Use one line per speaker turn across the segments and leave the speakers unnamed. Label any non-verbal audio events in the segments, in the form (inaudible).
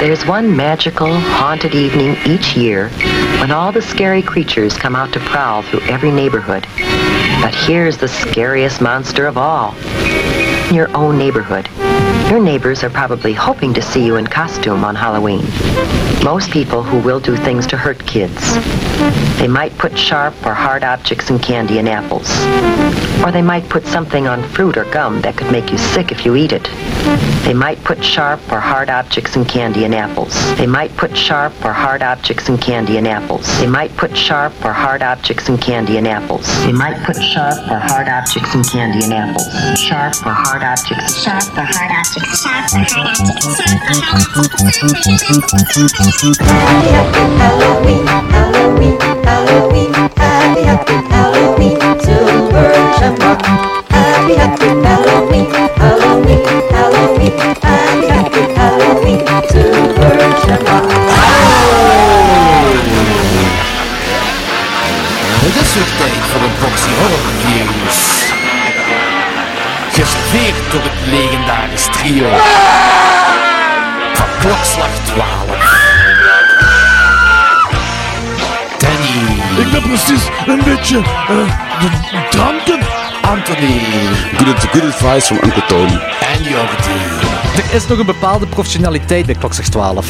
There's one magical, haunted evening each year when all the scary creatures come out to prowl through every neighborhood. But here's the scariest monster of all. Your own neighborhood. Your neighbors are probably hoping to see you in costume on Halloween. Most people who will do things to hurt kids. They might put sharp or hard objects in candy and apples. Or they might put something on fruit or gum that could make you sick if you eat it. They might put sharp or hard objects in candy and apples. They might put sharp or hard objects in candy and apples. They might put sharp or hard objects in candy and apples. They might put sharp or hard objects in candy and apples. Sharp or hard objects. Sharp or hard objects. Sharp or hard objects. Sharp or hard objects.
Happy, happy Halloween, Halloween, Halloween. Happy, happy Halloween, Silver Shamrock. Happy, happy Halloween, Halloween, Halloween. Happy, happy Halloween, Silver Shamrock.
Het is weer tijd voor een boxy horror news. Gespeerd door het legendarisch trio van klokslag 12. Danny,
Ik ben precies een beetje eh dranken.
Anthony
Good, good advice from Uncle Tony.
en Jordi.
Er is nog een bepaalde professionaliteit bij klokslag 12.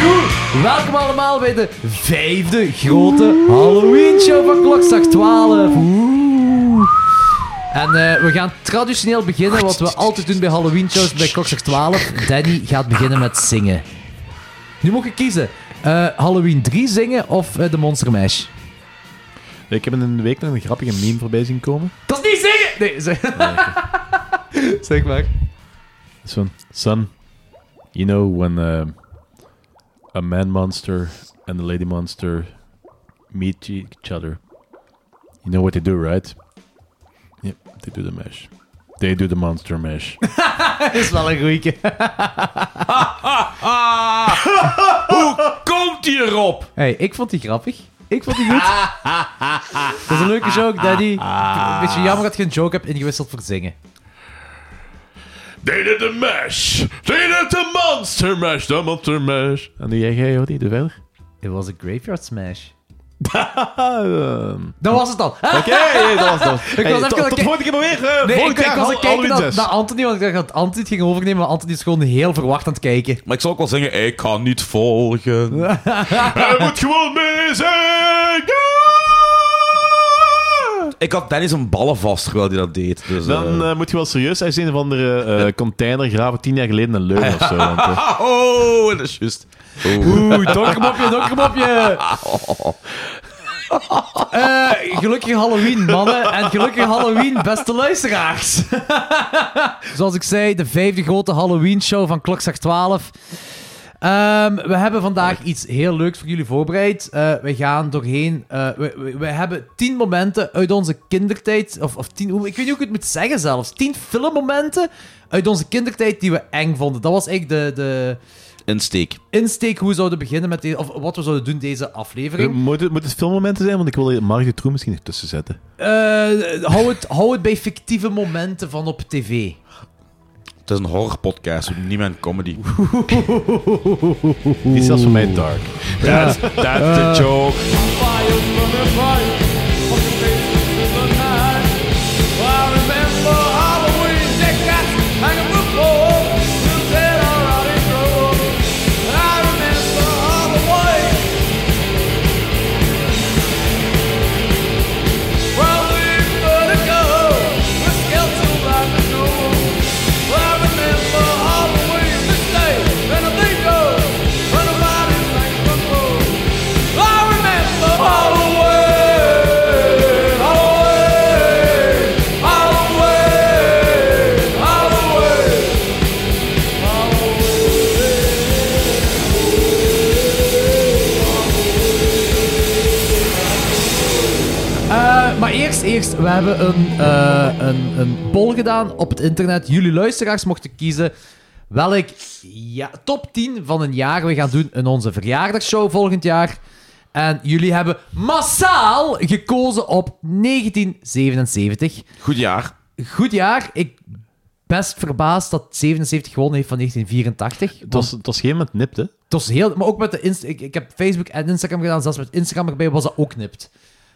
Goed, welkom allemaal bij de vijfde grote Halloween show van klokslag 12. En eh, we gaan traditioneel beginnen, wat we altijd doen bij Halloween shows bij klokslag 12. Danny gaat beginnen met zingen. Nu mag je kiezen. eh, Halloween 3 zingen of eh, de Monster Mash?
Ik heb in een week nog een grappige meme voorbij zien komen.
Dat is niet zingen! Nee, zeg, (laughs) zeg maar.
Zo'n, son, you know when um, a man monster and a lady monster meet each other. You know what they do, right? Yep, they do the mesh. They do the monster mesh.
Dat is wel een goeie.
Komt hierop!
Hey, ik vond die grappig. Ik vond die goed. Dat is een leuke joke, Daddy. Een beetje jammer dat je een joke hebt ingewisseld voor zingen.
(laughs) They did the mesh! They did the monster mesh! The monster mesh! En die jij, Jordi, doe verder.
It was a graveyard smash.
Ehm,
Dat was het dan.
Oké, hey, dat was dat.
(laughs) Ik was even
tot,
aan het
tot
ki-
de volgende keer maar weer. eh,
Nee, ik,
volgend
ik
jaar
was aan het kijken
Halloween
naar,
zes.
naar Anthony, want ik dacht dat Anthony het ging overnemen, maar Anthony is gewoon heel verwacht aan het kijken.
Maar ik zal ook wel zingen, ik kan niet volgen.
(laughs)
Hij moet gewoon mee zijn.
Ik had Dennis een ballen vast terwijl hij dat deed. Dus,
Dan
eh,
eh, moet je wel serieus zijn. Ze Een of andere eh, container graven tien jaar geleden in Leuven
(laughs)
of zo. Want, eh,
ah, (laughs) oh, dat is juist.
Oeh,
(laughs)
donkermopje, donkermopje. Eh gelukkig Halloween, mannen. En gelukkig Halloween, beste luisteraars. Zoals ik zei, de vijfde grote Halloween-show van Klokzak 12. Ehm, we hebben vandaag iets heel leuks voor jullie voorbereid. Eh, we gaan doorheen... eh, we, we, we hebben tien momenten uit onze kindertijd... Of, of tien... hoe- Ik weet niet hoe ik het moet zeggen zelfs. Tien filmmomenten uit onze kindertijd die we eng vonden. Dat was eigenlijk de... de
Insteek.
insteek hoe we zouden beginnen met deze, of wat we zouden doen deze aflevering.
Eh, moet, het, moet het filmmomenten zijn? Want ik wil hier Mark de Troe misschien ertussen zetten.
Eh, hou, het, hou het bij fictieve momenten van op tv.
Het is een horrorpodcast, we doen niet meer een comedy.
Die is zelfs voor mij dark. Eh,
That's,
(laughs)
that's the joke.
I remember Halloween.
Eh, maar eerst, eerst, we hebben een, eh, een, een poll gedaan op het internet. Jullie luisteraars mochten kiezen welk ja, top 10 van een jaar we gaan doen in onze verjaardagshow volgend jaar. En jullie hebben massaal gekozen op 1977.
Goed jaar.
Goed jaar. Ik best verbaasd dat 77 gewonnen heeft van 1984.
Het was, het was geen moment nipt, hè?
Het was heel... Maar ook met de... Inst- ik, ik heb Facebook en Instagram gedaan. Zelfs met Instagram erbij was dat ook nipt.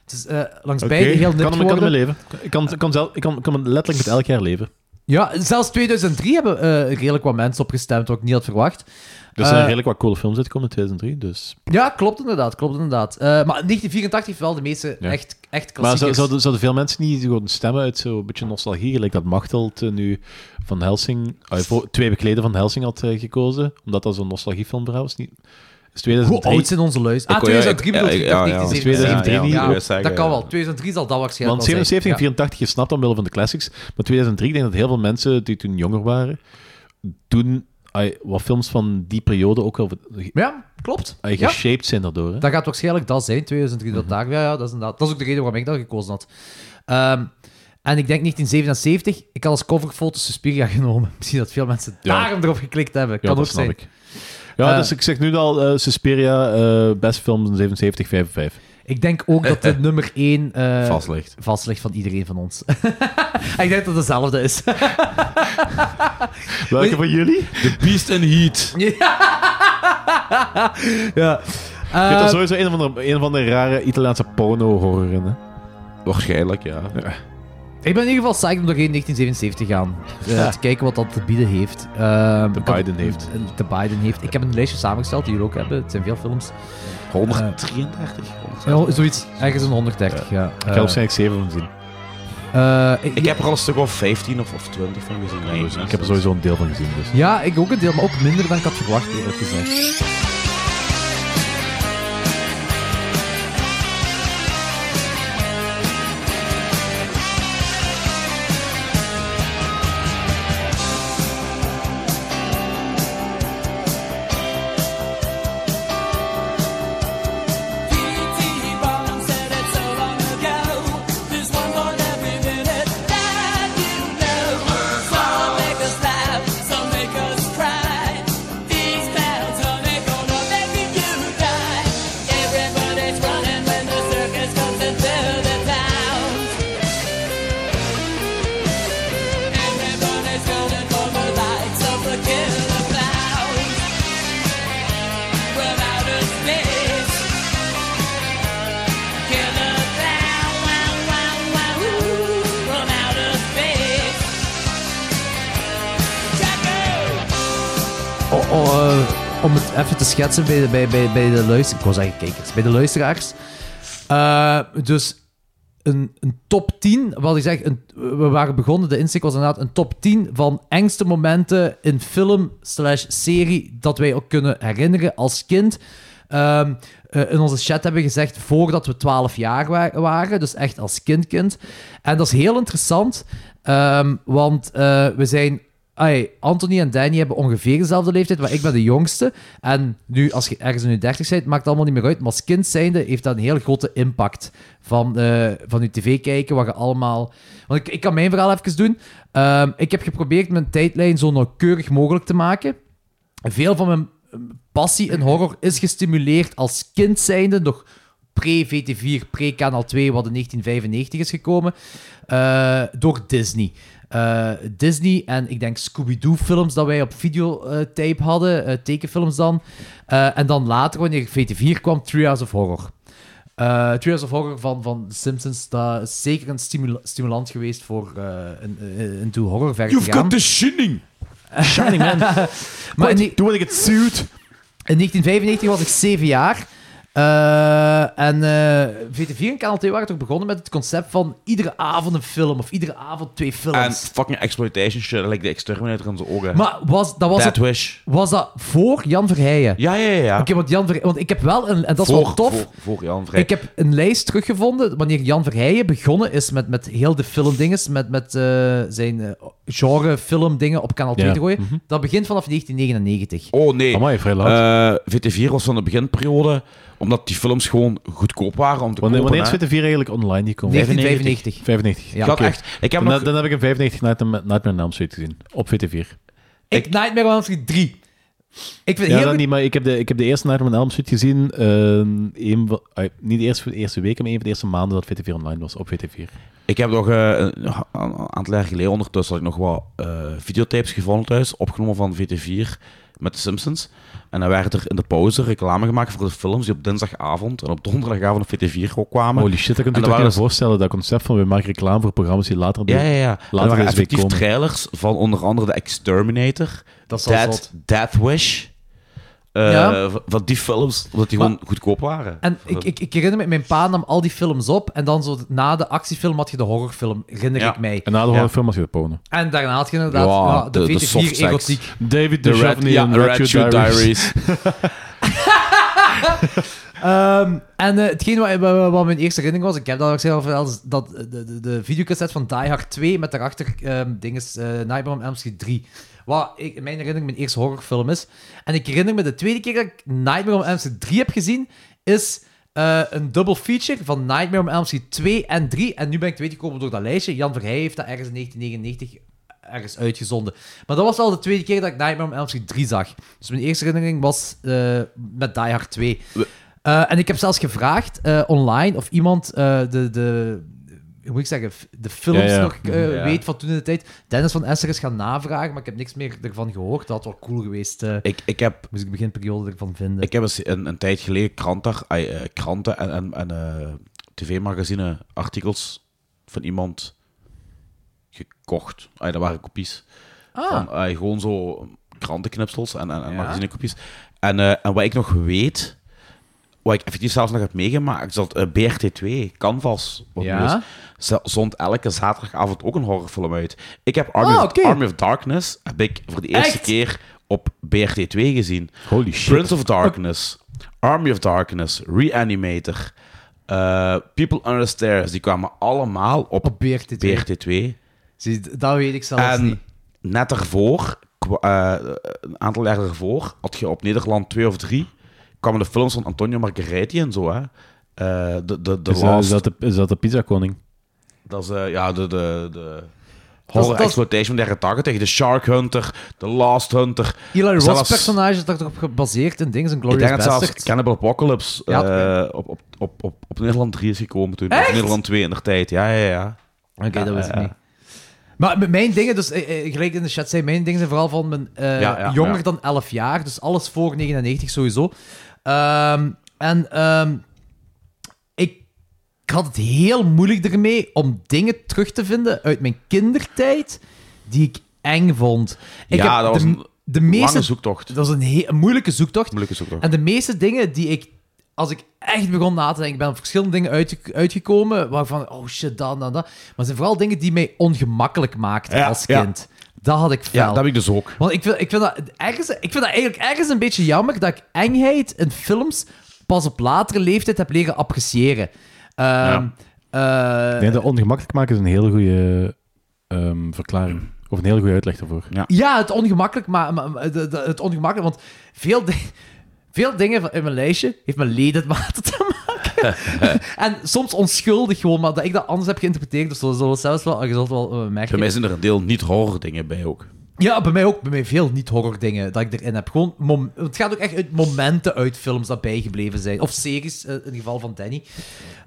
Het is eh, langs beide heel
Ik
nipt
kan hem, kan hem
geworden.
leven. Ik kan, ik kan, zelf, ik kan, ik kan hem letterlijk met elk jaar leven.
Ja, zelfs 2003 hebben eh, redelijk wat mensen opgestemd, wat ik niet had verwacht.
Dus Er zijn
Eh,
redelijk wat coole films uitgekomen in 2003, dus...
Ja, klopt inderdaad, klopt inderdaad. Eh, maar 1984 heeft wel de meeste
Ja.
echt, echt
Maar zou-
klassiekers.
zouden, zouden veel mensen niet gewoon stemmen uit zo'n beetje nostalgie, gelijk dat Machteld eh, nu Van Helsing, ah, voor- twee weken geleden Van Helsing had eh, gekozen, omdat dat zo'n nostalgiefilm trouwens is niet... Is
Hoe
2003,
oud zijn onze luisteraars? Ah,
Ik wou-
2003
ja,
bedoel ik,
ik-
ik dacht
ja, ja,
1977.
2003
Ja,
niet.
wou zeggen,
dat kan
ja.
wel. 2003 zal dat waarschijnlijk
Want
wel zijn.
77 en
Ja.
84 gesnapt omwille van de classics. Maar 2003, ik denk dat heel veel mensen die toen jonger waren, toen ai, wat films van die periode ook al ge-
Ja, klopt.
Ah,
ai,
Ja.
geshaped zijn daardoor. Hè?
Dat gaat waarschijnlijk dat zijn, 2003
Mhm.
dat daar. Ja, ja, dat is inderdaad. Dat is ook de reden waarom ik dat gekozen had. Ehm, en ik denk 1977, ik had als coverfoto Suspiria genomen. (laughs) Misschien dat veel mensen
Ja.
daarom erop geklikt hebben.
Ja,
Kan
dat
ook zijn.
ik. Ja,
Eh,
dus ik zeg nu al eh Suspiria, eh, best film 77, 5 5.
Ik denk ook dat
(laughs)
de nummer 1
Vast ligt.
vast ligt van iedereen van ons. (laughs) ik denk dat het dezelfde is. (laughs)
Welke van jullie?
The Beast in Heat.
ja.
Je hebt
Ehm,
Eh,
er sowieso een of andere, een of andere rare Italiaanse porno-horror in. Hè?
Waarschijnlijk, ja.
ik ben in ieder geval psyched om doorheen 1977 te gaan. Eh, te kijken wat dat te bieden heeft. Ehm,
De
ik had-
Biden heeft.
De Biden heeft. Ik heb een lijstje samengesteld, die jullie ook hebben. Het zijn veel films.
133.
Ja, zoiets. Ergens een 130, ja.
Ik
Eh,
heb waarschijnlijk 7 van zien.
eh,
Ik heb er al een stuk of 15 of, of 20 van gezien. Dus
Ik heb er sowieso een deel van gezien. Dus.
Ja, ik ook een deel, maar ook minder dan ik had verwacht, eerlijk gezegd.
Killer clown from outer space. Killer clown, wow, wow, wow, ooh, from outer space. Jacko!
Oh, oh, eh, om het even te schetsen bij de, bij, bij, bij de luisteraars. Ik wou zeggen kijkers, bij de luisteraars. Eh, dus een, een top 10, wat ik zeg, een, we waren begonnen, de insteek was inderdaad een top 10 van engste momenten in film slash serie dat wij ook kunnen herinneren als kind. Ehm, eh, in onze chat hebben we gezegd voordat we 12 jaar wa- waren, dus echt als kindkind. En dat is heel interessant, ehm, want eh, we zijn... ai, Anthony en Danny hebben ongeveer dezelfde leeftijd, maar ik ben de jongste. En nu, als je ergens in je 30 bent, maakt het allemaal niet meer uit. Maar als kind zijnde heeft dat een heel grote impact van, eh, van je tv kijken, wat je allemaal... Want ik, ik kan mijn verhaal even doen. Ehm, ik heb geprobeerd mijn tijdlijn zo nauwkeurig mogelijk te maken. Veel van mijn eh, passie in horror is gestimuleerd als kind zijnde, nog pre-VT4, pre-Kanaal 2, wat in 1995 is gekomen, eh, door Disney. Eh, Disney en ik denk Scooby-Doo-films dat wij op videotape hadden, eh, tekenfilms dan. Eh, en dan later, wanneer VT4 kwam, Trials of Horror. Eh Trials of Horror van, van The Simpsons, dat is zeker een stimula- stimulant geweest voor eh, een, een, een to horror verder te gaan.
Shining.
Shining (laughs) Man.
maar in die-
Toen ik het suit.
In 1995 was ik 7 jaar. Eh, en eh, VT4 en Kanaal 2 waren toch begonnen met het concept van iedere avond een film of iedere avond twee
En
films.
fucking exploitation shit. Like de exterminator in zijn ogen.
Maar was dat, was,
That
het-
Wish.
was dat voor Jan Verheijen?
Ja, ja, ja. ja.
Oké, want Jan Verheijen, want ik heb wel een, en dat is
voor,
wel tof.
Voor, voor Jan Vrij.
Ik heb een lijst teruggevonden wanneer Jan Verheijen begonnen is met, met heel de filmdinges, met, met eh, zijn eh, genre filmdingen op kanaal 2
Ja,
te gooien.
Mhm.
Dat begint vanaf 1999.
Oh nee.
Amai, vrij laat.
Eh, VT4 was van de beginperiode Omdat die films gewoon goedkoop waren om te
Wanneer,
kopen.
wanneer is
hè.
Witte 4 eigenlijk online gekomen?
1995.
95.
Ja.
ik had
Oké.
echt... Ik heb
Dan,
nog...
dan heb ik een 95 Nightmare, Nightmare on Elm Street gezien. Op VT4.
Ik Nightmare on Elm Street 3. Ik vind
Ja,
heel
dat
goed-
niet, maar ik heb, de, ik heb de eerste Nightmare on Elm Street gezien. eh, een van- ah, niet de eerste, de eerste week, maar een van de eerste maanden dat VT4 online was. Op VT4.
Ik heb nog eh, een een aantal jaar geleden ondertussen had ik nog wat eh, videotapes gevonden thuis, opgenomen van VT4 met de Simpsons. En dan werd er in de pauze reclame gemaakt voor de films die op dinsdagavond en op donderdagavond op VT4 ook kwamen.
Holy shit, dat kun je je
En
toch
er waren
niet
dus-
voorstellen. Dat concept van we maken reclame voor programma's die later
ja, ja, ja. En
Later
er waren
deze week
effectief
komen.
trailers van onder andere de Exterminator,
Dat is wel
Dead,
zot.
Death Wish. eh,
Ja.
v- Van die films, omdat die
Maar-
gewoon goedkoop waren.
En ik, ik, ik herinner me, mijn pa nam al die films op. En dan zo na de actiefilm had je de horrorfilm, herinner
Ja.
ik mij.
En na de
Ja.
horrorfilm had je de porno.
En daarna had je inderdaad
Ja,
ja, de,
de- de
de,
soft sex.
erotiek.
David
de Red,
Duchovny
ja,
en
Red Shoe Diaries.
Ehm, en eh, hetgeen wat, wat- wat mijn eerste herinnering was, ik heb dat ook zelf verteld, is dat eh, de, de, de videocassette van Die Hard 2 met daarachter ehm dinges, eh, Nightmare on Elm Street 3. Wat ik, in mijn herinnering mijn eerste horrorfilm is. En ik herinner me de tweede keer dat ik Nightmare on Elm Street 3 heb gezien, is eh, een double feature van Nightmare on Elm Street 2 en 3. En nu ben ik te weten gekomen door dat lijstje. Jan Verheij heeft dat ergens in 1999 ergens uitgezonden. Maar dat was al de tweede keer dat ik Nightmare on Elm Street 3 zag. Dus mijn eerste herinnering was eh, met Die Hard 2. Eh, en ik heb zelfs gevraagd eh, online of iemand eh, de, de, hoe moet ik zeggen, f- de films
Ja, ja.
nog eh,
Ja.
weet van toen in de tijd. Dennis van Esser is gaan navragen, maar ik heb niks meer ervan gehoord. Dat had wel cool geweest. eh
Ik, ik heb
moest ik de beginperiode ervan vinden.
Ik heb eens een, een tijd geleden kranten, ai, eh, kranten en, en, en eh, tv-magazine artikels van iemand gekocht. Ai, dat waren kopies.
ah,
Van, ai, gewoon zo krantenknipsels en, en, en magazinekopies. En, eh, en wat ik nog weet, wat ik effectief zelfs nog heb meegemaakt, is dat eh, BRT2, Canvas, wat
Ja.
nu is, ze- zond elke zaterdagavond ook een horrorfilm uit. Ik heb Army,
Ah,
of,
oké.
Army of Darkness heb ik voor de eerste
Echt?
keer op BRT2 gezien.
Holy shit.
Prince of Darkness, Army of Darkness, Reanimator, eh, People Under the Stairs, die kwamen allemaal op,
Op BRT2.
BRT2.
zie, d- dat weet ik zelfs niet.
En net daarvoor, kwa- eh, een aantal jaren daarvoor, had je op Nederland 2 of 3, kwamen de films van Antonio Margheriti en zo, hè. Eh, de, de, de
Is, eh,
Last,
is, dat de, is dat de Pizza Koning?
dat is, eh, ja, de, de, de
is-
horror
dat is-
exploitation der jaren 80, de Shark Hunter, de Last Hunter.
Eli Roth's
zelfs-
personage is daarop gebaseerd in dingen, een
Ik
Glorious
denk dat zelfs
Bastard.
Cannibal Apocalypse
Ja, dat
eh, op, op, op, op, op Nederland 3 is gekomen toen.
Echt?
Of Nederland 2 in de tijd, ja, ja, ja.
Oké, dat weet ik niet. Maar met mijn dingen, dus eh, eh, gelijk in de chat zei, mijn dingen zijn vooral van mijn, eh,
Ja, ja,
jonger
ja.
dan 11 jaar. Dus alles voor 99 sowieso. Ehm, en ehm, ik, ik had het heel moeilijk ermee om dingen terug te vinden uit mijn kindertijd die ik eng vond. Ik
Ja,
heb
dat was
de,
een
de meeste,
Lange zoektocht.
Dat was een, he- een moeilijke zoektocht.
Moeilijke zoektocht.
En de meeste dingen die ik, als ik echt begon na te denken, ik ben op verschillende dingen uitge- uitgekomen waarvan, oh shit, dan, dan, dan. Maar het zijn vooral dingen die mij ongemakkelijk maakten
Ja,
als
ja.
kind. Dat had ik fel.
ja, dat heb ik dus ook.
Want ik vind, ik, vind dat ergens, ik vind dat eigenlijk ergens een beetje jammer dat ik engheid in films pas op latere leeftijd heb leren appreciëren. Ehm, eh,
Nee, dat ongemakkelijk maken is een hele goede ehm, verklaring. Of een hele goede uitleg daarvoor.
Ja, het ongemakkelijk, maar, maar- maar de- de- het ongemakkelijk, want veel, di- veel dingen van- in mijn lijstje heeft met ledematen te maken. en soms onschuldig gewoon, maar dat ik dat anders heb geïnterpreteerd, dus dat zullen zelfs wel, je zult wel eh,
Bij
merken.
mij zijn er een deel niet-horror dingen bij ook.
Ja, bij mij ook, bij mij veel niet-horror dingen dat ik erin heb. Gewoon, mom- het gaat ook echt uit momenten uit films dat bijgebleven zijn, of series, eh, in het geval van Danny.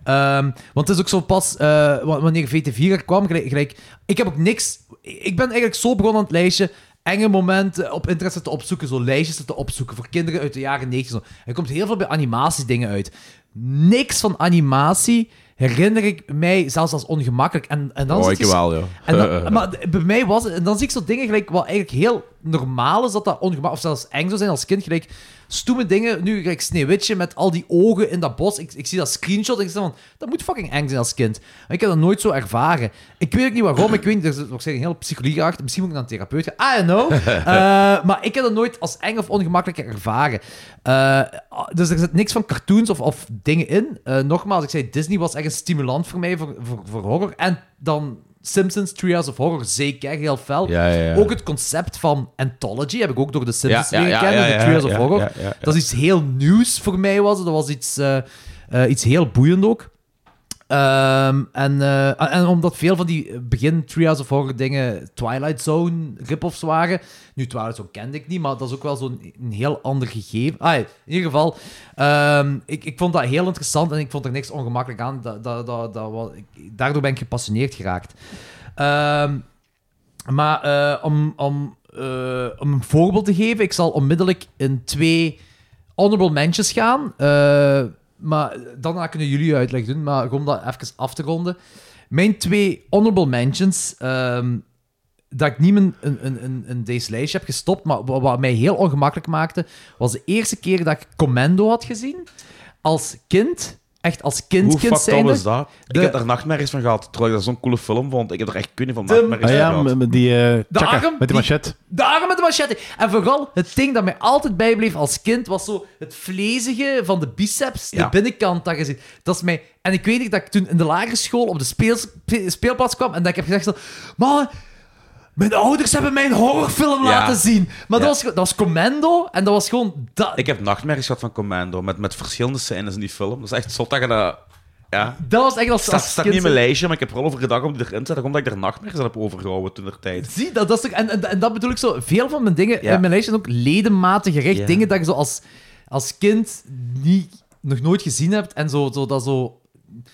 Ehm, want het is ook zo pas, eh, wa- wanneer VT4 er kwam, gelijk, gelijk- ik heb ook niks... Ik ben eigenlijk zo begonnen aan het lijstje, enge momenten op internet te opzoeken, zo lijstjes te opzoeken voor kinderen uit de jaren 90. zo. Er komt heel veel bij animatiedingen uit. Niks van animatie herinner ik mij zelfs als ongemakkelijk. En, en dan
Oh,
zit
ik
je-
wel, ja.
en
(laughs)
dan-
Eh, eh.
maar d- bij mij was het... En dan zie ik zo dingen gelijk, wat eigenlijk heel normaal is, dat dat ongemakkelijk... Of zelfs eng zou zijn als kind, gelijk... Stoeme dingen, nu gelijk Sneeuwwitje met al die ogen in dat bos. Ik, ik zie dat screenshot en ik zeg van, dat moet fucking eng zijn als kind. Maar ik heb dat nooit zo ervaren. Ik weet ook niet waarom, ik weet niet, er zit nog steeds een hele psychologie achter. Misschien moet ik naar een therapeut gaan, I don't know. Eh, maar ik heb dat nooit als eng of ongemakkelijk ervaren. Eh, dus er zit niks van cartoons of, of dingen in. Eh, nogmaals, ik zei, Disney was echt een stimulant voor mij, voor, voor, voor horror. En dan Simpsons Trials of Horror zeker heel fel.
Ja, ja, ja.
Ook het concept van anthology heb ik ook door de Simpsons
Ja, ja,
leren
ja,
kennen,
ja, ja,
de Trials of
ja,
Horror.
ja, ja, ja.
Dat is iets heel nieuws voor mij was. het. Dat was iets, eh, eh, iets heel boeiend ook. Ehm, en, eh, en omdat veel van die begin Trials of Horror dingen Twilight Zone rip-offs waren. Nu, Twilight Zone kende ik niet, maar dat is ook wel zo'n een heel ander gegeven. Ah, ja, in ieder geval, ehm, ik, ik vond dat heel interessant en ik vond er niks ongemakkelijk aan. Dat, dat, dat, dat, wa- ik- daardoor ben ik gepassioneerd geraakt. Ehm, maar eh, om, om, eh, om een voorbeeld te geven, ik zal onmiddellijk in twee honorable mentions gaan. Eh, maar daarna kunnen jullie uitleg doen, maar gewoon om dat even af te ronden. Mijn twee honorable mentions, ehm, dat ik niet in, een een een een deze lijstje heb gestopt, maar wa- wat mij heel ongemakkelijk maakte, was de eerste keer dat ik Commando had gezien. Als kind, echt als kind,
Hoe
kind
fucked up
zijnde.
is dat?
De-
Ik heb daar nachtmerries van gehad, terwijl ik dat zo'n coole film vond. Ik heb er echt kun je van
De-
nachtmerries
Ah
van
ja,
gehad.
met, met die eh tjaka,
arm,
met die
die-
machet.
De arm met de machette. En vooral het ding dat mij altijd bijbleef als kind was zo het vlezige van de biceps, de
Ja.
binnenkant dat je ziet. Dat is mij... En ik weet niet dat ik toen in de lagere school op de speels- spe- speelplaats kwam en dat ik heb gezegd zo... "Man, mijn ouders hebben mij een horrorfilm
Ja.
laten zien. Maar dat,
Ja.
was, gewoon- dat was Commando en dat was gewoon... Dat,
Ik heb nachtmerries gehad van Commando, met, met verschillende scènes in die film. Dat is echt zot dat je dat... Ja.
dat was echt als,
Het staat,
als
staat
kind
niet in
zo-
mijn lijstje, maar ik heb er al over gedacht om die erin te zetten, omdat ik er nachtmerries aan heb overgehouden toen er tijd.
Zie, dat, dat is toch, en, en, en dat bedoel ik zo. Veel van mijn dingen
Ja.
in mijn lijstje zijn ook ledematen gerecht.
Ja.
Dingen dat je zo als, als kind niet, nog nooit gezien hebt. En zo, zo, dat zo...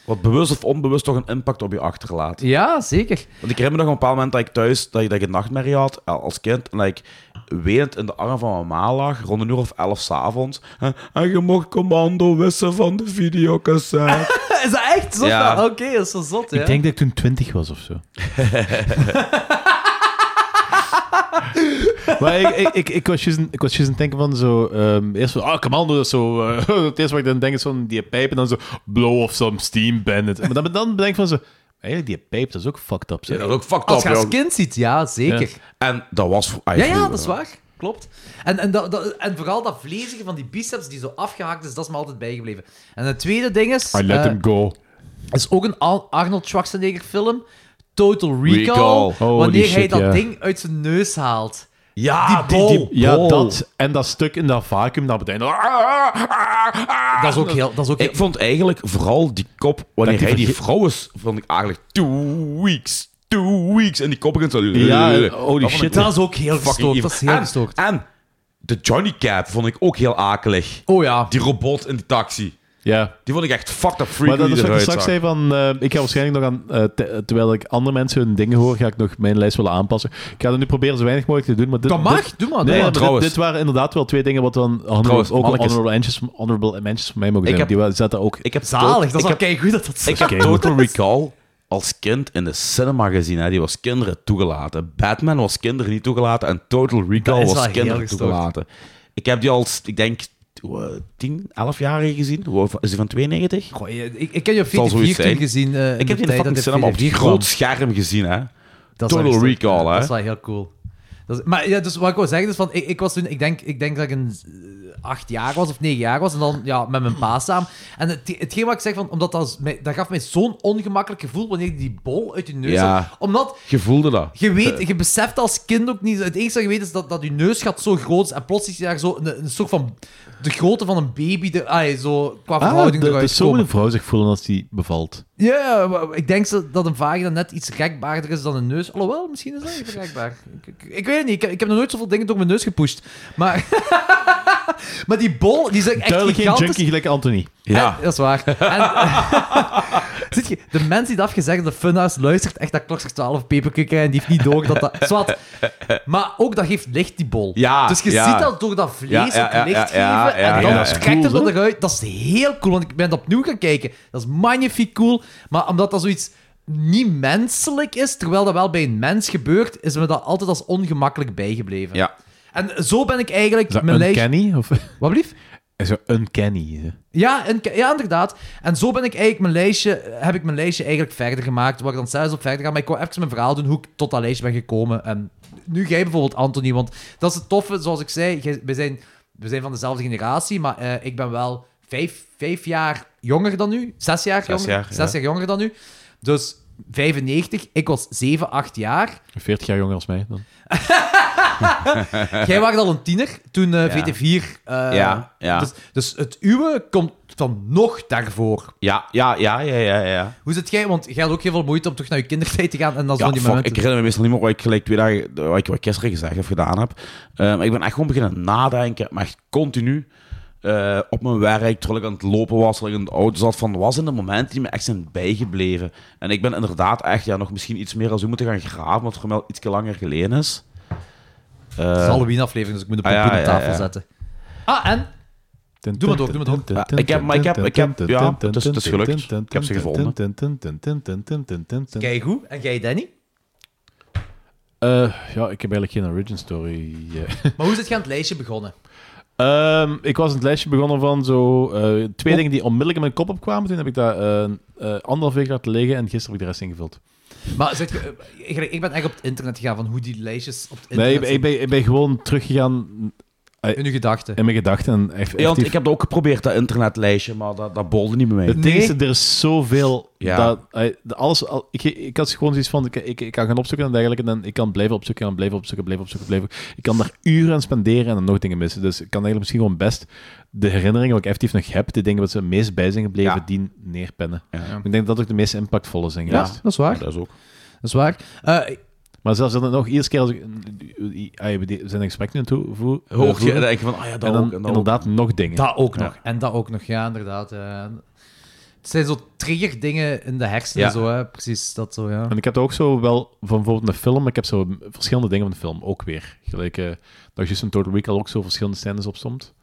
Wat bewust of onbewust toch een impact op je achterlaat.
Ja, zeker.
Want ik herinner me nog een bepaald moment dat ik thuis dat ik, dat ik een nachtmerrie had eh, als kind. En dat ik wenend in de arm van mijn ma lag, rond een uur of elf s'avonds. En, en je mocht commando wissen van de videocassette.
Is dat echt zot?
Ja.
Oké, dat is zo zot, ja.
Ik denk dat ik toen 20 was of (laughs) zo. maar ik, ik, ik, ik was juist aan- ik was juist aan het denken van zo... ehm, eerst van, ah, commando, dat is zo... eh, (laughs) het eerste wat ik dan denk is van die pijp en dan zo... Blow of some steam bandit. Maar dan, dan denk ik van zo... Eigenlijk, die pijp, dat is ook fucked up. zeg.
Ja, dat is ook fucked
Als
up,
je als
joh.
kind ziet, ja, zeker.
En dat was... voor- ah,
Ja, ja,
vroeger,
dat is
hoor.
waar. Klopt. En, en, dat, dat, en vooral dat vlezige van die biceps die zo afgehaakt is, dat is me altijd bijgebleven. En het tweede ding is...
I let
eh,
him go.
is ook een Al- Arnold Schwarzenegger film, Total Recall,
Recall.
Holy
wanneer hij
shit,
dat
ja.
ding uit zijn neus haalt. Oh,
Ja,
Die
die, die,
bol.
Ja,
bol.
dat. En dat stuk in dat vacuüm, dat meteen... Ah, ah, ah, ah.
Dat is ook heel... Dat is ook heel-
Ik vond eigenlijk vooral die kop, wanneer
Dat die
hij die
verge-
vrouw is, vond ik eigenlijk two weeks, two weeks. En die kop begint zo...
Ja,
Dat
holy
vond ik
shit.
eh, dat is ook heel
fucking
gestoord.
evil. Ah,
Dat is heel
En-
gestoord.
En de Johnny Cab vond ik ook heel akelig.
Oh ja.
Die robot in die taxi.
Ja.
Die vond ik echt fucked up freak
Maar dat
hoe
is
die
wat ik
eruit
straks
zag.
zei van... eh, ik ga waarschijnlijk nog aan... eh, te- terwijl ik andere mensen hun dingen hoor, ga ik nog mijn lijst willen aanpassen. Ik ga dat nu proberen zo weinig mogelijk te doen, maar dit...
Dat mag,
dit-
doe maar.
Nee,
doe
maar
maar.
dit-
trouwens.
dit, waren inderdaad wel twee dingen wat dan honorable,
Trouwens,
ook
mannetjes.
honorable mentions, honorable mentions van mij mogen
Ik
zijn.
heb-
Die wel- zaten ook...
Ik heb
Zalig, dat is
ik
wel
heb,
keigoed dat dat zo
ik heb
Oké.
Total Recall als kind in de cinema gezien. Hè. Die was kinderen toegelaten. Batman was kinderen niet toegelaten. En Total Recall
is wel
was
heel
kinderen
gestoord.
toegelaten. Ik heb die als, ik denk, eh, 10, 11 jaar gezien. Hoe- Is die van 92?
Goh, je- ik, ik heb je op
Zal zoiets
44 toen
zijn.
gezien. eh, in
ik heb die in de
tijd dat
fucking cinema op
VD4 kwam.
groot scherm gezien. Hè.
Dat is wel
Total
gestoord.
Recall, hè?
Dat is wel heel cool. Dat is- maar ja, dus wat ik wil zeggen is van, ik, ik was toen, ik denk, ik denk dat ik een eh, acht jaar was of negen jaar was en dan ja, met mijn pa samen. En het, hetgeen wat ik zeg van, omdat dat, is mij- dat gaf mij zo'n ongemakkelijk gevoel wanneer die die bol uit je neus
Ja. Eh.
had. Omdat
Je voelde dat.
je weet, je beseft als kind ook niet, het enige dat je weet is dat, dat je neusgat zo groot is en plots is je daar zo een, een soort van, de grootte van een baby, de, ah, zo qua
Ah,
verhouding
de, de
eruit
zo
komen.
moet een vrouw zich voelen als die bevalt.
Ja, Ja, maar ik denk zo dat een vagina net iets rekbaarder is dan een neus. Alhoewel, misschien is dat niet vergelijkbaar. Ik, ik, ik weet het niet. Ik, heb- ik heb nog nooit zoveel dingen door mijn neus gepusht. Maar, (laughs) maar die bol, die is echt
Duidelijk geen
gigantisch.
junkie gelijk Anthony.
Ja.
En- (laughs) dat is waar. En, Zit je, de mens die dat heeft gezegd, de funhouse, luistert echt naar klokster 12 peperkikker en die heeft niet door dat dat... Zwart. Maar ook dat geeft licht, die bol.
Ja,
dus je
ja.
ziet dat door dat
Ja,
vlees
ja,
ook
ja,
licht
ja,
geven
ja, ja,
en dan
ja, ja.
trekt het
Cool,
dat
hè?
eruit. Dat is heel cool, want ik ben dat opnieuw gaan kijken. Dat is magnifiek cool, maar omdat dat zoiets niet menselijk is, terwijl dat wel bij een mens gebeurt, is me dat altijd als ongemakkelijk bijgebleven.
Ja.
En zo ben ik eigenlijk
Is dat
mijn lijst...
uncanny? Of,
Wat blieft?
is dat uncanny? hè?
Ja, en, ja, inderdaad. En zo ben ik eigenlijk mijn lijstje, heb ik mijn lijstje eigenlijk verder gemaakt, waar ik dan zelfs op verder ga. Maar ik wil even mijn verhaal doen hoe ik tot dat lijstje ben gekomen. En nu jij bijvoorbeeld, Anthony, want dat is het toffe, zoals ik zei, jij- we zijn, we zijn van dezelfde generatie, maar eh, ik ben wel vijf, vijf jaar jonger dan u. Zes jaar
Zes
jonger.
jaar,
zes
ja.
jaar jonger dan u. Dus 95, ik was 7, 8
(laughs)
jaar.
40 jaar jonger als mij dan.
Jij was al een tiener toen eh,
Ja.
VT4... eh,
Ja, ja.
Dus, dus het uwe komt van nog daarvoor.
Ja, ja, ja, ja, ja, ja.
Hoe zit jij? Want jij had ook heel veel moeite om terug naar je kindertijd te gaan en dan
Ja,
zo'n die
fuck, ik
momenten.
herinner me meestal niet meer wat ik gelijk twee dagen, wat ik, wat ik gisteren gezegd heb, gedaan heb. Eh, maar ik ben echt gewoon beginnen nadenken, maar echt continu eh, op mijn werk, terwijl ik aan het lopen was, terwijl ik in de auto zat, van was in de momenten die me echt zijn bijgebleven. En ik ben inderdaad echt ja, nog misschien iets meer als u moeten gaan graven, wat voor mij al iets langer geleden is. Eh,
Het is een Halloween-aflevering, dus ik moet de
Ah, ja,
pompoen op
ja,
tafel
ja.
zetten. Ah, en? Doe maar door, doe maar door.
Ja, ik heb- maar ik heb- ik heb- ja, het is- het is gelukt. Ik heb ze gevonden.
Kijk goed. En jij, Danny?
Eh, ja, ik heb eigenlijk geen origin story. eh.
(laughs)
Maar hoe is het aan het lijstje begonnen?
Ehm, ik was aan het lijstje begonnen van zo eh,
Oh.
twee dingen die onmiddellijk in mijn kop opkwamen. Toen heb ik dat eh, eh, anderhalf week laten liggen en gisteren heb ik de rest ingevuld.
Maar zit je- eh, ik- ik ben echt op het internet gegaan van hoe die lijstjes op het
Nee,
internet
ik, ben- ik ben, ik ben gewoon teruggegaan
zijn in uw gedachten.
in mijn gedachten. En echt,
ja, want
effectief-
ik heb dat ook geprobeerd, dat internetlijstje, maar dat, dat bolde niet bij mij.
Het
Nee.
ding is, dat er is zoveel.
Ja.
Dat, eh, de- alles, al- ik, ik had gewoon zoiets van: ik, ik, ik kan gaan opzoeken en dergelijke. En dan, ik kan blijven opzoeken en blijven opzoeken, blijven opzoeken, blijven. Ik kan daar uren aan spenderen en dan nog dingen missen. Dus ik kan eigenlijk misschien gewoon best de herinneringen wat ik effectief nog heb, de dingen wat ze het meest bij zijn gebleven,
Ja.
die neerpennen.
Ja.
Ik denk dat ook de meest impactvolle zijn
Ja,
geweest.
dat is waar.
dat is ook.
Dat is waar. Eh,
Maar zelfs dan nog, iedere keer als ik... ah, we zijn een gesprek nu aan het toe- voer- eh,
Hoog je,
voeren.
en dan denk je van, ah ja, dat
en dan
ook. En dat ook.
inderdaad nog dingen.
dat ook
Ja.
nog. En dat ook nog, ja, inderdaad. eh. het zijn zo triggerdingen in de hersenen,
Ja.
zo, hè. precies. Dat zo, ja.
En ik heb dat ook zo wel van bijvoorbeeld een film, maar ik heb zo verschillende dingen van de film ook weer. Gelijk eh, dat je zo'n Total Recall ook zo verschillende scènes opstond.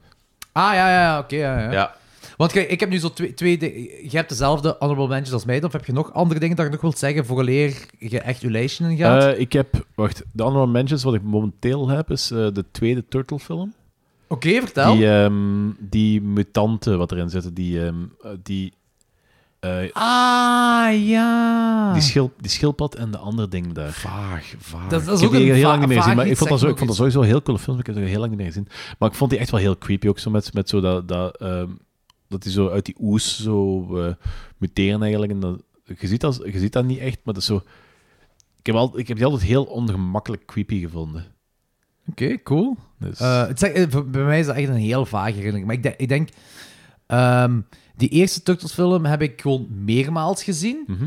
Ah, ja, ja, ja, oké. ja, ja.
Ja.
Want kijk, ik heb nu zo twee... twee di- je hebt dezelfde honorable mentions als mij, of heb je nog andere dingen dat je nog wilt zeggen voor leer je echt je lijstje in gaat?
Eh, ik heb, wacht, de honorable mentions wat ik momenteel heb is eh, de tweede Turtle film.
oké, vertel.
Die, ehm, die mutanten wat erin zitten, die, ehm, eh, die, eh,
ah, ja.
die, schil, die schildpad en de andere ding daar.
Vaag, vaag.
dat, dat is
ik
ook
heb die
een
heel
va-
lang niet meer
vaag
gezien. Maar ik
iets,
vond, dat zo,
zeg
ik vond dat
nog
sowieso een heel coole film. maar Ik heb er heel lang niet meer gezien. Maar ik vond die echt wel heel creepy ook. Zo met, met zo dat, dat, ehm, dat die zo uit die oes zo eh, muteren eigenlijk. En dat, je, ziet dat, je ziet dat niet echt, maar dat is zo... Ik heb, al, ik heb die altijd heel ongemakkelijk creepy gevonden.
iets. Oké, cool.
Dus,
Eh, het zeg- eh, voor- bij mij is dat echt een heel vage herinnering. Maar ik, de- ik denk, ehm, die eerste Turtles-film heb ik gewoon meermaals gezien.
Mhm.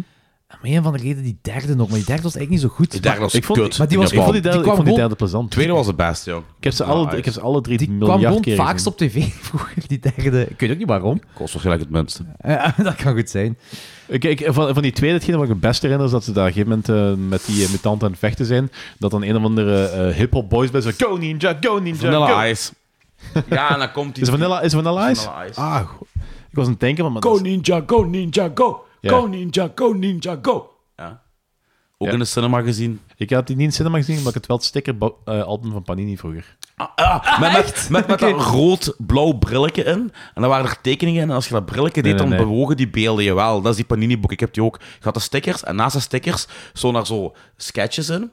En om een van de reden die derde nog, maar die derde was eigenlijk niet zo goed.
Die derde was
ik vond-
kut.
maar die was-
ik vond die derde,
kwam
ik vond die
gewoon-
derde plezant.
tweede was het beste, joh.
ik, heb ze alle, ik heb ze alle drie
die kwam
miljard
gewoon
keer
vaakst
gezien.
op tv (laughs) vroeger, die derde. Ik weet ook niet waarom.
Kost waarschijnlijk het minste.
Eh, (laughs) dat kan goed zijn.
Ik, ik, van, van die tweede, hetgeen wat ik het best herinner, is dat ze daar op een gegeven moment eh, met die eh, mutanten aan het vechten zijn. Dat dan een of andere eh hip-hop boys bij zo Go Ninja, Go Ninja, go.
Vanilla Ice. Ja, en dan komt die...
Is vanilla, is vanilla ice?
Vanilla ice.
Ah, go- ik was aan het denken van... Maar
Go
dat is-
ninja, go ninja, go.
Ja.
Go ninja, go ninja, go. Ja. Ook
Ja.
in de cinema gezien.
ik had die niet in de cinema gezien, maar ik had wel het stickeralbum van Panini vroeger.
Ah, Met, met, met, met dat rood-blauw brilletje in. En dan waren er tekeningen in. En als je dat brilletje deed,
Nee, nee,
dan
nee.
bewogen die beelden je wel. Dat is die Panini-boek. Ik heb die ook. Je had de stickers. En naast de stickers zo naar zo sketches in.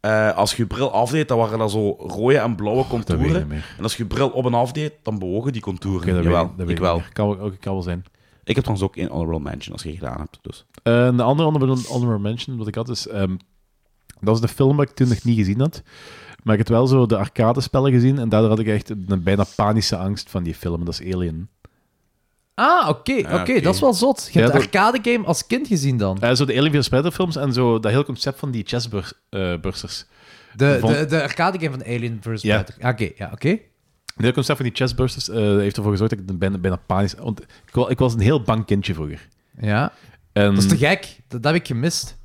Eh, als je je bril afdeed, dan waren er zo rode en blauwe
weet ik niet
contouren.
meer.
En als je je bril op en afdeed, dan bewogen die contouren.
Oké, dat
Jawel,
weet ik, dat
ik
weet
wel.
niet meer. Kan, wel- ook, kan wel zijn.
Ik heb trouwens ook een honorable mention als je gedaan hebt. Dus.
Eh, een andere honorable- honorable mention wat ik had is... ehm, dat is de film wat ik toen nog niet gezien had. Maar ik had wel zo de arcadespellen gezien. En daardoor had ik echt een bijna panische angst van die film. Dat is Alien.
Ah, oké, oké,
oké.
dat is wel zot. Je
Ja,
hebt de
dat-
arcade-game als kind gezien dan.
Eh, zo de Alien vs. Predator films en zo dat hele concept van die eh, chessbursers.
De,
vond-
de, de arcade-game van Alien vs.
Ja.
Predator. Ah, Oké, ja, oké.
Het hele concept van die chessbursters eh, heeft ervoor gezorgd dat ik bijna, bijna panisch... Want ik, wa- ik was een heel bang kindje vroeger.
Ja.
En,
Dat is te gek. Dat, dat heb ik gemist.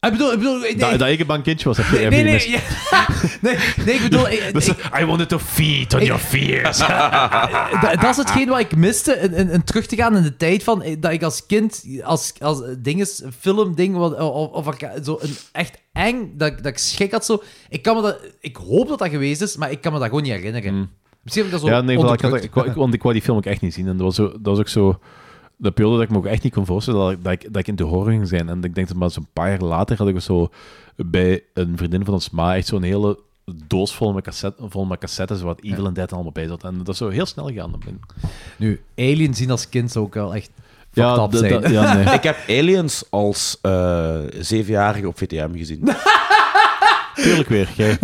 Ah, Ik bedoel, ik bedoel... nee,
Dat, dat ik een bang kindje was, heb je, heb
Nee,
je
nee,
gemist.
ja. (laughs) nee, nee, ik
(laughs)
bedoel... ik-
Dus,
ik-
I wanted to feed on
Ik-
your fears.
Eh, dat, dat is hetgeen wat ik miste, in, in, in terug te gaan in de tijd van... eh, Dat ik als kind, als, als dinges, filmding, wat- of, of arca- zo een, echt eng, dat, ik- dat ik schrik had zo. Ik kan me dat... Ik hoop dat dat geweest is, maar ik kan me dat gewoon niet herinneren. Misschien heb ik dat zo
Hmm. ja, nee, voilà, ik had,
onderdrukt.
ik, wou- ik- want ik wou die film ook echt niet zien. En dat was, zo, dat was ook zo... De periode dat ik me ook echt niet kon voorstellen dat ik, dat ik, dat ik in de horror ging zijn. En ik denk dat maar zo'n paar jaar later had ik zo bij een vriendin van ons ma echt zo'n hele doos vol met, cassette, vol met cassettes waar Evil and Dead allemaal bij zat. En dat is zo heel snel gegaan.
Nu, Alien zien als kind zou ik wel echt
Ja,
up
dat-
zijn.
dat- ja, nee.
Ik heb Aliens als eh, zevenjarige op VTM
(laughs)
gezien.
Tuurlijk (laughs) weer. Jij.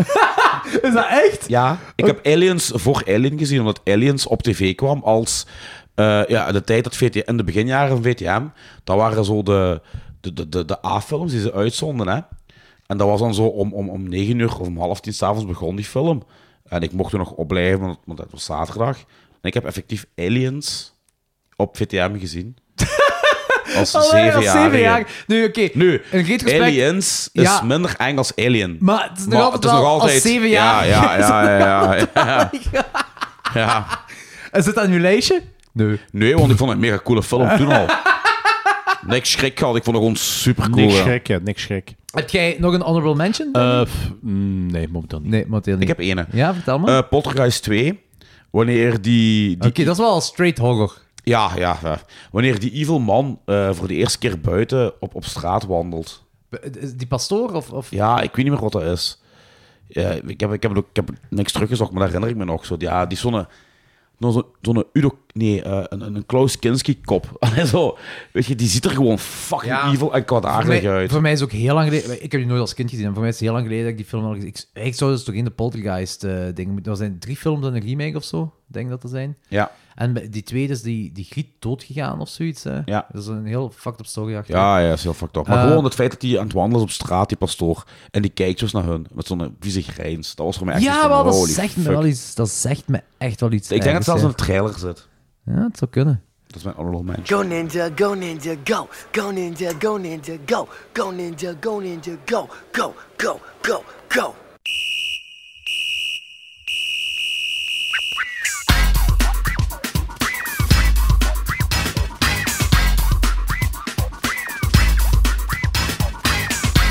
Is dat echt?
Ja, ik heb Aliens voor Alien gezien, omdat Aliens op tv kwam als... eh, ja, de tijd dat VTM... In de beginjaren van VTM, dat waren zo de, de, de, de, de A-films die ze uitzonden, hè. En dat was dan zo om, om, om negen uur of om half tien s'avonds begon die film. En ik mocht er nog op blijven, want, want dat was zaterdag. En ik heb effectief Aliens op
(laughs)
VTM gezien. als
Allee, als
zevenjarige.
zevenjarige. Nu, oké.
Nu,
Een geet gesprek.
Aliens is
Ja.
minder eng als Alien.
Maar het is nog
Maar
altijd wel als
Ja,
zevenjarige.
ja, ja, ja,
(laughs)
ja, ja, ja.
Is het aan uw lijstje? Nee.
Nee, want ik vond het een mega coole film toen al. Niks schrik gehad, ik vond het gewoon super cool.
Niks schrik, ja. Niks schrik.
Heb jij nog een honorable mention?
Eh, pff, mm, nee, momenteel niet.
nee, momenteel
Ik
niet.
heb ene.
Ja, vertel me.
Eh, Poltergeist 2. Wanneer die,
Oké,
die
dat is wel al straight horror.
ja, ja, ja. wanneer die evil man eh, voor de eerste keer buiten op, op straat wandelt.
Is eh, Die pastoor of... of...
Ja, ik weet niet meer wat dat is. Ja, ik, heb, ik, heb het ook, ik heb niks teruggezocht, maar dat herinner ik me nog. Zo, ja, die zonne... nou, zo- Zo'n Udo... Nee, eh, een, een een Klaus Kinski-kop. (laughs) Allee, zo, weet je, die ziet er gewoon fucking
Ja.
evil en
Voor
kwaadaardig
mij-
uit.
Voor mij is ook heel lang geleden. Ik heb die nooit als kind gezien. maar Voor mij is het heel lang geleden dat ik die film al gezien ik, ik zou dus toch in de Poltergeist eh dingen moeten. Er zijn drie films en een remake of zo. Denk dat er zijn.
Ja.
En bij- die tweede is die, die Griet doodgegaan of zoiets. Hè?
Ja.
Dat is een heel fucked up story achter.
Ja, ja, is heel fucked up. Maar
Eh.
gewoon het feit dat hij aan het wandelen is op straat, die pastoor, en die kijkt dus naar hun met zo'n vieze grijns. Dat was voor mij echt iets
ja
van,
wel, dat
holy
zegt, me
fuck.
wel iets, dat zegt me echt wel iets.
Ik denk dat het zelfs in de
ergs,
trailer zit.
hè. Ja, het zou kunnen.
Dat is mijn honorable mention.
Go ninja, go ninja, go. Go ninja, go ninja, go. Go ninja, go ninja, go. Go, go, go, go.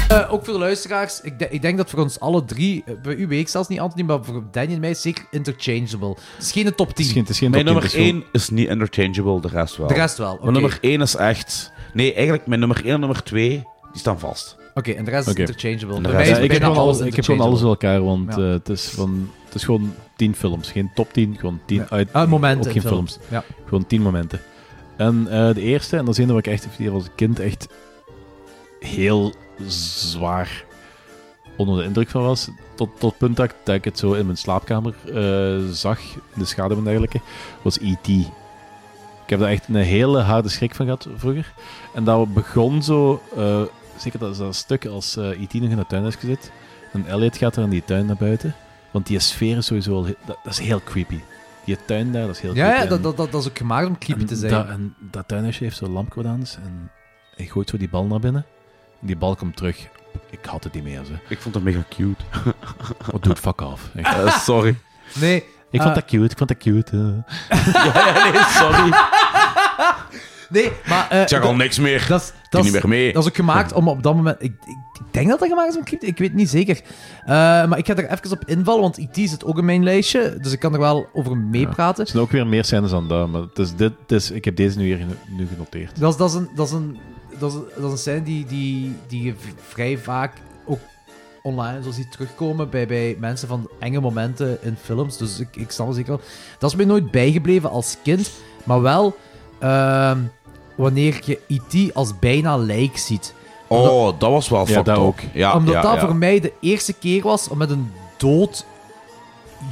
Eh, ook voor de luisteraars, ik, de- ik denk dat voor ons alle drie, eh, bij u weet ik zelfs niet, Anthony, maar voor Danny en mij zeker interchangeable. Het is geen top 10.
Misschien, het is geen
Mijn
top
nummer
tien, het is
1 is niet interchangeable, de rest wel.
De rest wel. Oké,
Mijn nummer 1 is echt... Nee, eigenlijk mijn nummer 1 en nummer 2, die staan vast.
Oké, en de rest
Oké.
is interchangeable.
En de
Bij
rest-
mij is
gewoon- Ja, ik, heb
bijna
gewoon
alles
alles, ik heb gewoon alles
interchangeable.
door elkaar, want
Ja.
eh, het, is van, het is gewoon tien films. Geen top 10, gewoon tien uit.
Ah, momenten.
Ook
in
geen films.
Ja.
Gewoon tien momenten. En eh, de eerste, en dat is een waar ik echt die als kind echt heel zwaar onder de indruk van was. Tot, tot het punt dat ik, dat ik het zo in mijn slaapkamer eh, zag, in de schaduw en dergelijke, was E.T. Ik heb daar echt een hele harde schrik van gehad vroeger. En dat begon zo, eh, zeker dat, dat stuk als eh, E.T. nog in dat tuinhuisje zit. En Elliot gaat er in die tuin naar buiten. Want die sfeer is sowieso al... he- Dat, dat is heel creepy. Die tuin daar, dat is heel
Ja,
creepy.
ja
En-
dat, dat, dat, dat is ook gemaakt om creepy
en
te zijn.
Dat, en dat tuinhuisje heeft zo'n lampkwadans en hij gooit zo die bal naar binnen. En die bal komt terug. Ik had het niet meer. Ze.
Ik vond dat mega
(laughs)
cute.
Wat doet fuck af. Ik,
Eh, sorry.
Nee,
ik
Ah.
vond dat cute, ik vond dat cute. eh.
ja, nee, sorry. Ik
nee, maar... eh,
zeg al niks meer.
dat, is-
Doe
dat,
niet
is,
meer mee.
dat is ook gemaakt om op dat moment... Ik, ik, ik denk dat dat gemaakt is om creepy Ik weet het niet zeker. Eh, maar ik ga er even op invallen, want IT zit ook in mijn lijstje. Dus ik kan er wel over meepraten.
Er zijn ook weer meer scènes dan dat, maar het is dit, het is, ik heb deze nu hier geno- nu genoteerd.
Dat is, dat is een... Dat is een dat is, een- dat is een scène die, die, die je v- vrij vaak ook online zo ziet terugkomen bij, bij mensen van enge momenten in films. Dus ik, ik snap het zeker wel. Dat is mij nooit bijgebleven als kind, maar wel ehm, wanneer je E.T. als bijna lijk ziet.
Oh, dat was wel fucked
dat
up.
ook.
Ja,
Omdat
ja,
dat
ja.
voor mij de eerste keer was om met een dood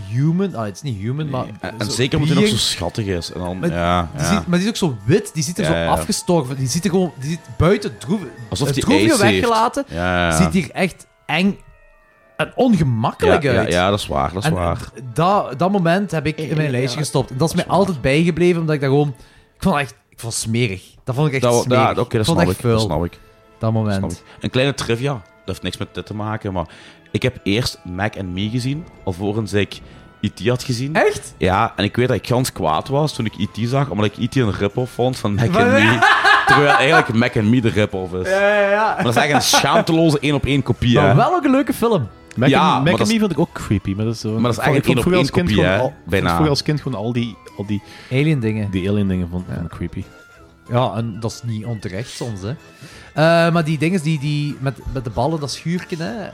human... Ah, het is niet human, maar...
En, en
zo
zeker omdat hij nog
being-
zo schattig is. En dan,
Maar
ja,
Die
ja.
ziet- maar die is ook zo wit, die ziet er
Ja,
zo
ja.
afgestorven. Die ziet er gewoon, die ziet buiten droeven.
Alsof
het
die
droevige
ace heeft.
weggelaten.
ja, ja.
Ziet hier echt eng en ongemakkelijk
ja,
uit.
Ja, ja, dat is waar, dat is
en
waar.
Dat, dat moment heb ik in mijn lijstje gestopt. En Eh, dat is mij altijd bijgebleven, omdat ik daar gewoon... Ik vond het echt... Ik vond het smerig. Dat vond ik echt
Dat, ja,
smerig.
oké, dat,
vond
snap
het
ik,
echt vuil,
dat snap ik.
dat
dat
moment.
snap ik. Een kleine trivia, dat heeft niks met dit te maken, maar ik heb eerst Mac and Me gezien, alvorens ik E.T. had gezien.
Echt?
Ja, en ik weet dat ik gans kwaad was toen ik E.T. zag, omdat ik E.T. een rip-off vond van Mac
Van-
and Me. Terwijl eigenlijk Mac and Me de rip-off is. Maar dat is eigenlijk een schaamteloze één-op-één kopie, hè.
Maar wel ook een leuke film.
Mac
Ja,
and-
maar
Mac
dat
and
is-
Me vond ik ook creepy. Maar dat is, zo-
dat is
ik vond-
eigenlijk
ik vond
één op
vroeger als kind
één kopie,
gewoon
hè,
al- ik vond
bijna.
Vroeger als kind gewoon al die, al die,
Alien dingen.
die alien dingen vond, vond ik creepy.
Ja, en dat is niet onterecht soms, hè. Eh, maar die dingen die, die met, met de ballen, dat schuurken, hè.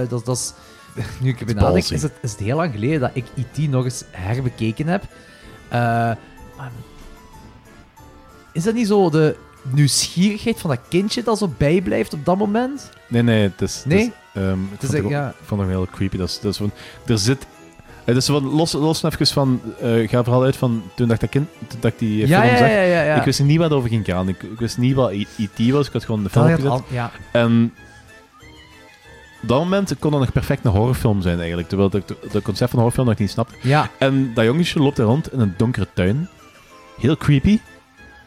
eh, dat, dat is... (laughs) Nu ik erbij nadenk,
ballsy.
is het, is het heel lang geleden dat ik E E.T. nog eens herbekeken heb. Eh, maar is dat niet zo de nieuwsgierigheid van dat kindje dat zo bijblijft op dat moment?
Nee, nee, het is...
Nee?
Het is, ehm, ik
is
vond het
echt,
ook-
ja.
ik vond het heel creepy. Dat is, dat is van, er zit... Het is van, los, los even van... eh, ik ga vooral uit van toen dat ik dat, kind, toen dat ik die eh,
ja,
film
ja,
zag.
ja, ja, ja.
Ik wist niet wat het over ging gaan. Ik, ik wist niet wat I- E.T. was. Ik had gewoon de
dat
film
had
opgezet.
al- Ah, ja.
En op dat moment kon dat nog perfect een horrorfilm zijn eigenlijk. Terwijl ik het concept van een horrorfilm nog niet snapte.
ja,
En dat jongetje loopt er rond in een donkere tuin. Heel creepy.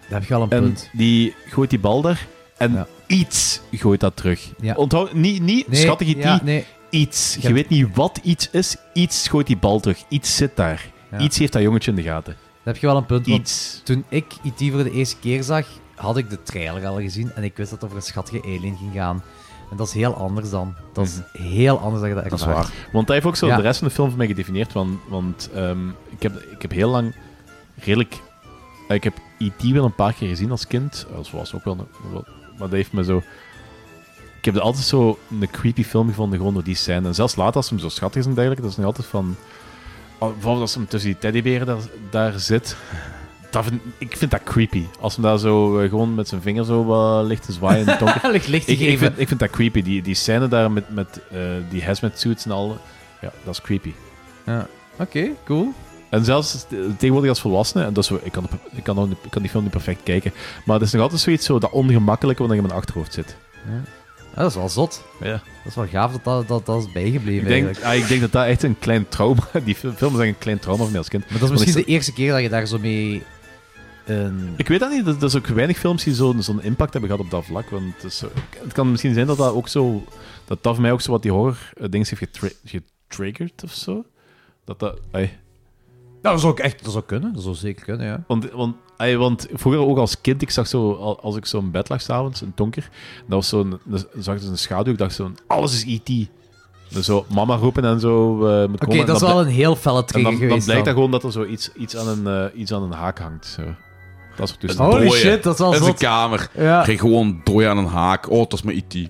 daar heb je al een
En
punt.
die gooit die bal daar. En
Ja.
iets gooit dat terug.
Ja.
Onthoud, niet, niet
Nee,
schattig IT,
ja, nee.
iets. Je
hebt-
weet niet wat iets is. Iets gooit die bal terug. Iets zit daar.
Ja.
Iets heeft dat jongetje in de gaten.
Daar heb je wel een punt. want
Iets.
toen ik IT voor de eerste keer zag, had ik de trailer al gezien en ik wist dat het over een schattige alien ging gaan. En dat is heel anders dan. Dat is heel anders dan je Mhm. dat
Dat is
ervaart.
waar.
(laughs)
Want hij heeft ook zo
Ja.
de rest van de film voor mij gedefinieerd. Want, want ehm, ik, heb, ik heb heel lang redelijk. eh, Ik heb E.T. wel een paar keer gezien als kind. Eh, Dat was ook wel, een- wel- Maar dat heeft me zo. Ik heb er altijd zo een creepy film gevonden, gewoon door die scène. En zelfs later, als hem zo schattig is en dergelijke, dat is niet altijd van. oh, Bijvoorbeeld als hem tussen die teddyberen daar, daar zit. Dat vind, ik vind dat creepy. Als hem daar zo eh, gewoon met zijn vinger zo wat ligt te zwaaien in het donker.
Licht, licht te
Ik, ik,
geven.
vind, ik vind dat creepy. Die, die scène daar met, met eh, die hazmat suits en al. Ja, dat is creepy.
Oké, cool.
En zelfs eh, tegenwoordig als volwassene, en dat is, wel- ik, kan, de- ik, kan, nog niet- ik kan die film niet perfect kijken, maar het is nog altijd zoiets zo, dat ongemakkelijke wat nog in mijn achterhoofd zit.
Ja, dat is wel zot.
Ja.
Dat is wel gaaf dat dat, dat, dat is bijgebleven
Ik, denk,
eigenlijk.
ah, ik denk dat dat echt een klein trauma, (laughs) die film film is echt een klein trauma van mij als kind.
Maar dat is
Want ik
misschien
zat-
de eerste keer dat je daar zo mee... een-
Ik weet dat niet, dat dat is ook weinig films die zo'n zo'n impact hebben gehad op dat vlak, want het, is zo- het kan misschien zijn dat dat ook zo, dat dat voor mij ook zo wat die horror eh, dingen heeft getra- getriggerd of zo. Dat dat... ai.
Dat zou ook echt dat zou kunnen. Dat zou zeker kunnen, ja.
Want, want, ey, want vroeger ook als kind, ik zag zo, al- als ik zo in bed lag s'avonds, in het donker, dat was zo'n, dan zag ik dus een schaduw, ik dacht zo, alles is E.T. Dus zo mama roepen en zo eh, moet
Oké,
komen. en
dat is
dan
wel een heel felle
bl- En
trigger
dan, dan
geweest
blijkt dat
dan.
gewoon dat er zo iets, iets, aan, een, eh, iets aan een haak hangt. Zo. Dat soort toestanden.
Holy
dooie.
shit, dat is wel
In zijn
zot.
kamer.
Ja.
Kreeg gewoon dooi aan een haak. Oh, dat is mijn IT.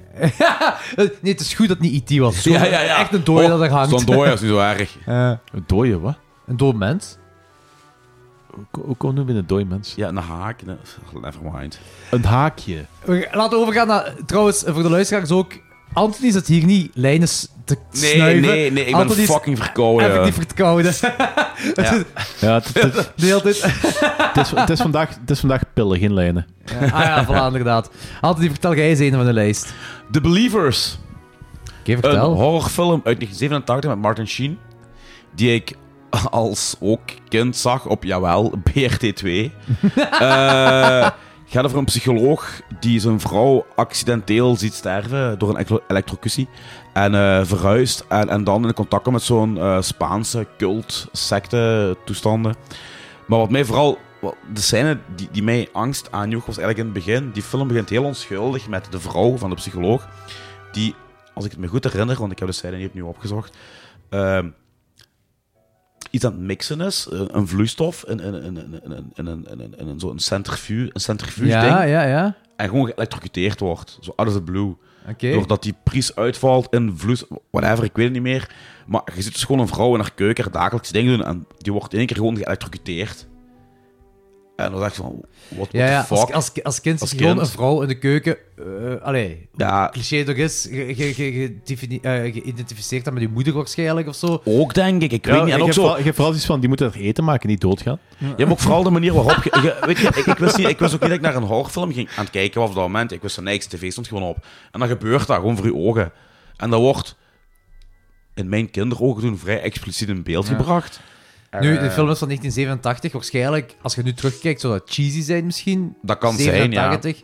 Nee, het is goed dat (laughs) het niet IT was. Gewoon Echt een dooi
Oh,
dat er hangt.
Zo'n
(laughs)
dooi is niet zo erg.
Eh,
Een dooie, wat?
een dood mens.
Hoe- Hoe komen we binnen dooi, mens?
Ja, een haak. nee, Never mind.
Een haakje.
We gaan- Laten we overgaan naar... Trouwens, voor de luisteraars ook... Anthony zit hier niet lijnen s- te
Nee,
snuiven.
nee, nee. Ik ben
Anthony is
fucking verkouden.
Effectief
(laughs)
verkouden.
Ja, het, het- het
De hele tijd...
is, het, is vandaag, het is vandaag pillen, geen lijnen.
Ah ja, voilà, inderdaad. Anthony, vertel jij eens een van de lijst.
The Believers.
Oké,
Een
vertel.
horrorfilm uit 1987 met Martin Sheen. Die ik (laughs) als ook kind zag op, jawel, (laughs) BRT2. Eh gaat over een psycholoog die zijn vrouw accidenteel ziet sterven door een elektro- elektrocutie. En eh, verhuist. En, en dan in contact komt met zo'n eh, Spaanse cult secte toestanden. Maar wat mij vooral... wat- De scène die, die mij angst aanjoeg was eigenlijk in het begin. Die film begint heel onschuldig met de vrouw van de psycholoog. Die als ik het me goed herinner, want ik heb de scène niet opnieuw opgezocht, ehm, iets aan het mixen is, eh, een, een vloeistof, in in- in- in- in- in- in- in- in- in zo'n centrifuge, een centrifuge
Ja,
ding,
ja, ja.
en gewoon geëlectrocuteerd wordt, zo out of the blue.
Oké.
Doordat die pries uitvalt in vloes, whatever, ik weet het niet meer. Maar je ziet dus gewoon een vrouw in haar keuken haar dagelijkse dingen doen en die wordt in één keer gewoon geëlectrocuteerd. En dan dacht ik van, what, what
Ja, ja.
the fuck?
Als, als, als kind
Als
zit gewoon
kind.
een vrouw in de keuken. eh allee,
ja,
cliché toch is, ge- ge- ge- gedefini- eh, geïdentificeerd dat met je moeder waarschijnlijk of zo.
ook denk ik, ik weet niet. En ook
je,
zo,
vooral, je hebt vooral iets van, die moeten er eten maken, niet doodgaan.
Je hebt ook vooral de manier waarop... Je, je- weet je, ik, ik, wist niet, ik wist ook niet dat ik naar een horrorfilm ging aan het kijken was op dat moment. Ik wist van niks, tv stond gewoon op. En dan gebeurt dat, gewoon voor je ogen. En dat wordt in mijn kinderogen toen vrij expliciet in beeld gebracht.
Nu,
Eh,
de film is van 1987. Waarschijnlijk, als je nu terugkijkt, zou dat cheesy zijn misschien.
Dat kan zijn, ja.
87.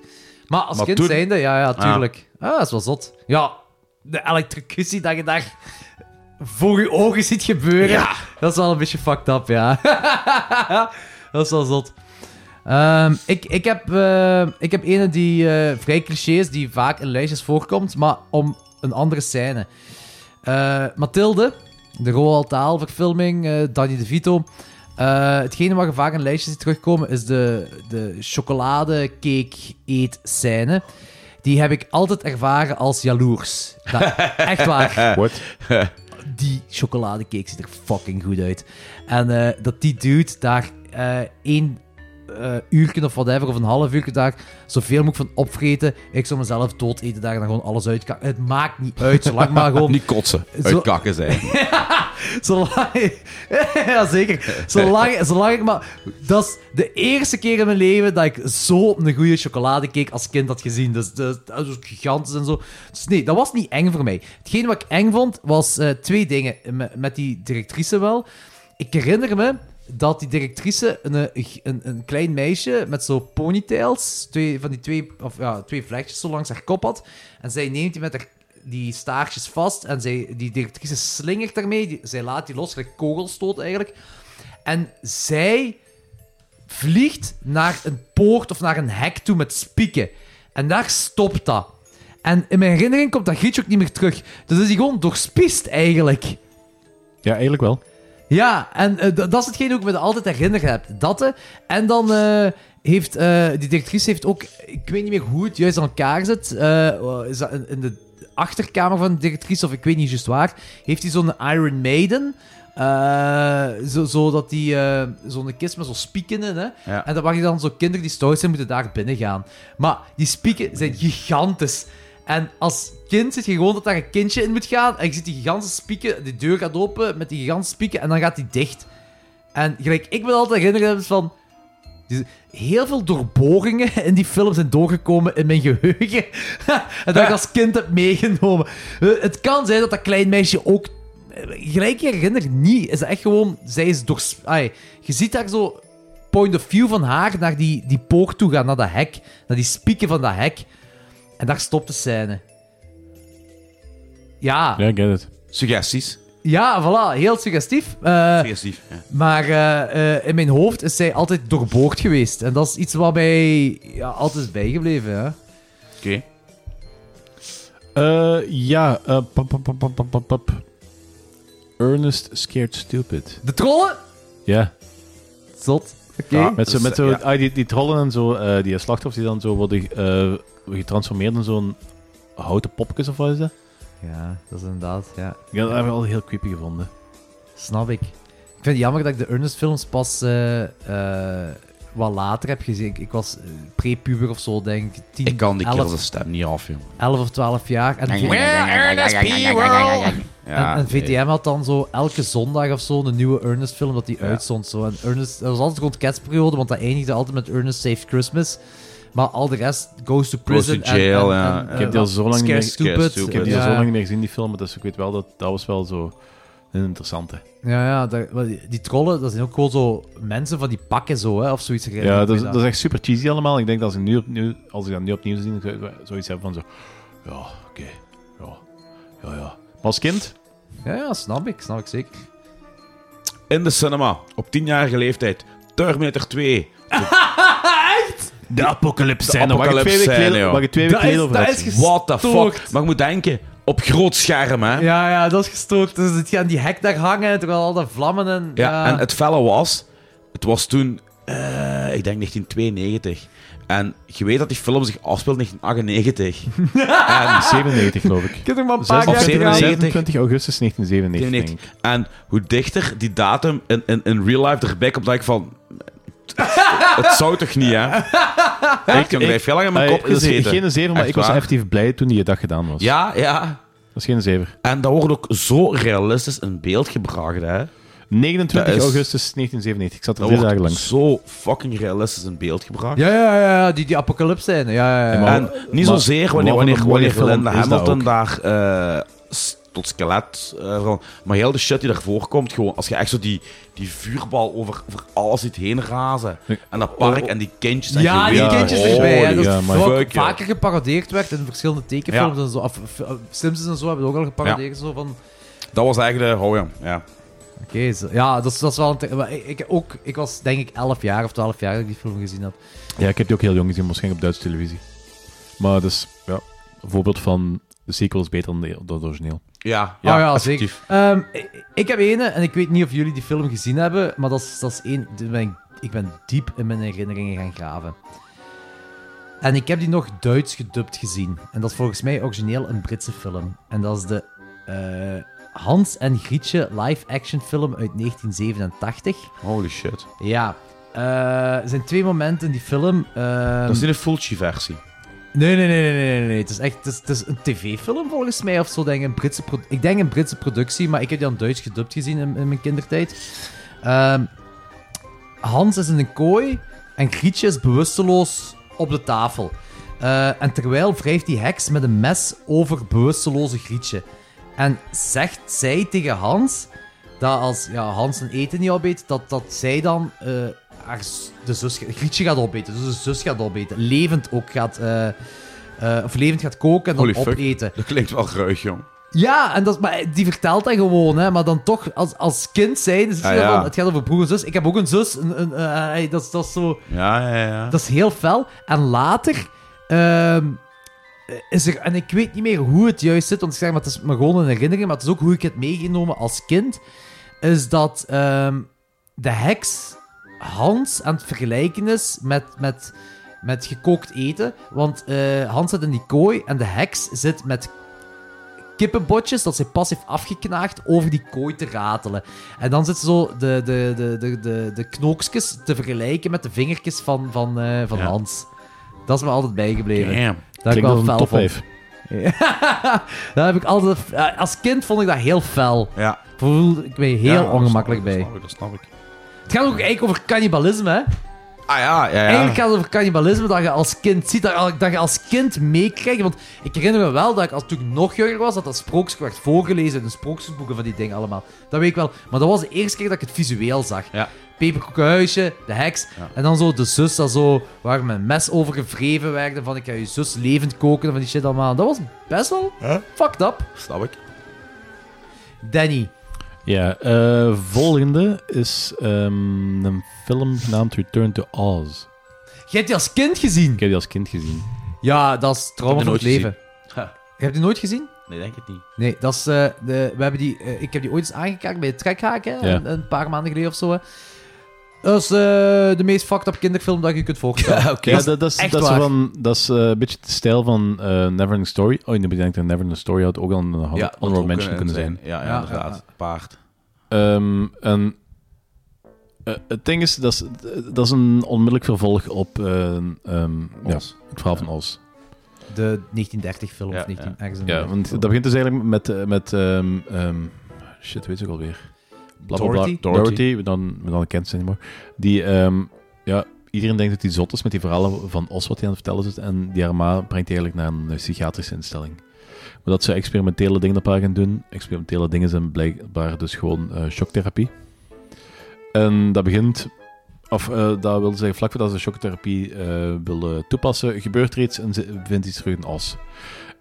Maar als
Maar
kind
toen-
zijnde, ja, ja, tuurlijk. Ah, dat is wel zot. Ja, de elektrocutie dat je daar voor je ogen ziet gebeuren.
Ja.
Dat is wel een beetje fucked up, ja. (laughs) dat is wel zot. Ehm, ik, ik, heb, eh, ik heb ene die eh, vrij cliché is, die vaak in lijstjes voorkomt, maar om een andere scène. Eh, Mathilde, de Roald Dahl-verfilming, eh, Danny DeVito. Eh hetgene waar je vaak in lijstjes ziet terugkomen is de, de chocoladecake-eet-scène. Die heb ik altijd ervaren als jaloers. Dat, echt waar.
What?
Die chocoladecake ziet er fucking goed uit. En eh, dat die dude daar eh één eh uurtje of whatever, of een half uurtje daar, zoveel mogelijk van opvreten. Ik zou mezelf dood eten daar en dan gewoon alles uitkakken. Het maakt niet uit, zolang
(laughs)
maar gewoon...
Niet kotsen.
Zo-
Uit kakken zijn.
(laughs) Zolang, ja, zeker. Zolang, zolang ik maar... Dat is de eerste keer in mijn leven dat ik zo op een goede chocoladecake als kind had gezien. Dus dus- dat was ook gigantisch en zo. Dus nee, dat was niet eng voor mij. Hetgeen wat ik eng vond, was eh, twee dingen. Met, met die directrice wel. Ik herinner me dat die directrice een, eh, een, een klein meisje met zo ponytails, twee, van die twee, of, ja, twee vlechtjes zo langs haar kop had. En zij neemt die met haar die staartjes vast en zij, die directrice slingert daarmee. Die- zij laat die los, gelijk kogelstoot eigenlijk. En zij vliegt naar een poort of naar een hek toe met spieken. En daar stopt dat. En in mijn herinnering komt dat gietje ook niet meer terug. Dus is hij gewoon doorspiest eigenlijk.
Ja, eigenlijk wel.
Ja, en eh, d- dat is hetgeen ook me altijd herinnerd heb. Dat, eh. En dan eh, heeft eh, die directrice heeft ook... Ik weet niet meer hoe het juist aan elkaar zit. eh, is dat in, in de achterkamer van de directrice, of ik weet niet juist waar, heeft hij zo'n Iron Maiden... eh, zo, zo dat die eh, zo'n kist met zo'n spieken in, hè?
Ja.
En dan mag je dan zo kinderen die stout zijn, moeten daar binnen gaan. Maar die spieken zijn gigantisch. En als kind zit je gewoon dat daar een kindje in moet gaan. En je ziet die gigantische spieken, die deur gaat open met die gigantische spieken en dan gaat die dicht. En gelijk, ik ben altijd herinnerd aan van. die- Heel veel doorboringen in die film zijn doorgekomen in mijn geheugen. (laughs) en dat ik als kind heb meegenomen. Eh, Het kan zijn dat dat klein meisje ook. eh, Gelijk je herinner niet. Is dat echt gewoon. Zij is door. ai, je ziet daar zo. Point of view van haar naar die, die poort toe gaan, naar dat hek. Naar die spieken van dat hek. En daar stopt de scène. Ja,
Ja, I get it.
Suggesties.
ja, voilà. Heel suggestief. Eh,
Suggestief. Ja.
maar eh, eh, in mijn hoofd is zij altijd doorboord geweest. En dat is iets wat mij ja, altijd is bijgebleven. Hè?
Oké.
Eh, ja, eh, pap, pap, pap, pap, pap, pap, pap. Ernest Scared Stupid.
De trollen?
Ja,
Zot. Oké.
Ja.
met zo,
Dus,
met zo
ja.
ah, die, die trollen en zo, eh, die slachtoffers die dan zo worden eh, getransformeerd in zo'n houten popjes of wat is dat?
Ja, dat is inderdaad. Ja.
Ik heb dat wel heel creepy gevonden.
Snap ik. Ik vind het jammer dat ik de Ernest-films pas eh, eh, wat later heb gezien. Ik, ik was eh, pre-puber of zo, denk ik. 10,
Ik kan die kerel zijn
11,
stem niet af, joh.
11 of 12 jaar. En,
Ja,
en, en
nee.
VTM had dan zo elke zondag of zo een nieuwe Ernest-film dat die
Ja.
uitzond. Zo. En Ernest, dat was altijd rond kerstperiode, want dat eindigde altijd met Ernest Saves Christmas. Maar al de rest, Goes to Prison.
to Jail, ja. Ik
heb die al zo lang niet
eh, Scare
meer-
Scare
Stupid. eh,
Stupid.
Ik heb die
ja.
al zo lang niet meer gezien, die film, dus ik weet wel dat dat was wel zo een interessante.
Ja, ja daar- wel, die, die trollen, dat zijn ook gewoon zo mensen van die pakken zo, hè, of zoiets. Ik
Ja,
weet
dat is,
dat.
dat is echt super cheesy allemaal. Ik denk dat als ik, nu opnieuw, als ik dat nu opnieuw zie, zou ik zoiets hebben van zo... Ja, oké. ja, ja, ja. Maar als kind...
Ja, ja, snap ik, snap ik zeker.
In de cinema, op 10-jarige leeftijd,
(laughs)
Terminator 2.
De apocalypse
scène, waar je twee weken geleden- waar je
twee
Dat is,
over
dat is
What the
Stookt.
fuck? Maar ik moet denken, op groot scherm, hè?
Ja, ja, dat is gestookt. Dus het gaan die hek daar hangen, terwijl al dat vlammen en...
Ja, en het felle was, het was toen, eh, ik denk 1992. En je weet dat die film zich afspeelt
(laughs)
in 1998.
97, geloof ik.
Ik heb er maar een
Zes-
paar
of
jaar te gaan.
97.
27 augustus 1997, denk ik.
1998. En hoe dichter die datum in, in, in real life erbij komt, denk ik van... (laughs) Het zou toch niet, hè? Ik heb er veel lang in mijn
Hey,
kop
dat Ah, is
gezeten.
Geen zeven, maar
Echt
ik was
waar.
effectief blij toen die dag gedaan was.
Ja, ja.
Dat is geen zeven.
En dat wordt ook zo realistisch in beeld gebracht, hè?
29
Dat is-
augustus 1997. Ik zat er
Dat
drie dagen
wordt
langs.
zo fucking realistisch in beeld gebracht.
Ja, ja, ja, ja, die, die apocalypse zijn. Ja, ja, ja.
maar-
En niet
maar-
zozeer wanneer,
wat voor
wanneer,
een
wanneer
mooie film
Linda
is dat
Hamilton
ook?
daar eh, s- tot skelet eh, verandert. Maar heel de shit die daarvoor komt, gewoon als je echt zo die, die vuurbal over, over alles ziet heen razen. En dat park en die kindjes. En
Ja,
je
die
weet-
kindjes
holy
erbij. hè. Dat is
Oh, ja, maar-
wat ook
fuck, ja.
vaker geparodeerd werd in verschillende tekenfilms
Ja.
en zo. Of, of, eh, Simpsons en zo hebben het ook al geparodeerd. Zo van...
Dat was eigenlijk de... Oh ja, ja.
Oké, zo- ja, dat is, dat is wel een... te- maar Ik, ik, ook, ik was denk ik 11 jaar of 12 jaar dat ik die film gezien heb.
Ja, ik heb die ook heel jong gezien, waarschijnlijk op Duitse televisie. Maar dat is ja, een voorbeeld van de sequel is beter dan de, dan het origineel.
Ja,
Ja,
ja,
oh ja,
effectief.
zeker. Ehm, ik, ik heb ene, en ik weet niet of jullie die film gezien hebben, maar dat is, dat is één... die ben ik, ik ben diep in mijn herinneringen gaan graven. En ik heb die nog Duits gedubt gezien. En dat is volgens mij origineel een Britse film. En dat is de eh, Hans en Grietje live-action film uit 1987.
Holy shit.
Ja. Eh, er zijn twee momenten in die film. ehm,
Dat is niet een Fulci-versie.
Nee, nee, nee, nee, nee, nee, nee. Het is echt het is, het is een tv-film volgens mij of zo. Denk ik. Een Britse pro- ik denk een Britse productie, maar ik heb die aan Duits gedubt gezien in, in mijn kindertijd. Ehm, Hans is in een kooi en Grietje is bewusteloos op de tafel. Eh, en terwijl wrijft die heks met een mes over bewusteloze Grietje. En zegt zij tegen Hans dat als ja, Hans een eten niet opeet, dat, dat zij dan eh, haar, z- de zus, Grietje gaat opeten. Dus de zus gaat opeten. Levend ook gaat... eh, eh, of levend gaat koken en dan
Holy fuck.
opeten.
Dat klinkt wel ruig, jong.
Ja, en dat, is- maar die vertelt dat gewoon, hè. Maar dan toch, als, als kind zijn, is het,
Ah,
zo
ja.
van, het gaat over broer en zus. Ik heb ook een zus. Een, een, eh, eh, dat, is- dat is zo...
Ja, ja, ja.
Dat is heel fel. En later ehm, is er... En ik weet niet meer hoe het juist zit, want ik zeg maar, het is maar gewoon een herinnering, maar het is ook hoe ik het meegenomen als kind, is dat ehm, de heks Hans aan het vergelijken is met... met met gekookt eten. Want eh, Hans zit in die kooi en de heks zit met kippenbotjes dat ze pas heeft afgeknaagd over die kooi te ratelen. En dan zit ze zo de, de, de, de, de, de knookjes te vergelijken met de vingertjes van, van, eh, van
Ja.
Hans. Dat is me altijd bijgebleven.
Damn.
Dat ik
Klinkt
wel
als een
fel
top
(laughs) vond.
5.
Dat heb ik altijd, eh, als kind vond ik dat heel fel.
Ja.
Voelde ik me heel
Ja, dat
ongemakkelijk
snap
bij.
ik, Dat snap ik, dat snap ik.
Het gaat ook eigenlijk over cannibalisme, hè?
Ah ja, ja, ja.
Eigenlijk gaat het over cannibalisme dat je als kind ziet, dat, je- dat je als kind meekrijgt. Want ik herinner me wel dat ik als toen ik nog jonger was, dat dat sprookjes werd voorgelezen in de sprookjesboeken van die dingen allemaal. Dat weet ik wel. Maar dat was de eerste keer dat ik het visueel zag.
Ja.
Peperkoekenhuisje, de heks.
Ja.
En dan zo de zus dat zo, waar mijn mes over gevreven werd. en Van ik ga je zus levend koken en van die shit allemaal. Dat was best wel fucked up.
Snap ik.
Danny.
Ja, eh, volgende is ehm, een film genaamd Return to Oz.
Jij hebt die als kind gezien?
Ik heb die als kind gezien.
Ja, dat is trauma
Ik
van
heb
het
die nooit
leven.
Ha.
Je hebt die nooit gezien?
Nee, denk het niet.
Nee, dat is, eh, de, we hebben die, eh, ik heb die ooit eens aangekaart bij de trekhaak, hè,
Ja.
een, een paar maanden geleden of zo. Hè. Dat is eh, de meest fucked up kinderfilm dat je kunt voorstellen.
(laughs) Ja, dat, dat is,
echt
dat is,
waar.
van, dat is eh, een beetje de stijl van eh Neverending Story. Oh, ik bedenk dat Neverending Story had ook al een hon-
Ja,
honorable mention kunnen zijn.
Ja, ja,
Ja,
inderdaad. Paard.
Ehm, en eh, het ding is, dat is, dat is een onmiddellijk vervolg op eh, ehm, ja,
Ons.
het verhaal van Oz.
De 1930-film
Ja,
of 19... ergens in de
Ja,
1930
want dat begint dus eigenlijk met... eh, met ehm, ehm, shit, weet ik ook alweer. Bla, bla, bla.
Dorothy?
Dorothy, we dan, we dan kent ze niet meer. Die, ehm, ja, iedereen denkt dat hij zot is met die verhalen van Os wat hij aan het vertellen is. En die haar ma brengt eigenlijk naar een eh, psychiatrische instelling. Maar dat ze experimentele dingen op haar gaan doen. Experimentele dingen zijn blijkbaar dus gewoon eh, shocktherapie. En dat begint... Of eh, dat wil zeggen, vlak voordat ze shocktherapie eh willen toepassen, gebeurt er iets en ze vindt iets terug in Os.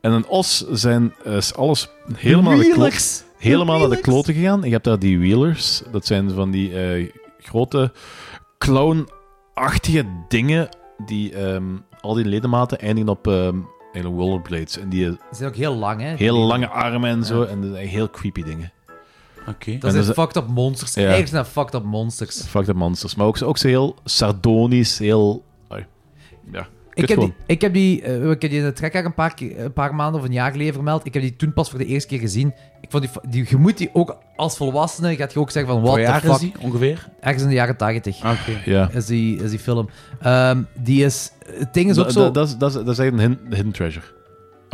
En in Os zijn, eh, is alles helemaal aan de klop-
Wheelers!
helemaal naar de
Wheelers!
kloten gegaan. Je hebt daar die wheelers. Dat zijn van die eh, grote clownachtige dingen die ehm, al die ledematen eindigen op ehm, eigenlijk rollerblades. En die eh,
Die zijn ook heel lang, hè?
heel lange armen en zo. En dat zijn heel creepy dingen.
Oké.
Dat
En
zijn
dat is-
fucked up monsters.
Ja.
Eigenlijk zijn dat fucked up monsters.
Fuck the monsters. Maar ook, ook zo heel sardonisch, heel... Ai. Ja,
Ik
kut
heb, die,
gewoon.
ik heb die, eh, ik heb die in de trekker een paar, keer- een paar maanden of een jaar geleden vermeld. Ik heb die toen pas voor de eerste keer gezien. Ik vond die, fa- die, je moet die ook als volwassene, gaat je ook zeggen van, what
Wat jaar
the
is
fuck.
die, ongeveer?
Ergens in de jaren 80.
Oké.
Ja.
is die, is die film. Ehm, die is... Het ding is ook
Dat,
zo...
dat, dat, is- dat, is- dat is eigenlijk een hidden- hidden treasure.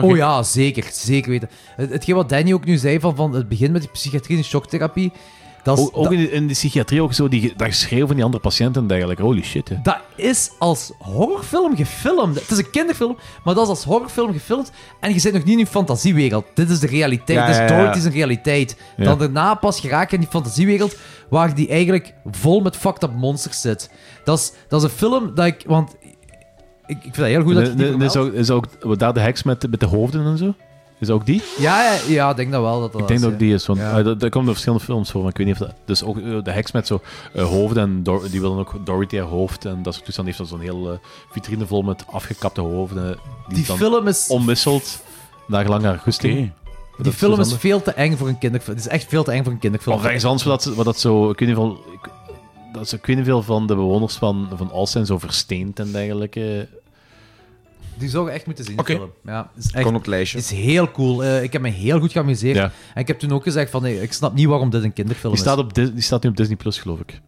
Oh ja, zeker. Zeker weten. Het, hetgeen wat Danny ook nu zei van, van het begin met die psychiatrie en shocktherapie... Dat is,
Ook, ook
dat,
in, de, in de psychiatrie ook zo, die, dat schreeuw van die andere patiënten en dergelijke. Holy shit, hè.
dat is als horrorfilm gefilmd. Het is een kinderfilm, maar dat is als horrorfilm gefilmd. En je zit nog niet in je fantasiewereld. Dit is de realiteit.
Ja,
Dit
ja,
is
ja.
Dorothy's een realiteit.
Ja.
Dan daarna pas geraak je in die fantasiewereld waar die eigenlijk vol met fucked up monsters zit. Dat is, dat is een film dat ik... Want ik, ik vind dat heel goed dat je
Nee,
die
nee,
vermeldt.
is, ook, is ook wat daar de heks met, met de hoofden en zo? Is ook die?
Ja, ja, ja, ik denk dat wel. Dat Oh, dat
ik denk
is,
dat
ja.
ook die is. Want
Ja.
ah, daar, daar komen er verschillende films voor. Maar ik weet niet of dat. Dus ook eh, de heks met zo eh, hoofden. En Dor- die willen ook Dorothy haar hoofd. En dat soort toestanden. Heeft dan zo'n heel eh, vitrine vol met afgekapte hoofden. eh, Die,
Die
dan
film is,
omwisselt naar lang haar goesting.
Oké.
die film is
Suzanne?
veel te eng voor een kinderfilm. Het is echt veel te eng voor een kinderfilm.
Of ergens anders wat dat, ze- wat dat zo. Ik weet niet veel. Ik, dat ze, ik weet niet veel van de bewoners van, van Alst zijn zo versteend en dergelijke.
Die zou je echt moeten zien, die
Oké.
film. Ja, het is echt
Kon op het lijstje.
het is heel cool. Eh, ik heb me heel goed geamuseerd.
Ja.
En ik heb toen ook gezegd van, nee, ik snap niet waarom dit een kinderfilm
Die
is.
staat, op, Dis- die staat nu op Disney Plus, geloof ik.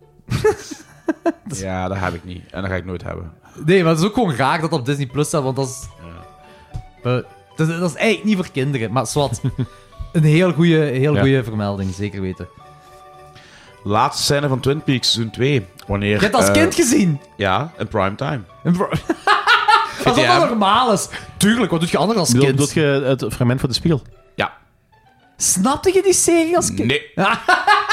Ja, dat heb ik niet. En dat ga ik nooit hebben.
Nee, maar het is ook gewoon raar dat het op Disney Plus staat, want dat is... Eh, dat, is dat is eigenlijk niet voor kinderen, maar zwart. een heel goede heel
Ja.
goeie vermelding, zeker weten.
Laatste scène van Twin Peaks, seizoen 2. Wanneer...
Je hebt als
eh,
kind gezien!
Ja, in primetime.
Een bro- Als dat
VTM.
dan normaal is. Tuurlijk, wat doet je anders als
Bedoel,
kind?
Doet je het fragment van de spiegel?
Ja.
Snapte je die serie als kind? (laughs)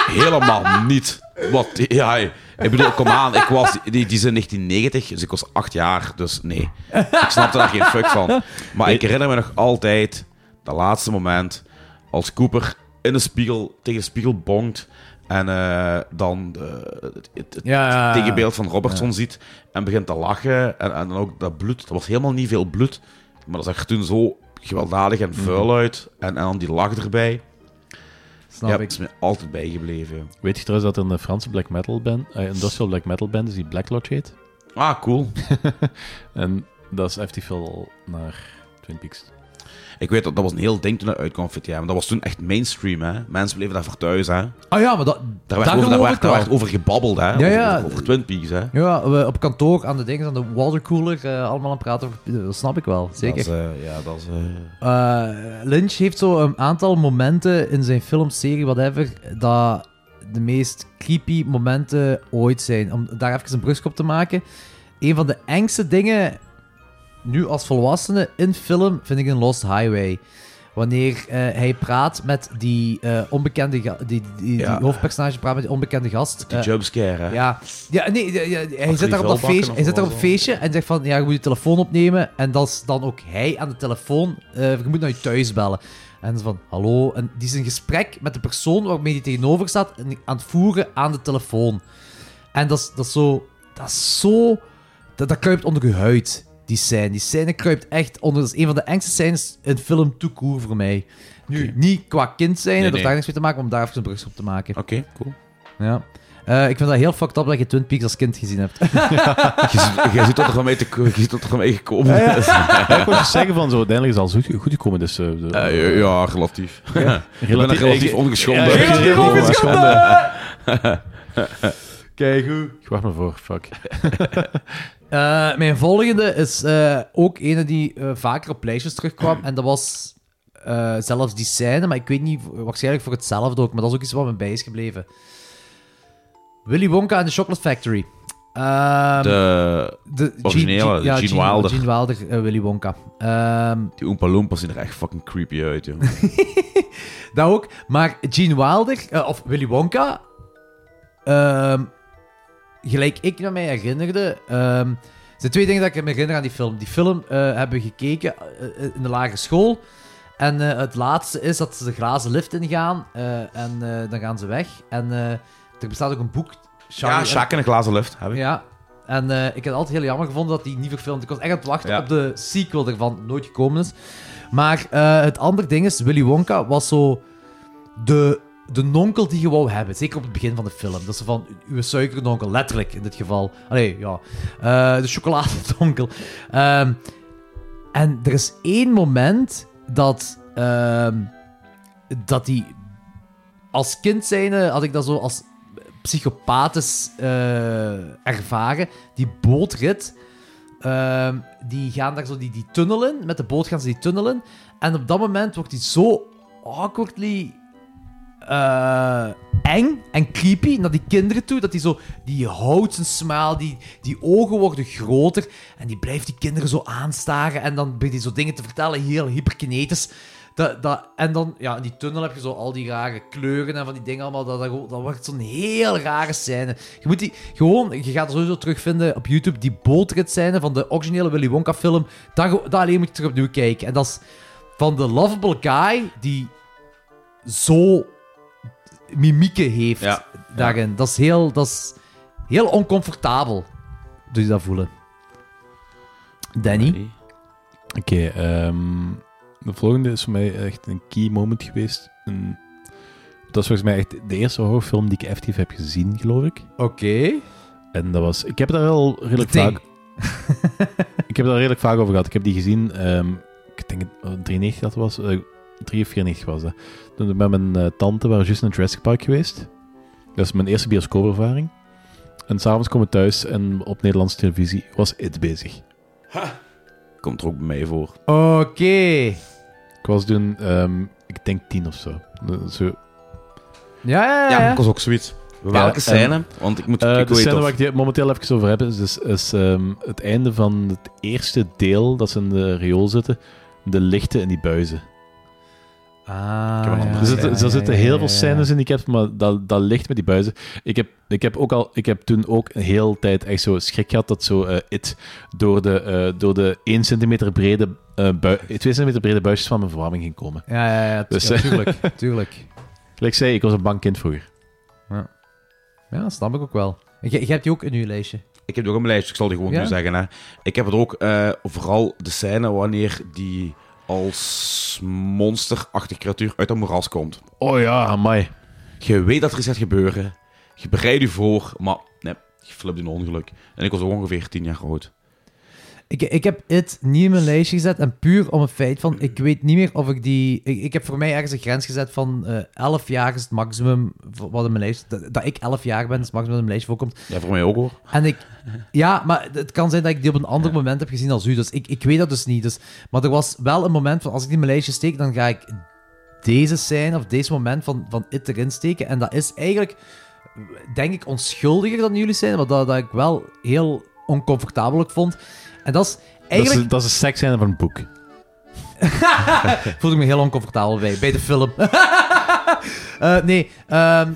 Nee. Helemaal niet. Wat? Ja, ik bedoel, kom aan. Ik was, die, die zijn 1990, dus ik was acht jaar. Dus nee. Ik snapte daar geen fuck van. Maar ik herinner me nog altijd dat laatste moment als Cooper in de spiegel, tegen de spiegel bonkt en eh, dan eh, het, het- het
Ja, Ah, ja, ja.
tegenbeeld van Robertson ziet en begint te lachen. En, en dan ook dat bloed. Er was helemaal niet veel bloed, maar dat zag er toen zo gewelddadig en
Mhm.
vuil uit. En, en dan die lach erbij.
Snap
ja,
ik.
dat is me altijd bijgebleven.
Weet je trouwens dat er een Franse black metal band, eh, industrial black metal band is die Black Lodge heet?
Ah, cool.
En dat is effectief wel naar Twin Peaks.
Ik weet dat dat was een heel ding toen dat uitkwam, VTM. Dat was toen echt mainstream, hè. Mensen bleven daarvoor thuis, hè.
Ah ja, maar dat...
Daar werd,
dat
over, daar
geloof
werd,
ik
daar
wel.
werd over gebabbeld, hè. over,
ja.
Over, over Twin Peaks, hè.
Ja, we op kantoor aan de dingen, aan de watercooler, eh, allemaal aan het praten. over- eh, Dat snap ik wel, zeker.
Dat is, eh, ja, dat is... eh,
Eh, Lynch heeft zo een aantal momenten in zijn films, serie, whatever, dat de meest creepy momenten ooit zijn. Om daar even een brugskop op te maken. Een van de engste dingen, nu als volwassene, in film, vind ik in Lost Highway. Wanneer eh, hij praat met die eh, onbekende... ga- Die, die, die
Ja.
hoofdpersonage praat met die onbekende gast.
die
eh,
jumpscare, hè.
ja, ja nee, ja, ja, hij zit daar op dat
vuilbakken
feestje,
of
hij zit daar op
wat
een feestje en zegt van, ja, je moet je telefoon opnemen. En dat is dan ook hij aan de telefoon, eh, je moet naar je thuis bellen. En ze van, hallo. En die is een gesprek met de persoon waarmee hij tegenover staat en aan het voeren aan de telefoon. En dat is, dat is zo, dat is zo, dat, dat kruipt onder je huid, die scène. Die scène kruipt echt onder, dat is een van de engste scènes in film tout court voor mij. Nu, niet qua kind zijn, dat
Nee,
heeft
nee.
daar niks mee te maken, maar om daar even een brug op te maken.
Oké, cool.
Ja. Eh, ik vind dat heel fucked up dat je Twin Peaks als kind gezien hebt. (laughs)
Je ziet- Je ziet dat er gewoon mee, te, ko- je ziet dat er gewoon mee gekomen is.
Ja, ik wou dus zeggen van zo, uiteindelijk is alles goed, goed gekomen. Dus, eh, de-
Eh, ja, ja, relatief. Ik ben er
Relatief-
relatief
ik-
ongeschonden.
Ja, ik-
Ja,
Relatief
ja,
ongeschonden. (laughs)
Kijk hoe.
Ik wacht me voor, fuck.
Eh, mijn volgende is eh, ook ene die eh, vaker op lijstjes terugkwam. En dat was eh, zelfs die scène, maar ik weet niet, waarschijnlijk voor hetzelfde ook. Maar dat is ook iets wat me bij is gebleven. Willy Wonka en de Chocolate Factory. Ehm,
De,
de
originele,
ja,
Gene Wilder.
Gene Wilder, eh, Willy Wonka. Ehm,
die Oompa Loompas zien er echt fucking creepy uit, joh.
Dat ook. Maar Gene Wilder, eh, of Willy Wonka, ehm, gelijk ik me mij herinnerde, ehm, er zijn twee dingen dat ik me herinner aan die film. Die film eh, hebben we gekeken eh, eh, in de lagere school. En eh, het laatste is dat ze de glazen lift ingaan eh, en eh, dan gaan ze weg. En eh, er bestaat ook een boek. Charlie
Ja,
en-
Shaq in een glazen lift. Heb ik.
ja. En eh, ik heb het altijd heel jammer gevonden dat die niet verfilmd. Ik was echt aan het wachten
Ja.
op de sequel ervan, nooit gekomen is. Maar eh, het andere ding is, Willy Wonka was zo de, de nonkel die je wou hebben. Zeker op het begin van de film. Dat is zo van, uw suikernonkel, letterlijk in dit geval. Allee, ja. Eh, de chocoladedonkel. Ehm, en er is één moment dat... ehm, dat die... Als kind zijnde had ik dat zo als psychopathisch eh, ervaren. Die bootrit. ehm, die gaan daar zo die, die tunnel in. Met de boot gaan ze die tunnel in. En op dat moment wordt die zo awkwardly eh, eng en creepy naar die kinderen toe. Dat die zo, die houdt zijn smaal, die, die ogen worden groter. En die blijft die kinderen zo aanstaren. En dan begint hij zo dingen te vertellen, heel hyperkinetisch. Dat, dat, en dan, ja, in die tunnel heb je zo al die rare kleuren en van die dingen allemaal. Dat, dat, gewoon- dat wordt zo'n heel rare scène. Je moet die gewoon, je gaat sowieso terugvinden op YouTube die bootrit scène van de originele Willy Wonka film. Dat, ge- dat alleen moet je terug opnieuw kijken. En dat is van de lovable guy die zo mimieken heeft
Ja,
daarin. Dat, is heel, dat is heel oncomfortabel. Doe je dat voelen. Danny?
Oké, ehm, de volgende is voor mij echt een key moment geweest. Een- dat is volgens mij echt de eerste horrorfilm die ik effectief heb gezien, geloof ik.
Oké.
En dat was... Ik heb daar al redelijk
The Thing.
vaak... ik heb daar redelijk vaak over gehad. Ik heb die gezien... ehm, ik denk het, eh, 93 dat was. eh 3 of 94 was dat. Toen ik met mijn eh, tante waren we juist in het Jurassic Park geweest. Dat is mijn eerste bioscoopervaring. En s'avonds komen we thuis en op Nederlandse televisie was It bezig.
Komt er ook bij mij voor.
Oké.
Ik was toen, ehm, ik denk tien of zo. Eh, zo.
Ja, ja,
Ja,
ja.
ik was ook zoiets. Welke
en-
scène? Want ik moet
Eh,
ik
de
weet
scène
of-
waar ik het momenteel even over heb, is, is, is, ehm, het einde van het eerste deel dat ze in de riool zitten. De lichten en die buizen.
Ah,
Ik heb een andere-
er zitten,
ja,
er zitten
ja,
heel
ja,
veel
ja.
scènes in die ik heb, maar dat, dat licht met die buizen. Ik heb, ik heb, ook al, ik heb toen ook een hele tijd echt zo schrik gehad dat zo eh, it door de, eh, door de 1 centimeter brede, eh bui- 2 centimeter brede buisjes van mijn verwarming ging komen.
Ja, ja, ja. tu-
Dus,
ja,
eh, (laughs)
tuurlijk, tuurlijk.
Like ik zei, ik was een bang kind vroeger.
Ja, dat snap ik ook wel. En jij- jij hebt die ook in uw lijstje.
Ik heb die ook op mijn lijstje, ik zal die gewoon
Ja?
nu zeggen. Hè. Ik heb het ook, eh, vooral de scène wanneer die als monsterachtig creatuur uit dat moeras komt.
Oh ja, amai.
Je weet dat er iets gaat gebeuren. Je bereidt je voor, maar nee, je flipt in een ongeluk. En ik was ongeveer 10 jaar oud.
Ik, ik heb het niet in mijn lijstje gezet. En puur om het feit van, ik weet niet meer of ik die... Ik, ik heb voor mij ergens een grens gezet van eh 11 jaar is het maximum voor- wat in mijn lijst... Dat, dat ik 11 jaar ben is het maximum wat in mijn lijstje voorkomt.
Ja, voor mij ook hoor.
En ik... Ja, maar het kan zijn dat ik die op een ander moment heb gezien als u. Dus ik, ik weet dat dus niet. Dus, maar er was wel een moment van, als ik die in mijn lijstje steek, dan ga ik deze scène of deze moment van, van it erin steken. En dat is eigenlijk, denk ik, onschuldiger dan jullie zijn. Wat dat, dat ik wel heel oncomfortabel ook vond. En dat is
Dat
eigenlijk...
is, dat is een seksscène van een boek.
voelde ik me heel oncomfortabel bij, bij de film. (laughs) Eh, nee, ehm,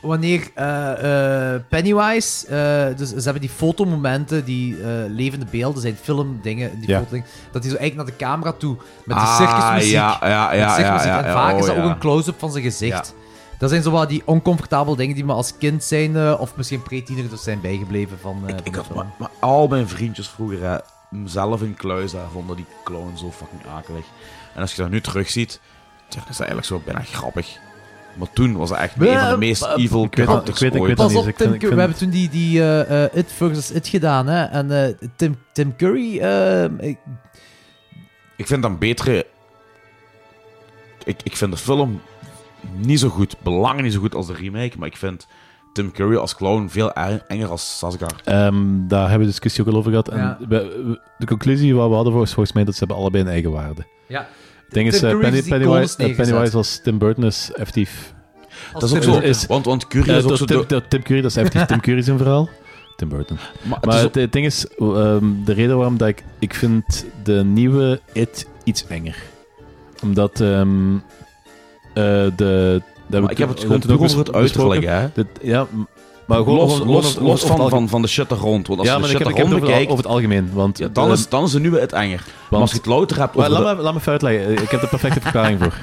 wanneer eh, eh, Pennywise, eh, dus ze hebben die fotomomenten, die eh, levende beelden zijn, filmdingen, die
Ja.
fotodingen, dat hij zo eigenlijk naar de camera toe met de circusmuziek.
Ah, Ja, ja,
met
ja. ja, ja,
circusmuziek.
ja,
en vaak
oh,
is dat
ja.
ook een close-up van zijn gezicht. Dat zijn zo wat die oncomfortabele dingen die me als kind zijn, eh, of misschien pre-tiener, dus zijn bijgebleven van, eh, van
Ik
de
had
film.
maar, maar al mijn vriendjes vroeger, hè, zelf in kluis, hè, vonden die clown zo fucking akelig. En als je dat nu terugziet, tja, dat is dat eigenlijk zo bijna grappig. Maar toen was dat echt een van de
Eh,
meest
eh,
evil
ik weet dat-
characters
ik weet- ik weet
ooit.
dat-
Pas
niet. dus
op,
Ik
Tim
vind- ik
Curry. We
vind-
hebben toen die, die eh, eh, It versus It gedaan, hè. En eh, Tim, Tim Curry... ehm, ik-
Ik vind dan betere... Ik, ik vind de film niet zo goed, belangen niet zo goed als de remake, maar ik vind Tim Curry als clown veel er- enger als Sasgar.
Ehm, daar hebben we discussie ook al over gehad. En
Ja.
we- we- de conclusie wat we hadden was volgens mij dat ze hebben allebei een eigen waarde.
ja.
Ik denk
Tim
is, eh,
Curry
Penny-
is die
Pennywise,
coolest
eh,
neergezet.
Pennywise als Tim Burton is effectief
Dat is ook
Tim
zo,
Burton. Is-
want, want Curry
Eh,
is ook
dat
zo...
Tim,
de-
dat Tim Curry, dat is
(laughs)
effectief Tim Curry zijn verhaal. Tim Burton.
maar het
Maar
is
het, het ding is, ehm, de reden waarom dat ik... Ik vind de nieuwe It iets enger. Omdat ehm, eh, de... dat
Maar ik heb
toen-
het
dat toen
gewoon puur
ook
over
bes-
het
besproken.
uiterlijk, hè.
Dit- ja, m- maar gewoon,
los,
gewoon-
los,
gewoon over
los
het
van,
algemeen.
van, van de shit er rond. Want als
Ja,
je
maar
de
ik
shit
heb,
er
ik heb
rond
het over,
bekijkt,
over het algemeen. Want,
ja, dan,
eh,
is, dan is de nieuwe het enger. Maar als je het louter hebt
Maar
over
laat,
de-
me, laat me even uitleggen. Eh, Ik heb de perfecte verklaring voor.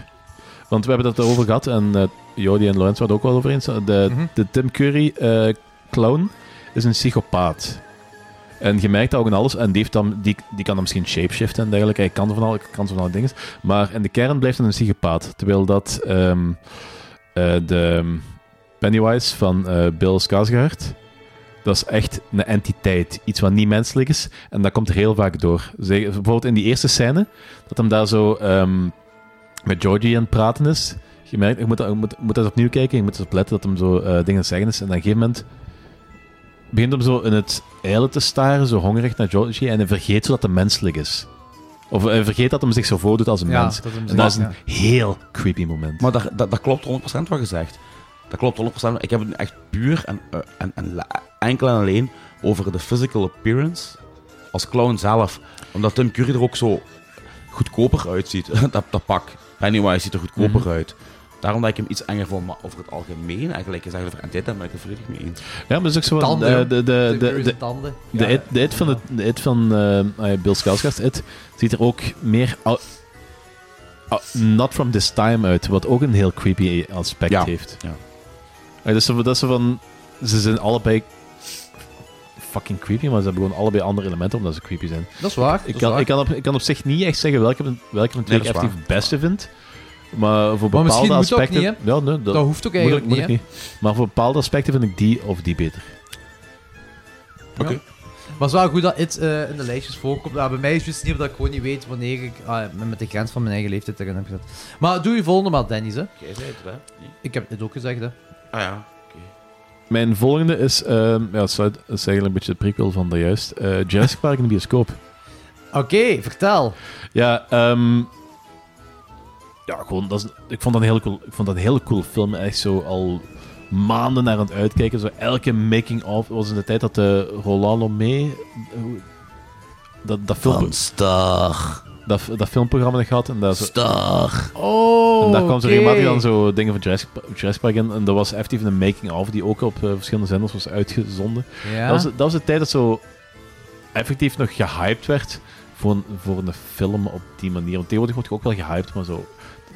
Want we hebben het erover gehad en eh Jody en Lorenz waren het ook wel over eens. Eh, De,
Mhm.
de Tim Curry eh, clown is een psychopaat. En je merkt dat ook in alles. En die, heeft dan, die, die kan dan misschien shapeshiften en dergelijke. Hij kan van alle, kan van alle dingen. Maar in de kern blijft hij een psychopaat. Terwijl dat ehm, eh, de Pennywise van eh, Bill Skarsgård... Dat is echt een entiteit. Iets wat niet menselijk is. En dat komt er heel vaak door. Zeg, bijvoorbeeld in die eerste scène, dat hem daar zo ehm, met Georgie aan het praten is. Je merkt, ik moet, dat- ik moet, ik moet dat opnieuw kijken. Je moet erop letten dat hem zo eh, dingen aan het zeggen is. En op een gegeven moment begint hem zo in het eilen te staren, zo hongerig naar Georgie. En hij vergeet zo dat hij menselijk is. Of hij vergeet dat hem zich zo voordoet als een
Ja,
mens.
dat hem
en dat is
zich-
een heel creepy moment.
Maar dat, dat, dat klopt 100% wat je zegt. Dat klopt 100%. Ik heb het nu echt puur en, eh, en, en la- enkel en alleen over de physical appearance als clown zelf. Omdat Tim Curry er ook zo goedkoper uitziet. (laughs) dat, dat pak. Pennywise ziet er goedkoper
Mhm.
uit. Daarom dat ik hem iets enger vond. Maar over het algemeen, eigenlijk, is eigenlijk over entiteit ben ik het volledig mee eens.
ja, maar dat is ook zo van,
Tanden,
eh,
joh.
de, de,
Tim
de,
Curry's
de,
tanden.
De,
Ja.
it, de it van, de, de it van eh, ah ja, Bill Skarsgård, It, ziet er ook meer ou- ou- Not From This Time uit, wat ook een heel creepy aspect
Ja,
heeft.
ja.
Ja, dus dat is zo van... Ze zijn allebei fucking creepy, maar ze hebben gewoon allebei andere elementen omdat ze creepy zijn.
Dat is waar. dat
Ik
is
kan,
waar.
ik kan, op, ik kan op zich niet echt zeggen welke, van- welke van de twee
Nee,
ik
dat is
effectief het beste vind. Maar voor
Maar misschien
bepaalde
moet het ook
aspecten...
niet,
ja, nee, dat,
dat hoeft ook
moet ik,
eigenlijk
moet
niet,
ik niet. Maar voor bepaalde aspecten vind ik die of die beter.
hè. Ja. Maar het is wel goed dat het eh, in de lijstjes voorkomt. Ja, bij mij is het juist niet omdat ik gewoon niet weet wanneer ik ah, met met de grens van mijn eigen leeftijd erin heb gezet. Maar doe je volgende maar, Dennis. Hè.
Jij zei het, hè?
Ik heb het ook gezegd. Hè.
Ah ja.
Mijn volgende is, ehm, ja, het sluit- het is eigenlijk een beetje de prequel van daarjuist. Eh Jurassic Park in de bioscoop.
Oké, vertel.
Ja, ehm, ja gewoon, dat is, ik, vond dat een heel cool, ik vond dat een heel cool film. Echt zo al maanden naar aan het uitkijken. Zo elke making-of was in de tijd dat eh Rolando mee... Dat, dat, film,
Star.
dat, dat filmprogramma nog had. En dat, zo-
Star.
Oh,
en daar kwam zo
oké.
regelmatig dan zo dingen van Jurassic, Pa- Jurassic Park in. En dat was effectief een making-of die ook op eh, verschillende zenders was uitgezonden.
Ja.
Dat, was, dat was de tijd dat zo effectief nog gehyped werd voor een, voor een film op die manier. Want tegenwoordig wordt je ook wel gehyped, maar zo,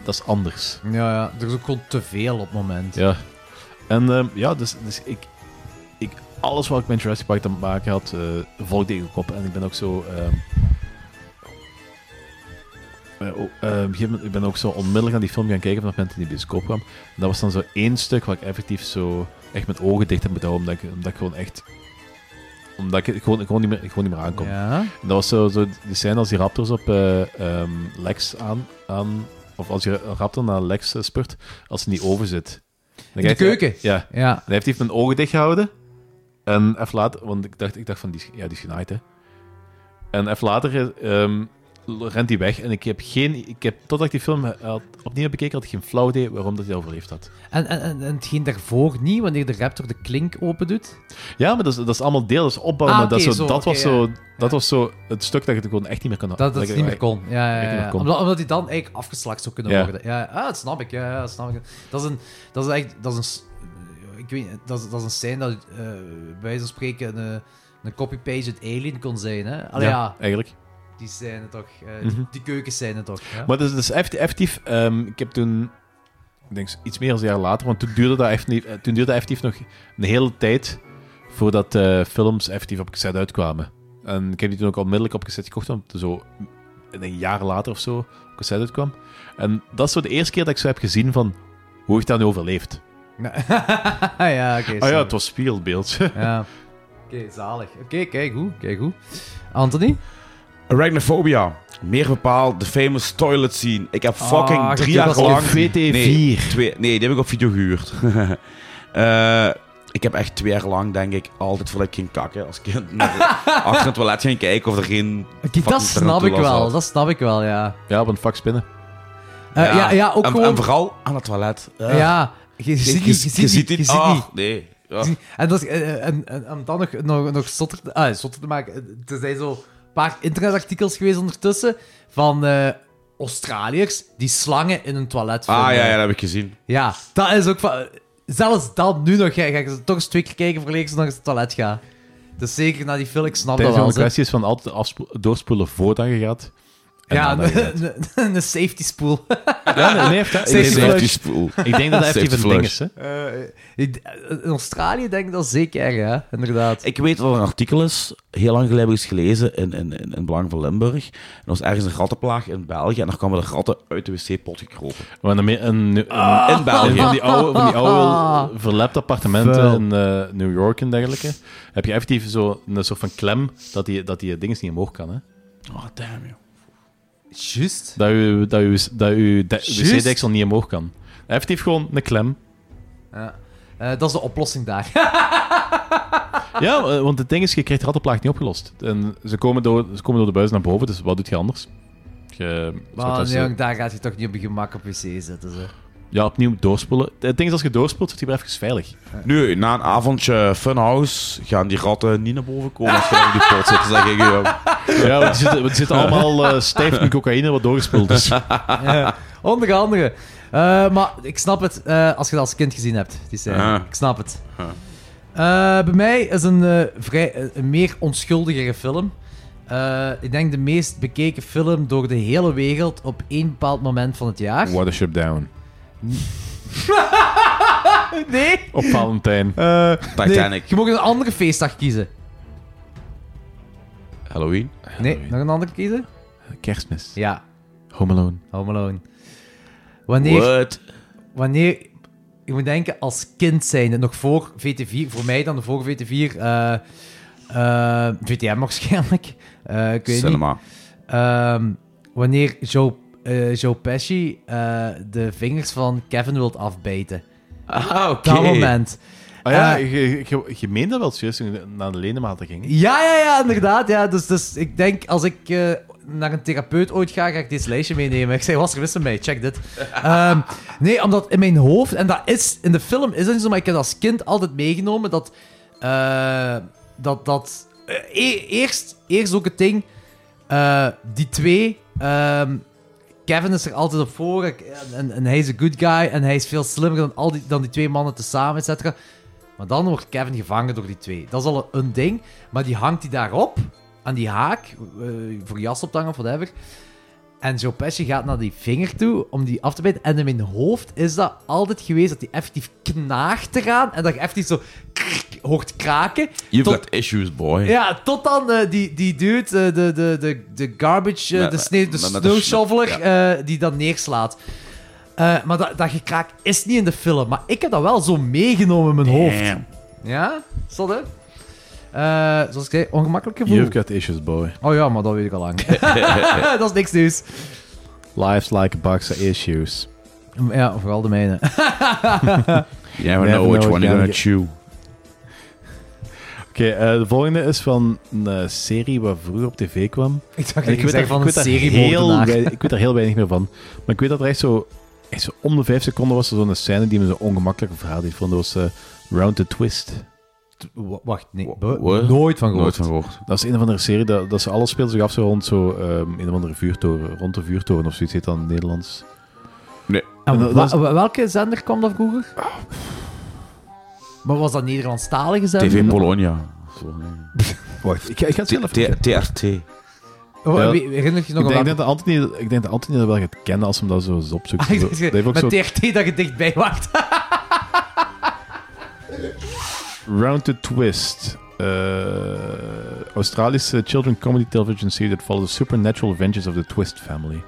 dat is anders.
ja, ja, er is ook gewoon te veel op het moment.
Ja. En ehm, ja, dus, dus ik, ik, alles wat ik met Jurassic Park te maken had, eh volgde ik ook op. En ik ben ook zo... ehm, eh, oh, eh, op een gegeven moment- ik ben ook zo onmiddellijk aan die film gaan kijken vanaf het moment dat die in de bioscoop kwam. En dat was dan zo één stuk waar ik effectief zo echt met ogen dicht heb moeten houden, omdat ik, omdat ik gewoon echt... Omdat ik het gewoon, gewoon, niet, meer, gewoon niet meer aankom.
Ja.
En dat was zo, zo die scène als die Raptors op eh, ehm, Lex aan, aan... Of als je Raptor naar Lex eh, spurt, als hij niet over zit.
In
Dan
de
krijgt hij-
keuken?
ja. En
Ja.
hij heeft even mijn ogen dicht gehouden. En even later... Want ik dacht, ik dacht van, die is, ja, die is genaaid, hè. En even later eh, ehm, rent hij weg. En ik heb geen... Ik heb, totdat ik die film had, opnieuw heb bekeken, had ik geen flauw idee waarom dat hij overleefd had.
En, en, en, en hetgeen daarvoor niet, wanneer de raptor de klink open doet.
Ja, maar dat is, dat is allemaal deel, dat is opbouw.
Ah,
maar dat,
oké,
is
zo,
zo, dat,
oké,
was
ja.
zo, dat was zo het stuk dat je het gewoon echt niet meer kon...
Dat, dat het niet meer kon. Ja,
ik
ja,
niet
ja.
meer kon.
Omdat, omdat hij dan eigenlijk afgeslacht zou kunnen
Ja.
worden. Ja, ja. ah, dat snap ik. Ja, ja, dat snap ik. Dat is een... Dat is echt... Dat is een... s- Ik weet niet, dat is, dat is een scène dat eh, bij wijze van spreken een, eh, een copy-paste uit Alien kon zijn. Hè? Allee, ja.
eigenlijk.
die scène toch. eh, die- Die keukenscène toch. Ja?
Mhm. Maar dat is, dat is effe- effectief. ehm, ik heb toen, ik denk iets meer dan een jaar later, want toen duurde dat effectief, eh, toen duurde dat effectief nog een hele tijd voordat eh, films effectief op cassette uitkwamen. En ik heb die toen ook onmiddellijk op cassette gekocht, want zo ik denk een jaar later of zo op cassette uitkwam. En dat is zo de eerste keer dat ik zo heb gezien van hoe heeft dat nu overleefd?
(laughs) ja, oké.
Ah ja,
sorry.
het was spiegelbeeld.
Ja. Oké, zalig. Oké, kijk goed, kijk goed. Anthony?
Arachnophobia. Meer bepaald, de famous toilet scene. Ik heb fucking
Ah,
drie
je
jaar
was op
lang...
VT4.
Nee, twee, nee, die heb ik op video gehuurd. (laughs) Eh, ik heb echt twee jaar lang, denk ik, altijd voordat ik ging kakken
(laughs)
als kind naar, achter het toilet ging kijken of er geen...
dat
fucking
snap ik
tarantula
wel,
zat.
dat snap ik wel, ja.
ja, op een vak spinnen.
Eh, ja. ja, ook
en,
gewoon...
en vooral aan het toilet. Eh,
ja, je, je ziet niet, je ziet niet, je
niet.
ziet niet.
Ah, nee. Ja.
Je ziet- En, dat is, eh, eh, en, en om dan nog, nog, nog zotter, te- ah, zotter te maken, eh, er zijn zo een paar internetartikels geweest ondertussen van eh, Australiërs die slangen in een toilet vinden.
Ah, ja, ja, dat heb ik gezien.
Ja, dat is ook van... Zelfs dat nu nog, hè, ga ik toch eens twee keer kijken voor ik nog eens naar het toilet ga. Dus zeker na die film, ik snap dat
Tijdens
wel.
een
zeg.
kwestie is van altijd afspo- doorspoelen voordat je gaat. en
Ja,
nadat je gaat.
(laughs) een, een- een safety spoel.
Ja, nee, nee, heeft dat-
Safety
ik denk dat-
Safety spoel.
Ik denk dat dat
Safety
effectief een ding
flush.
is, hè.
In in Australië denk ik dat zeker, ja, inderdaad.
Ik weet dat er een artikel is, heel lang geleden heb ik eens gelezen in, in, in, in Belang van Limburg. En er was ergens een rattenplaag in België en daar kwamen de ratten uit de wc-pot gekropen.
Maar dan meer een, een,
Ah.
In België.
van die oude,
(laughs)
van die oude verlepte appartementen
Vuil.
in eh, New York en dergelijke, heb je effectief zo een soort van klem dat die, dat die dingen niet omhoog kan. Hè?
Oh, damn, joh.
Juist.
Dat je dat je, dat je de-
Juist.
wc-deksel niet omhoog kan. Effectief gewoon een klem.
Eh, dat is de oplossing daar. (laughs) Ah.
Ja, eh, want het ding is, je krijgt de rattenplaag niet opgelost. En ze komen, door, ze komen door de buis naar boven, dus wat doet je anders? Je, zou
Maar
het
Ah, nee,
als-
jong, daar gaat je toch niet op je gemak op wc zitten. (laughs) Zo.
ja, opnieuw doorspoelen. Het ding is, als je doorspoelt, zit je weer even veilig.
Nu, na een avondje funhouse gaan die ratten niet naar boven komen als je in die pot zitten, zeg ik je.
Ja, (laughs) want die zitten, want die zitten allemaal eh, stijf met cocaïne wat doorgespoeld is.
Onder andere. Eh, maar ik snap het eh, als je dat als kind gezien hebt, die scène.
Ja.
Ik snap het. Eh, bij mij is een, eh, vrij, eh, een meer onschuldigere film. Eh, ik denk de meest bekeken film door de hele wereld op één bepaald moment van het jaar.
Watership Down.
(laughs) Nee!
Op Valentijn.
Eh,
Titanic.
Nee, je mag een andere feestdag kiezen.
Halloween.
Ah, Nee, nog een andere kiezen?
Kerstmis.
Ja,
Home Alone.
Home Alone. Wanneer,
What?
wanneer, je moet denken als kind zijnde, nog voor VT4, voor mij dan, voor VT4, eh eh, VTM waarschijnlijk, Eh, ik weet niet.
Cinema.
Ehm, wanneer Joe, eh, Joe Pesci eh, de vingers van Kevin wilt afbijten.
Ah, oké.
Dat moment.
Ah ja,
Eh.
je, je, je meende wel serieus toen je naar de lenematen ging.
Ja, ja, ja, inderdaad. Ja. Dus, dus ik denk, als ik eh, naar een therapeut ooit ga, ga ik dit lijstje meenemen. Ik zei, was er wist mee, check dit. Ehm, nee, omdat in mijn hoofd, en dat is, in de film is dat niet zo, maar ik heb als kind altijd meegenomen dat, eh, dat, dat eh, e- eerst, eerst ook het ding, eh, die twee, ehm, Kevin is er altijd op voor en, en, en hij is een good guy en hij is veel slimmer dan, al die, dan die twee mannen tezamen, et cetera. Maar dan wordt Kevin gevangen door die twee. Dat is al een ding. Maar die hangt hij daarop, aan die haak, eh, voor jas op te hangen of whatever. En Joe Pesci gaat naar die vinger toe om die af te bijten. En in mijn hoofd is dat altijd geweest dat hij effectief knaagt eraan. En dat je effectief zo krrk hoort kraken.
You've
Tot-
got issues, boy.
Ja, tot dan eh, die, die dude, eh, de, de, de, de garbage, eh,
Met-
de, sneeuw, de
met- met de sne-
snowshoveler,
ja.
eh, die dat neerslaat. Eh, maar dat, dat gekraak is niet in de film. Maar ik heb dat wel zo meegenomen in mijn hoofd.
Damn.
Ja, zot hè? Eh, zoals ik zei, ongemakkelijk gevoel.
You've got issues, boy.
Oh ja, maar dat weet ik al lang. (laughs) dat is niks nieuws.
Life's like a box of issues.
Ja, vooral de (laughs) mijne.
You never,
Never
know which
know
one
what
you're
you're
gonna
gonna
chew.
Oké, eh, de volgende is van een eh, serie waar vroeger op tv kwam.
ik dacht
En
dat ik zeg
daar-
van
ik
een
weet daar
serie
heel
moordenaar.
wei- Ik weet daar heel weinig meer van. Maar ik weet dat er echt zo, echt zo om de vijf seconden was er zo'n scène die me zo ongemakkelijk verhaal deed. Van, dat was eh, Round the Twist.
W- Wacht, nee.
Wa-
Nooit van
wat?
gehoord.
Nooit van gehoord.
Dat is een of andere serie, dat, dat ze alles speelt zich af zo rond zo, ehm, een of andere vuurtoren, rond de vuurtoren of zoiets heet dat in het Nederlands.
En
Dat-
wa-
dat
wa- welke zender kwam dat vroeger? Maar was dat Nederlandstalige zender?
TV Polonia. Zo, nee.
Wacht, ik, ga- ik ga het zelf even...
T- TRT.
Oh,
Ja.
wie- Herinner je je nog
Ik
wel? (laughs)
denk, ik denk dat Anthony, ik denk dat Anthony dat wel gaat kennen als hem dat zo eens opzoekt.
Ah, ik
Zo-
dacht,
dat heeft ook
met
zo
TRT dat je dichtbij wacht. (laughs)
Round the Twist. Eh, Australische children comedy television serie that follows the supernatural adventures of the Twist family.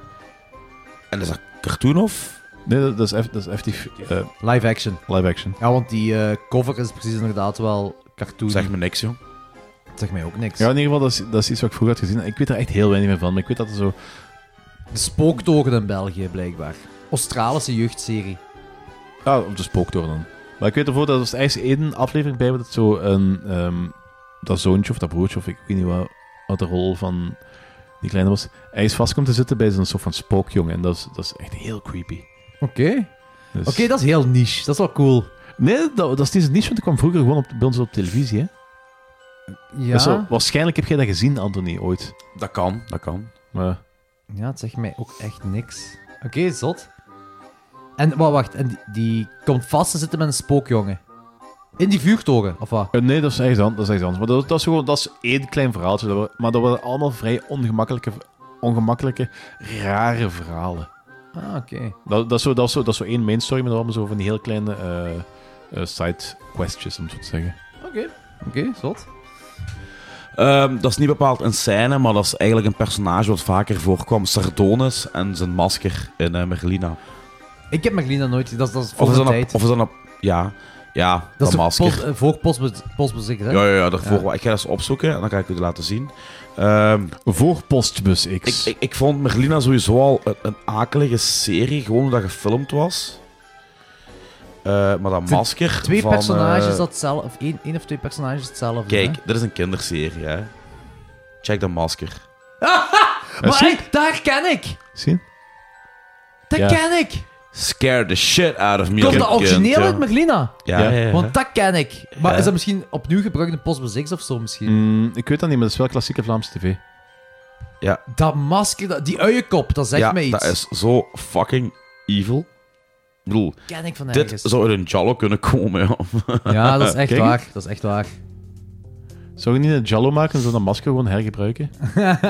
En is dat cartoon of?
Nee, dat, dat is eff- dat is effectief eh,
Live action.
live action.
Ja, want die eh, cover is precies inderdaad wel cartoon.
Zeg me niks, joh.
Zeg mij ook niks.
Ja, in ieder geval, dat is, dat is iets wat ik vroeger had gezien. Ik weet er echt heel weinig meer van, maar ik weet dat er zo...
De spooktoken in België, blijkbaar. Australische jeugdserie.
Ah, op de spooktoren dan. Maar ik weet ervoor dat er eigenlijk één aflevering bij waar dat zo een... ehm, dat zoontje of dat broertje of ik weet niet wat, wat de rol van die kleine was. Hij is vast komt te zitten bij zo'n soort van spookjongen. En dat is, dat is echt heel creepy.
Oké.
Dus-
Oké, dat is heel niche. Dat is wel cool.
Nee, dat, dat is niet zo niche, want ik kwam vroeger gewoon op, bij ons op televisie. Hè?
Ja,
Dat is wel- waarschijnlijk heb jij dat gezien, Anthony, ooit.
Dat kan, dat kan.
Maar
ja het zegt mij ook echt niks. Oké, zot. En, wa- wacht, en die, die komt vast te zitten met een spookjongen. In die vuurtoren, of wat?
Eh, nee, dat is echt anders. Dat is echt anders. Maar dat, dat, is gewoon, dat is één klein verhaaltje. Dat, we- maar dat waren allemaal vrij ongemakkelijke, ongemakkelijke rare verhalen.
Ah, oké.
Dat, dat, is zo, dat, is zo, dat is zo één main story, maar dan allemaal zo van die heel kleine eh, eh, side questjes, om het zo te zeggen.
Oké, oké, zot.
Ehm, dat is niet bepaald een scène, maar dat is eigenlijk een personage wat vaker voorkwam. Sardonis en zijn masker in eh, Merlina.
Ik heb Magdalena nooit... Dat, is- dat is voor
Of is
de
dat een...
tijd.
Of is dat een ja, ja, dat,
dat is toch
masker.
post- eh, voor postbe- postbezit, hè?
Ja, ja, ja, daarvoor.
Ja.
wel. Ik ga dat eens opzoeken en dan kan ik het laten zien. Ehm,
Voor Postbus
ik,
X.
ik, ik vond Merlina sowieso al een, een akelige serie, gewoon omdat gefilmd was. Eh, maar dat
Twee-
masker.
Twee
van,
personages
eh,
dat hetzelfde... Of één, één of twee personages hetzelfde. hè?
Kijk, dit is een kinderserie, hè. Check dat masker.
Eh,
Maar
zie-
hey, daar ken ik!
Zie?
Dat
Ja.
ken ik!
Scare the shit out of me. als
Komt
een
dat
kind,
origineel
joh.
uit Magdalena?
Ja, ja, ja.
Want dat ken ik. Maar
Ja. Hm.
is dat misschien opnieuw gebruikt in Postbus X of zo misschien?
Mm, ik weet dat niet, maar dat is wel klassieke Vlaamse tv.
Dat masker, dat, die uienkop, dat zegt
ja,
mij iets.
dat is zo fucking evil. Ik bedoel,
ken ik van
dit
ergens.
zou uit een Jallo kunnen komen, joh.
Ja, dat is echt
Kijk.
waar. Dat is echt waar.
Zou je niet een Jallo maken en zo dat masker gewoon hergebruiken?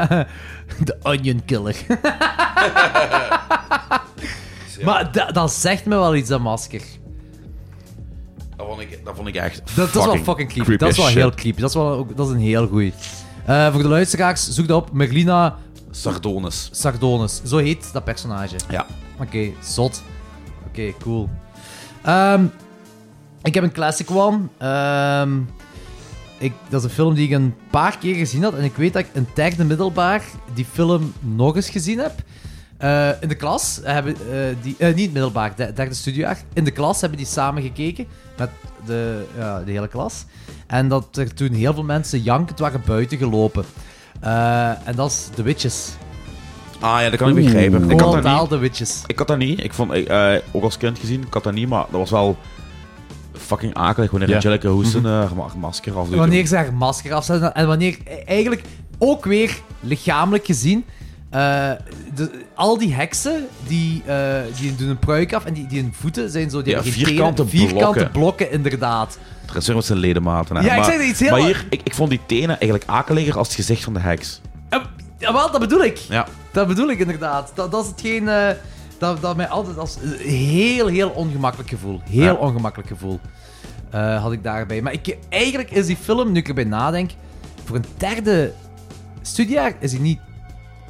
(laughs) De Onion Killer. Maar da- dat zegt me wel iets, dat masker.
Dat vond ik, dat vond ik echt
Dat, dat is wel fucking creepy. dat is wel
as
heel
shit.
creepy. Dat is, wel, ook- dat is een heel goeie. Eh, voor de luisteraars, zoek dat op. Merlina
Sardonis.
Sardonis. Zo heet dat personage.
Ja.
Oké, zot. Oké, cool. Ehm, ik heb een classic one. Ehm, ik, dat is een film die ik een paar keer gezien had. En ik weet dat ik een tijd in het middelbaar die film nog eens gezien heb. Eh, in de klas hebben eh, die... eh, niet middelbaar, de, derde studiejaar. In de klas hebben die samen gekeken met de, ja, de hele klas. En dat er toen heel veel mensen jankend waren buiten gelopen. Eh, en dat is The Witches.
Ah ja, dat kan ik begrijpen. Ik had, dat
Totaal
niet,
The Witches.
ik had dat niet. Ik vond, ik, eh, ook als kind gezien, ik had dat niet, maar dat was wel fucking akelig wanneer
Ja.
Angelica Houston eh, haar ma- haar masker afdoet.
Wanneer ze haar masker afzetten en wanneer eh, eigenlijk ook weer lichamelijk gezien. eh, de- al die heksen die, eh, die doen een pruik af en die, die hun voeten zijn zo. Die
Ja,
hebben geen
vierkante
tenen, vierkante
blokken.
inderdaad.
Dresseren met zijn ledematen. hè.
Ja, ik
maar,
zeg er iets heel-
Maar hier, ik, ik vond die tenen eigenlijk akeliger als het gezicht van de heks.
Eh, Ja, wel, dat bedoel ik.
Ja.
Dat bedoel ik inderdaad. Dat, dat is hetgeen. eh, dat, dat mij altijd als. Heel, heel ongemakkelijk gevoel. Heel
Ja.
ongemakkelijk gevoel. eh, had ik daarbij. Maar ik, eigenlijk is die film, nu ik erbij nadenk. Voor een derde studiejaar is die niet.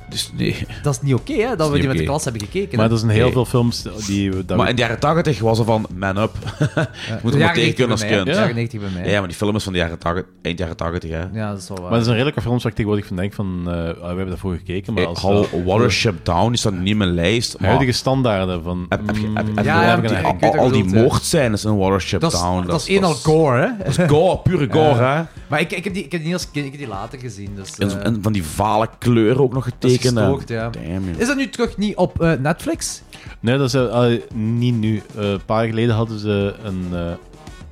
Dus nee.
Dat is niet oké, hè? Dat,
Dat is
we die
niet
met de
oké.
klas hebben gekeken.
Maar
hè.
er zijn heel
Oké.
veel films die we... dat
maar
we-
in de jaren 80 was er van man up. (laughs) Je moet
De
er
jaren
maar tegen
90 bij
kunnen als
mij, hè.
kind.
De
Ja.
jaren 90 bij mij.
ja, maar die film is van de jaren 80, eind jaren 80 hè.
Ja, dat is wel waar.
Maar dat zijn redelijke films waar ik tegenwoordig van denk van... eh, ah, we hebben daarvoor gekeken, maar
Ik
als...
hou
eh,
Watership Down is dat niet in mijn lijst. Maar
huidige standaarden van...
heb, heb, je- heb, heb,
mm,
heb-
Ja, ja,
heb ik
die-
een-
ik weet
al,
wat
al
je
die
bedoelt, ja.
moordscènes in Watership
dat is,
Down.
dat is één al gore, hè?
Dat is gore, pure gore, hè.
Maar ik, ik, heb die, ik heb die niet als kind, ik heb die later gezien. Dus,
En,
eh,
en van die vale kleuren ook nog
dat is
getekend. hè.
gestoord, ja.
Damn, joh.
Is dat nu terug niet op eh, Netflix?
Nee, dat is eh, eh, niet nu. Eh, een paar jaar geleden hadden ze een... eh,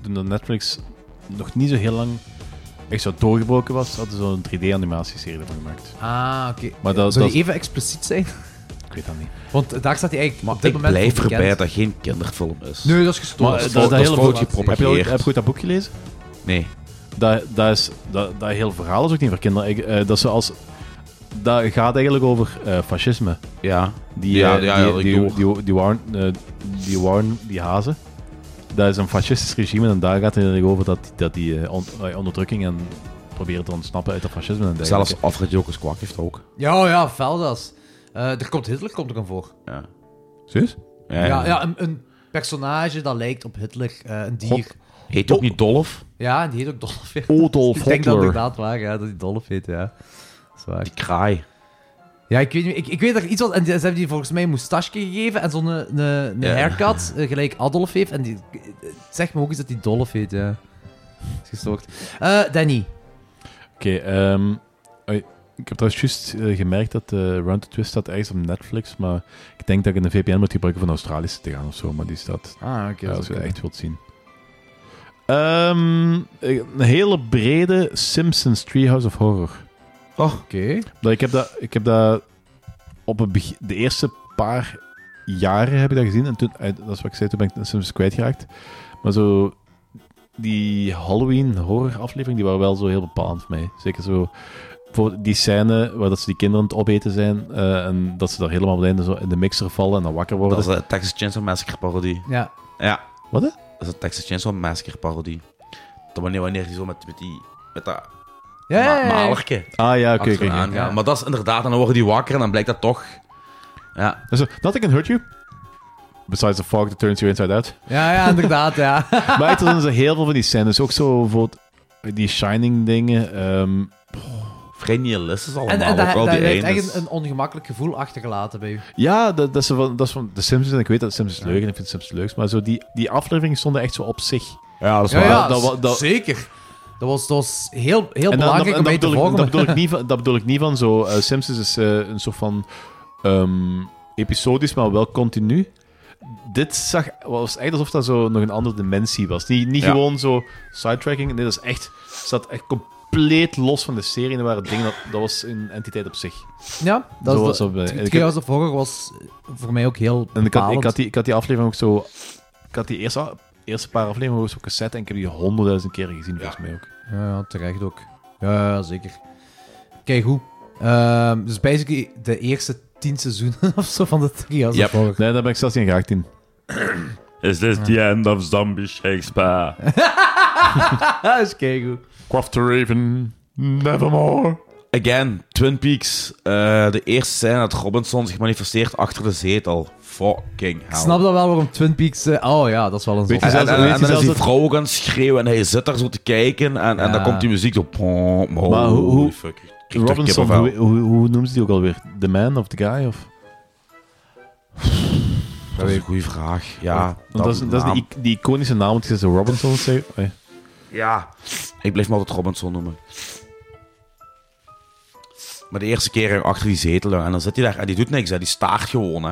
toen de Netflix nog niet zo heel lang echt zo doorgebroken was, hadden ze zo'n 3D-animatieserie ervan gemaakt.
Ah, oké.
Maar dat-
Zou die
dat-
even expliciet zijn? (laughs)
Ik weet dat niet.
Want daar staat hij eigenlijk op dit
Ik
moment
blijf
voor
erbij
bekend.
dat dat geen kinderfilm is.
Nee, dat is
Maar
gestoord.
eh, dat,
fout-
is
dat
dat
is
hele...
fout
boek- heb, je,
gepropageerd.
ooit- heb je ooit dat boek gelezen?
Nee.
dat, dat, is, dat, dat hele verhaal is ook niet voor kinderen. Ik, eh, dat, ze als, dat gaat eigenlijk over eh, fascisme.
Ja.
Die,
Ja,
eh,
ja, ja,
die,
ik
die,
door.
die, die, waren, eh, die, waren- die hazen. Dat is een fascistisch regime en daar gaat het eigenlijk over dat, dat die eh, on- eh, onderdrukking en proberen te ontsnappen uit het fascisme. En dergelijke.
Zelfs Alfred Jokers Kwak heeft dat ook.
Ja, oh ja, Veldas. Eh er komt Hitler komt er aan voor.
Ja.
Serieus?
Ja.
Ja, ja, een, een personage dat lijkt op Hitler. eh, een dier.
God. Heet
Oh.
ook niet Dolf?
Ja, en die heet ook (laughs) Dolph. ja.
Odolf
Ik denk dat het
Hitler.
inderdaad waar, ja, dat die Dolph heet, ja. Dat is waar.
Die kraai.
Ja, ik weet, niet- ik, ik weet dat er iets was. En die- ze hebben die volgens mij een moustache gegeven en zo'n eh, een, een
Ja.
haircut, eh, gelijk Adolf heeft. En die, eh, zeg me ook eens dat die Dolph heet, ja. Dat is gestoord. Eh, Danny.
Oké, ehm, oei, ik heb trouwens juist eh, gemerkt dat eh, Round the Twist staat ergens op Netflix, maar ik denk dat ik een VPN moet gebruiken van Australische te gaan of zo, maar die staat
Ah, oké.
Ja, als je het echt wilt zien. Ehm, een hele brede Simpsons Treehouse of Horror. Oh.
Oké.
Dat- Ik heb dat, ik heb dat op het beg- de eerste paar jaren heb ik dat gezien. En toen, uit- dat is wat ik zei, toen ben ik de Simpsons kwijtgeraakt. Maar zo, die Halloween horror aflevering, die waren wel zo heel bepaald voor mij. Zeker zo, bijvoorbeeld die scène waar dat ze die kinderen aan het opeten zijn. eh, en dat ze daar helemaal op het einde zo in de mixer vallen en dan wakker worden.
Dat is een Texas Chainsaw Massacre parodie.
Ja.
Ja.
Wat, hè?
Dat is een Texas Chainsaw Massacre parodie. Dat wanneer, wanneer die zo met, met die... Met dat
Ja, ja, ja,
ma-
ja.
malerke
Ah ja, oké. oké,
achteraan
oké.
gaan. Maar dat is inderdaad... En dan worden die wakker en dan blijkt dat toch... Ja.
Dus, nothing can hurt you. Besides the fog that turns you inside out. (laughs)
Ja, ja, inderdaad, ja.
maar het zijn ze heel veel van die scènes. Ook zo bijvoorbeeld die Shining dingen. ehm,
Vrij nihilistisch
Oh,
allemaal.
En, en dat,
ook al
dat
die
heeft
eindes.
echt een, een ongemakkelijk gevoel achtergelaten bij u.
ja, dat, dat, is van, dat is van de Simpsons. En ik weet dat de Simpsons leuk en ik vind de Simpsons leuk. Maar zo die, die afleveringen stonden echt zo op zich.
Ja, dat is
Ja,
waar.
ja,
dat wa- dat-
zeker. Dat was, dat was heel, heel
en dan-
belangrijk
en
om
dat,
mee te
bedoel ik,
volgen.
dat, bedoel ik niet van, dat bedoel ik niet van zo. eh, Simpsons is eh, een soort van ehm, episodisch, maar wel continu. Dit zag, was echt alsof dat zo nog een andere dimensie was. Niet, niet
Ja.
gewoon zo sidetracking. Nee, dat is echt, zat echt compleet los van de serie. En er waren dingen, dat, dat was een entiteit op zich.
Ja, dat
Zo
is
was
de,
dat bij-
het- het
ik heb-
Chaos of Horror was voor mij ook heel
En ik had, ik,
bepalend.
had die, ik had die aflevering ook zo. Ik had die eerste, eerste paar afleveringen ook zo op cassette en ik heb die honderdduizend keer gezien, volgens mij ook.
Ja, ja, terecht ook. Ja, ja, zeker. Kijk, goed. Ehm, dus basically de eerste tien seizoenen (laughs) of zo van de Chaos
Yep.
of Horror.
Nee, daar ben ik zelfs niet geraakt in.
Is this the end of Zombie Shakespeare?
(laughs) Ah, is keigoed.
Croft the Raven, nevermore.
(laughs) Again, Twin Peaks. Eh, de eerste scène dat Robinson zich manifesteert achter de zetel. Fucking hell.
Ik snap dat wel waarom Twin Peaks... eh, oh ja, dat is wel een
Weet
zot.
je zelfs-
En, en,
weet je
en dan is
zelfs
die
dat-
vrouw gaan schreeuwen en hij zit daar zo te kijken en, en
Ja.
dan komt die muziek zo... Pom, pom,
Maar hoe- hoe-
fuck, ik krijg er
Robinson,
kippenvel.
hoe, hoe, hoe noemen ze die ook alweer? The Man of the Guy? Of?
Dat is een goede vraag. Ja,
Want dat is, dat is
naam.
die, die iconische naam, want je zou Robinson Oh zeggen. Nee.
Ja, ik blijf me altijd Robinson noemen. Maar de eerste keer achter die zetel en dan zit hij daar en die doet niks, hè. die staart gewoon. Hè.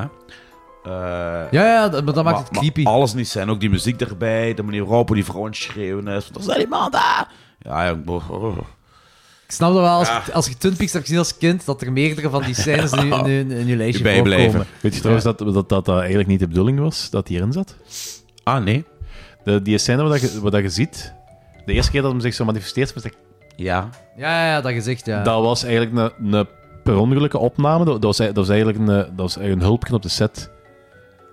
Ja,
Eh,
ja, dat- maar dat maakt het
maar
creepy.
alles niet zijn, ook die muziek erbij, de manier waarop die vrouw aan het schreeuwen is. Er zijn iemand daar! Ja, jong, boh.
Ik snap dat wel, als, je- als je Twin Peaks hebt gezien als kind, dat er meerdere van die scènes in, je- in, je- in je lijstje
(laughs)
Die bijblijven.
voorkomen.
Weet je trouwens dat, dat, dat dat eigenlijk niet de bedoeling was, dat die erin zat?
Ah, nee.
De, die scène wat je, wat je ziet, de eerste keer dat hem zich zo manifesteert, was dat-
Ja.
Ja, ja, ja, dat gezicht, ja.
dat was eigenlijk een, een per ongelukke opname. Dat dat was, dat was eigenlijk een, dat was eigenlijk een hulpje op de set.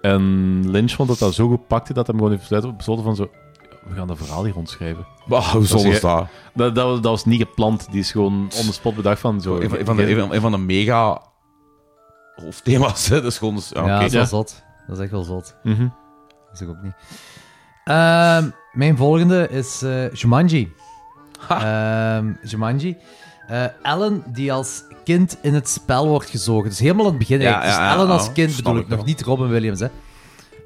En Lynch vond dat dat zo goed pakte dat hij hem gewoon heeft besloten- besloten van zo... We gaan dat verhaal hier rondschrijven.
Wauw, hoe zonde
Dat
is
is-
dat?
Dat, dat, was- dat was niet gepland. Die is gewoon on the spot bedacht van zo...
Een van- een van de, een van- een van de mega hoofdthema's. Hè. Dat is gewoon... Ja,
ja, dat
oké.
is wel
Ja.
zot. Dat is echt wel zot.
Mhm.
Dat is ook niet. Ehm, mijn volgende is eh Jumanji. Ehm, Jumanji. Eh, Ellen die als kind in het spel wordt gezogen. Dus helemaal aan het begin.
Ja,
eigenlijk.
ja,
dus
ja,
Ellen
ja,
als kind
snap
bedoel
ik
ik nog
wel.
niet Robin Williams. Hè.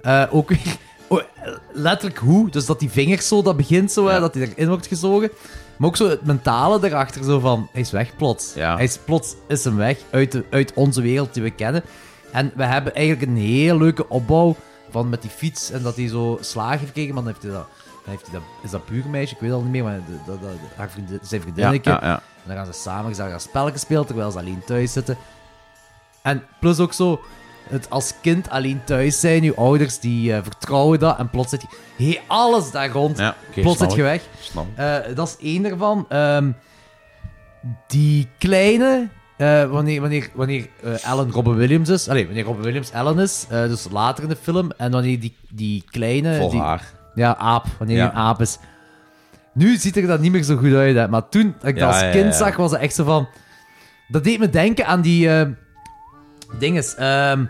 Eh, ook weer (laughs) oh, eh, letterlijk hoe. Dus dat die vingers zo, dat begint zo, hè, dat hij erin wordt gezogen. Maar ook zo het mentale erachter, zo van, hij is weg plots.
Ja.
Hij is plots, is hem weg uit, de, uit onze wereld die we kennen. En we hebben eigenlijk een heel leuke opbouw van met die fiets en dat hij zo slagen heeft gekregen. Maar dan heeft hij dat, dan heeft hij dat, is dat buurmeisje, ik weet het al niet meer, maar de, de, de, haar vriendin, zijn
Ja,
vriendinnetje.
ja, ja.
En dan gaan ze samen gezellig aan spelletjes spelen terwijl ze alleen thuis zitten. En plus ook zo, het als kind alleen thuis zijn, je ouders die eh, vertrouwen dat. En plots zit je, hey, alles daar rond.
ja oké,
plots
snap
zit je
ik.
weg.
Snap ik.
Eh, dat is één ervan. Ehm, die kleine, eh, wanneer, wanneer, wanneer eh, Ellen Robin Williams is. Allee, wanneer Robin Williams Ellen is, eh, dus later in de film. En wanneer die, die kleine.
Vol
die-
haar.
ja, aap. Wanneer
Ja.
je een aap is. Nu ziet er dat niet meer zo goed uit. Hè. Maar toen dat ik
Ja,
dat als
ja,
kind
ja.
zag, was het echt zo van... Dat deed me denken aan die... eh dinges. ehm,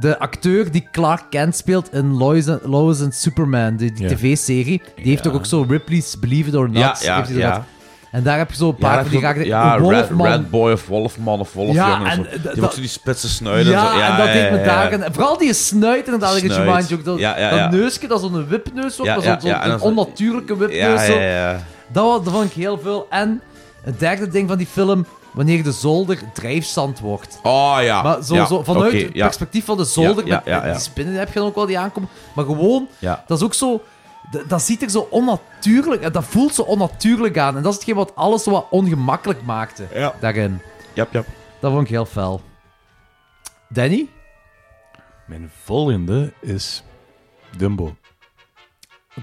de acteur die Clark Kent speelt in Lois and, Lois and Superman, die, die
Ja.
tv-serie. Die heeft toch ook zo Ripley's Believe It or Not.
Ja, ja,
heeft hij zo
ja.
gehad. En daar heb je zo een paar
dat
van die
klopt.
raakte...
Ja, Red,
Wolfman.
Red Boy of Wolfman of Wolfjongen.
Ja,
of
en
zo.
d-
Die
dat-
wordt zo die spitse snuit en zo.
Ja, en dat
ja,
deed me
ja,
daar...
ja.
En vooral die snuit inderdaad, in het
Snuit.
Jumanji ook. Dat,
Ja, ja, ja.
dat neusje, dat zo'n wipneus ook.
Ja,
dat
ja,
zo'n
ja, en
zo'n
dan zo-
onnatuurlijke wipneus.
Ja,
zo.
ja, ja.
Dat, wa- dat vond ik heel veel. En het derde ding van die film, wanneer de zolder drijfzand wordt.
Oh ja.
Maar zo,
ja,
zo, vanuit
oké,
het
ja.
perspectief van de zolder,
Ja, ja,
met-
ja,
met
ja.
die spinnen heb je dan ook wel die aankomen. Maar gewoon,
Ja.
dat is ook zo... d- Dat ziet er zo onnatuurlijk... Dat voelt zo onnatuurlijk aan. En dat is hetgeen wat alles zo wat ongemakkelijk maakte
Ja.
daarin.
Jap, jap.
Dat vond ik heel fel. Danny?
Mijn volgende is Dumbo.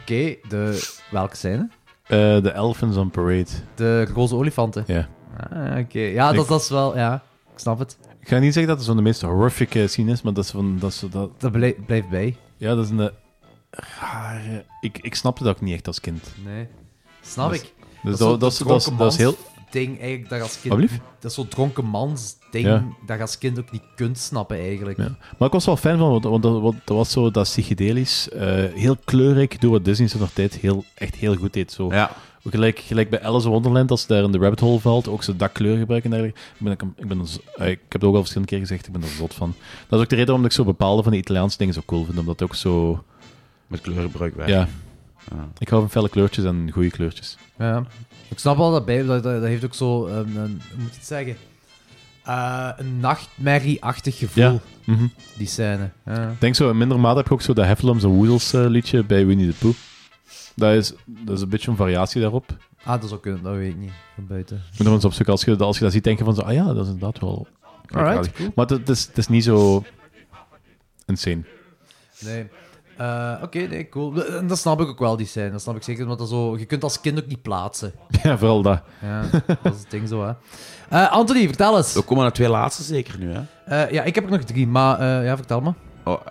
Oké, de... Welke scène?
Eh, De Elephants on Parade.
De roze olifanten.
Ja.
Ah, oké. Ja, dat, dat is wel... Ja, ik snap het.
Ik ga niet zeggen dat het zo'n de meest horrific eh, scene is, maar dat is van... Dat is, zo dat,
Dat blij- blijft bij.
ja, dat is een rare... Ik, ik snapte dat ook niet echt als kind.
Nee. Snap
Dus-
ik.
Dus dat, dat, is- dat, is- dat is heel...
ding eigenlijk dat je als kind...
Alblieft?
Dat is zo'n dronken mans ding
Ja.
dat je als kind ook niet kunt snappen eigenlijk.
Ja. Maar ik was wel fan van, want, want dat, want dat was zo dat psychedelisch, eh, heel kleurrijk, door wat Disney toen nog tijd heel, echt heel goed deed. Zo.
Ja.
Ook Gelijk, gelijk bij Alice in Wonderland, als ze daar in de rabbit hole valt, ook zo dat kleurgebruik en dergelijke. Ik, ben, er- ik, ben, er z- eh, ik heb het ook al verschillende keer gezegd, ik ben er zot van. Dat is ook de reden waarom ik zo bepaalde van die Italiaanse dingen zo cool vind, omdat het ook zo...
Met kleurenbruik weg.
Ja.
Ja.
Ik hou van felle kleurtjes en goede kleurtjes.
Ja. Ik snap wel dat bij, dat, dat, dat heeft ook zo, ehm, een, hoe moet je het zeggen, Eh, een nachtmerrie-achtig gevoel,
Ja. Mhm.
die scène. Ja.
Ik denk zo, in minder mate heb ik ook zo dat Heffalums en Woezels eh, liedje bij Winnie the Pooh. Dat is, dat is een beetje een variatie daarop.
Ah, dat zou kunnen, dat weet ik niet, van buiten.
Ik moet nog eens op zoek. Als je, als je dat ziet, denk je van zo, ah ja, dat is inderdaad wel...
Alright,
Maar het, het is, het is niet zo... Insane. (laughs)
Nee. Eh, Oké, nee, cool. En dat snap ik ook wel, die scène. Dat snap ik zeker, want dat zo, je kunt als kind ook niet plaatsen.
Ja, vooral dat.
Ja, (laughs) dat is het ding zo, hè. Eh, Anthony, vertel eens.
We komen naar twee laatste zeker nu, hè?
Eh, ja, ik heb er nog drie, maar eh, ja, vertel maar.
Oh, Oké,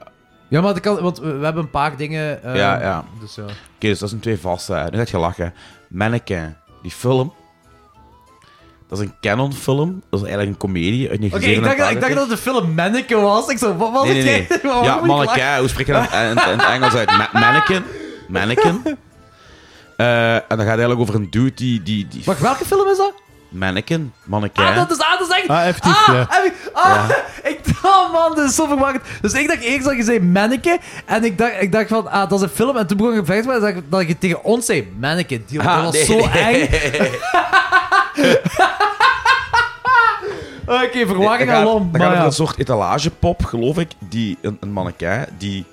Ja, maar dat kan, want we, we hebben een paar dingen. eh,
Ja, ja.
Dus ja.
dus dat zijn twee vaste. hè. Nu gaat je lachen. Mannequin, die film. Dat is een canon film. Dat is eigenlijk een komedie uit
Oké, ik, dacht,
1987.
dat- ik dacht dat het de film Manneken was. Ik zo, wat was
Nee,
het?
nee, nee.
(laughs) Waarom
Ja,
Oh, moet ik lachen?
mannequin. Hoe spreek
(laughs)
je dat in, in het Engels uit? Ma- mannequin. Mannequin. Eh, en dan gaat het eigenlijk over een dude die... die, die
Wacht, welke film is dat?
mannequin. Mannequin.
Ah, dat is, ah, dat is echt...
Ah, effectief,
ah,
ja.
heb ik- Ah, (laughs) ik dacht, man, dat is zo verwarrend. Dus ik dacht eerst dat je zei manneke. En ik dacht, ik dacht van, ah, dat is een film. En toen begon ik een vecht met dat, ik- dat je tegen ons zei manneke. Die,
Ah,
dat was
nee,
zo
(laughs) nee.
eng. Oké, verwarring
Dan gaat-
alom.
Dan
maar
gaat er
ja.
een soort etalagepop, geloof ik, die een, een manneke die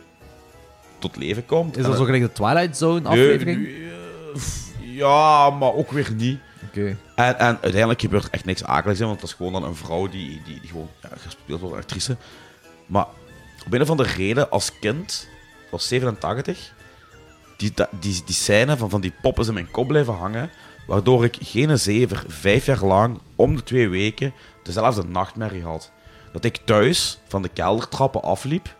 tot leven komt.
Is
En
dat zo
een-
gelijk de Twilight Zone aflevering?
Nee, eh, pff, Ja, maar ook weer niet.
Oké.
En, en uiteindelijk gebeurt echt niks akeligs, hè, want dat is gewoon dan een vrouw die, die, die gewoon ja, gespeeld wordt door een actrice. Maar op een of andere reden, als kind, ik was 87, die, da- die, die scène van, van die pop is in mijn kop blijven hangen, waardoor ik geen zever, vijf jaar lang, om de twee weken, dezelfde nachtmerrie had. Dat ik thuis van de keldertrappen afliep,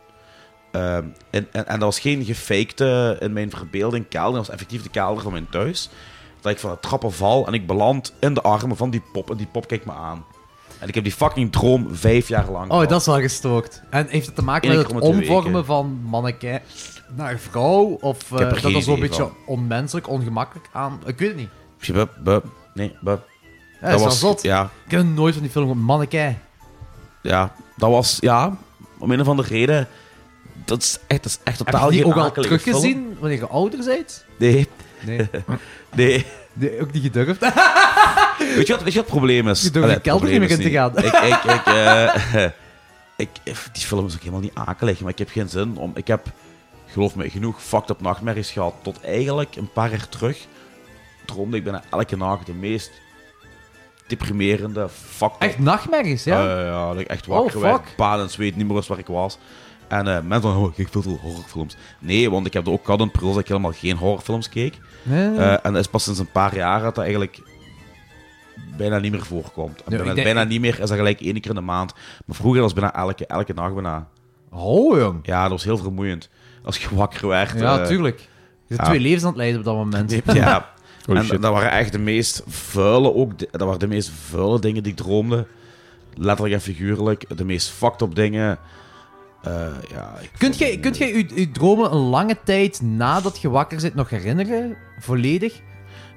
ehm, en, en, en dat was geen gefakte in mijn verbeelding kelder, dat was effectief de kelder van mijn thuis dat ik van de trappen val en ik beland in de armen van die pop. En die pop kijkt me aan. En ik heb die fucking droom vijf jaar lang.
Oh,
gehad.
dat is wel gestookt. En heeft het te maken
Eén
met
keer
het
om de twee
omvormen
weken.
van manneke naar vrouw? Of eh,
heb er
dat
geen
dat zo'n
idee
beetje
van.
onmenselijk, ongemakkelijk aan... Ik weet het niet.
Misschien bup, bup. Nee, bup.
Ja, dat is wel zot.
Ja,
Ik heb nooit van die film gehoord. Manneke.
ja, dat was. Ja, om een of andere reden. Dat is echt, dat is echt
Heb
totaal
je die
geen
ook al
akelige
teruggezien wanneer je ouder bent?
film. Nee, (laughs)
Nee.
nee.
Nee, ook niet
(laughs)
gedurfd.
Oh. Weet je wat, weet je wat het probleem is?
Je durft
Allee,
de kelder
probleem
niet meer in
is
te gaan.
Ik, ik,
(laughs)
ik, eh, ik, eh, die film is ook helemaal niet akelig, maar ik heb geen zin om... Ik heb, geloof me, genoeg fucked up nachtmerries gehad. Tot eigenlijk een paar jaar terug droomde ik bijna elke nacht de meest deprimerende, fucked up...
Echt nachtmerries, ja?
Eh, ja, dat ik echt
Oh,
wakker werd.
fuck.
Baan en zweet, niet meer wist waar ik was. En eh, mensen van, oh, ik veel veel horrorfilms. Nee, want ik heb er ook gehad een periode dat ik helemaal geen horrorfilms keek.
Nee.
Eh, en dat is pas sinds een paar jaar dat dat eigenlijk bijna niet meer voorkomt. En
Ja, ik
bijna,
denk-
bijna niet meer, is dat gelijk één keer in de maand. Maar vroeger was het bijna elke, elke dag bijna.
Oh, jong.
Ja, dat was heel vermoeiend. Als je wakker werd.
Ja,
eh,
tuurlijk. Je bent
ja.
twee levens aan het leiden op dat moment.
Ja.
Holy
en
shit.
dat waren echt de meest vuile, ook de- dat waren de meest vuile dingen die ik droomde. Letterlijk en figuurlijk. De meest fucked up dingen. Eh, ja, ik
Kunt
vond-
jij kunt jij je, je dromen een lange tijd nadat je wakker zit nog herinneren? Volledig?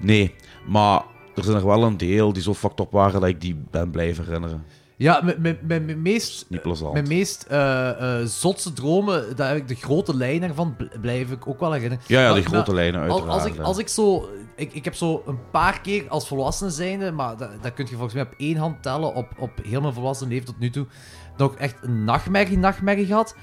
Nee, maar er zijn er wel een deel die zo fucked up waren dat ik die ben blijven herinneren.
Ja, mijn- mijn- mijn mijn meest
Niet plezant.
Mijn meest eh, eh, zotse dromen, daar heb ik de grote lijn daarvan bl- blijf ik ook wel herinneren.
Ja, ja,
Maar-
de
maar
grote lijnen
al-
uiteraard.
Als ik,
hè.
als ik zo... Ik, ik heb zo een paar keer als volwassen zijnde, maar dat, dat kun je volgens mij op één hand tellen, op, op heel mijn volwassen leven tot nu toe, nog echt een nachtmerrie, nachtmerrie gehad.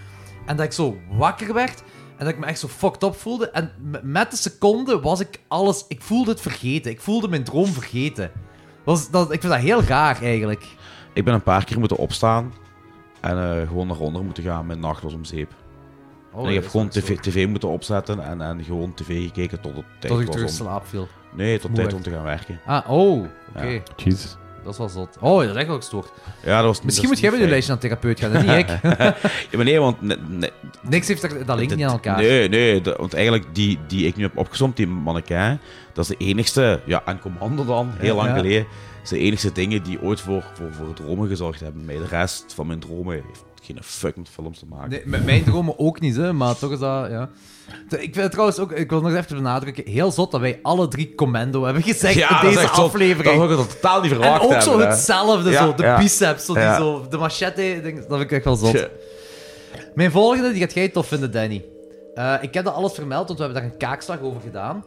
En dat ik zo wakker werd en dat ik me echt zo fucked up voelde. En m- met de seconde was ik alles... Ik voelde het vergeten. Ik voelde mijn droom vergeten. Was, dat, ik vind dat heel raar, eigenlijk.
Ik ben een paar keer moeten opstaan en eh, gewoon naar onder moeten gaan. Mijn nacht was om zeep.
Oh,
En ik heb gewoon tv, tv moeten opzetten en, en gewoon tv gekeken tot het tijd
Tot ik
was
terug in
om...
slaap viel.
Nee, tot
Moe
tijd
werd.
om te gaan werken.
Ah, oh, oké.
Ja.
Jesus.
Dat is wel zot. Oh, dat is echt wel gestoord.
Ja, dat was
Misschien
dat
moet jij
is
met
niet
je
fijn.
lijstje naar een therapeut gaan, en niet
(laughs)
ik.
Ja, maar nee, want... ne- ne-
Niks heeft dat, dat linkt
dit-
niet aan elkaar.
Nee, nee, dat- want eigenlijk die, die ik nu heb opgezomd, die mannequin, dat is de enigste, ja, aan commando dan, heel
Ja,
lang
ja.
geleden, is de enigste dingen die ooit voor, voor, voor dromen gezorgd hebben. Mij de rest van mijn dromen heeft geen fuck met films te maken.
Nee, met mijn dromen ook niet, hè, maar toch is dat, ja. T- Ik vind het trouwens ook, ik wil nog even benadrukken, heel zot dat wij alle drie commando hebben gezegd
Ja,
in
dat is
deze
echt zo-
aflevering.
Dat zou ik totaal niet
en
verwacht
ook zo
hebben, hè.
hetzelfde, zo,
Ja,
de
ja.
biceps, zo, die
Ja.
zo, de machette, ding, dat vind ik echt wel zot.
Tje.
Mijn volgende, die gaat jij tof vinden, Danny. Eh, ik heb dat alles vermeld, want we hebben daar een kaakslag over gedaan.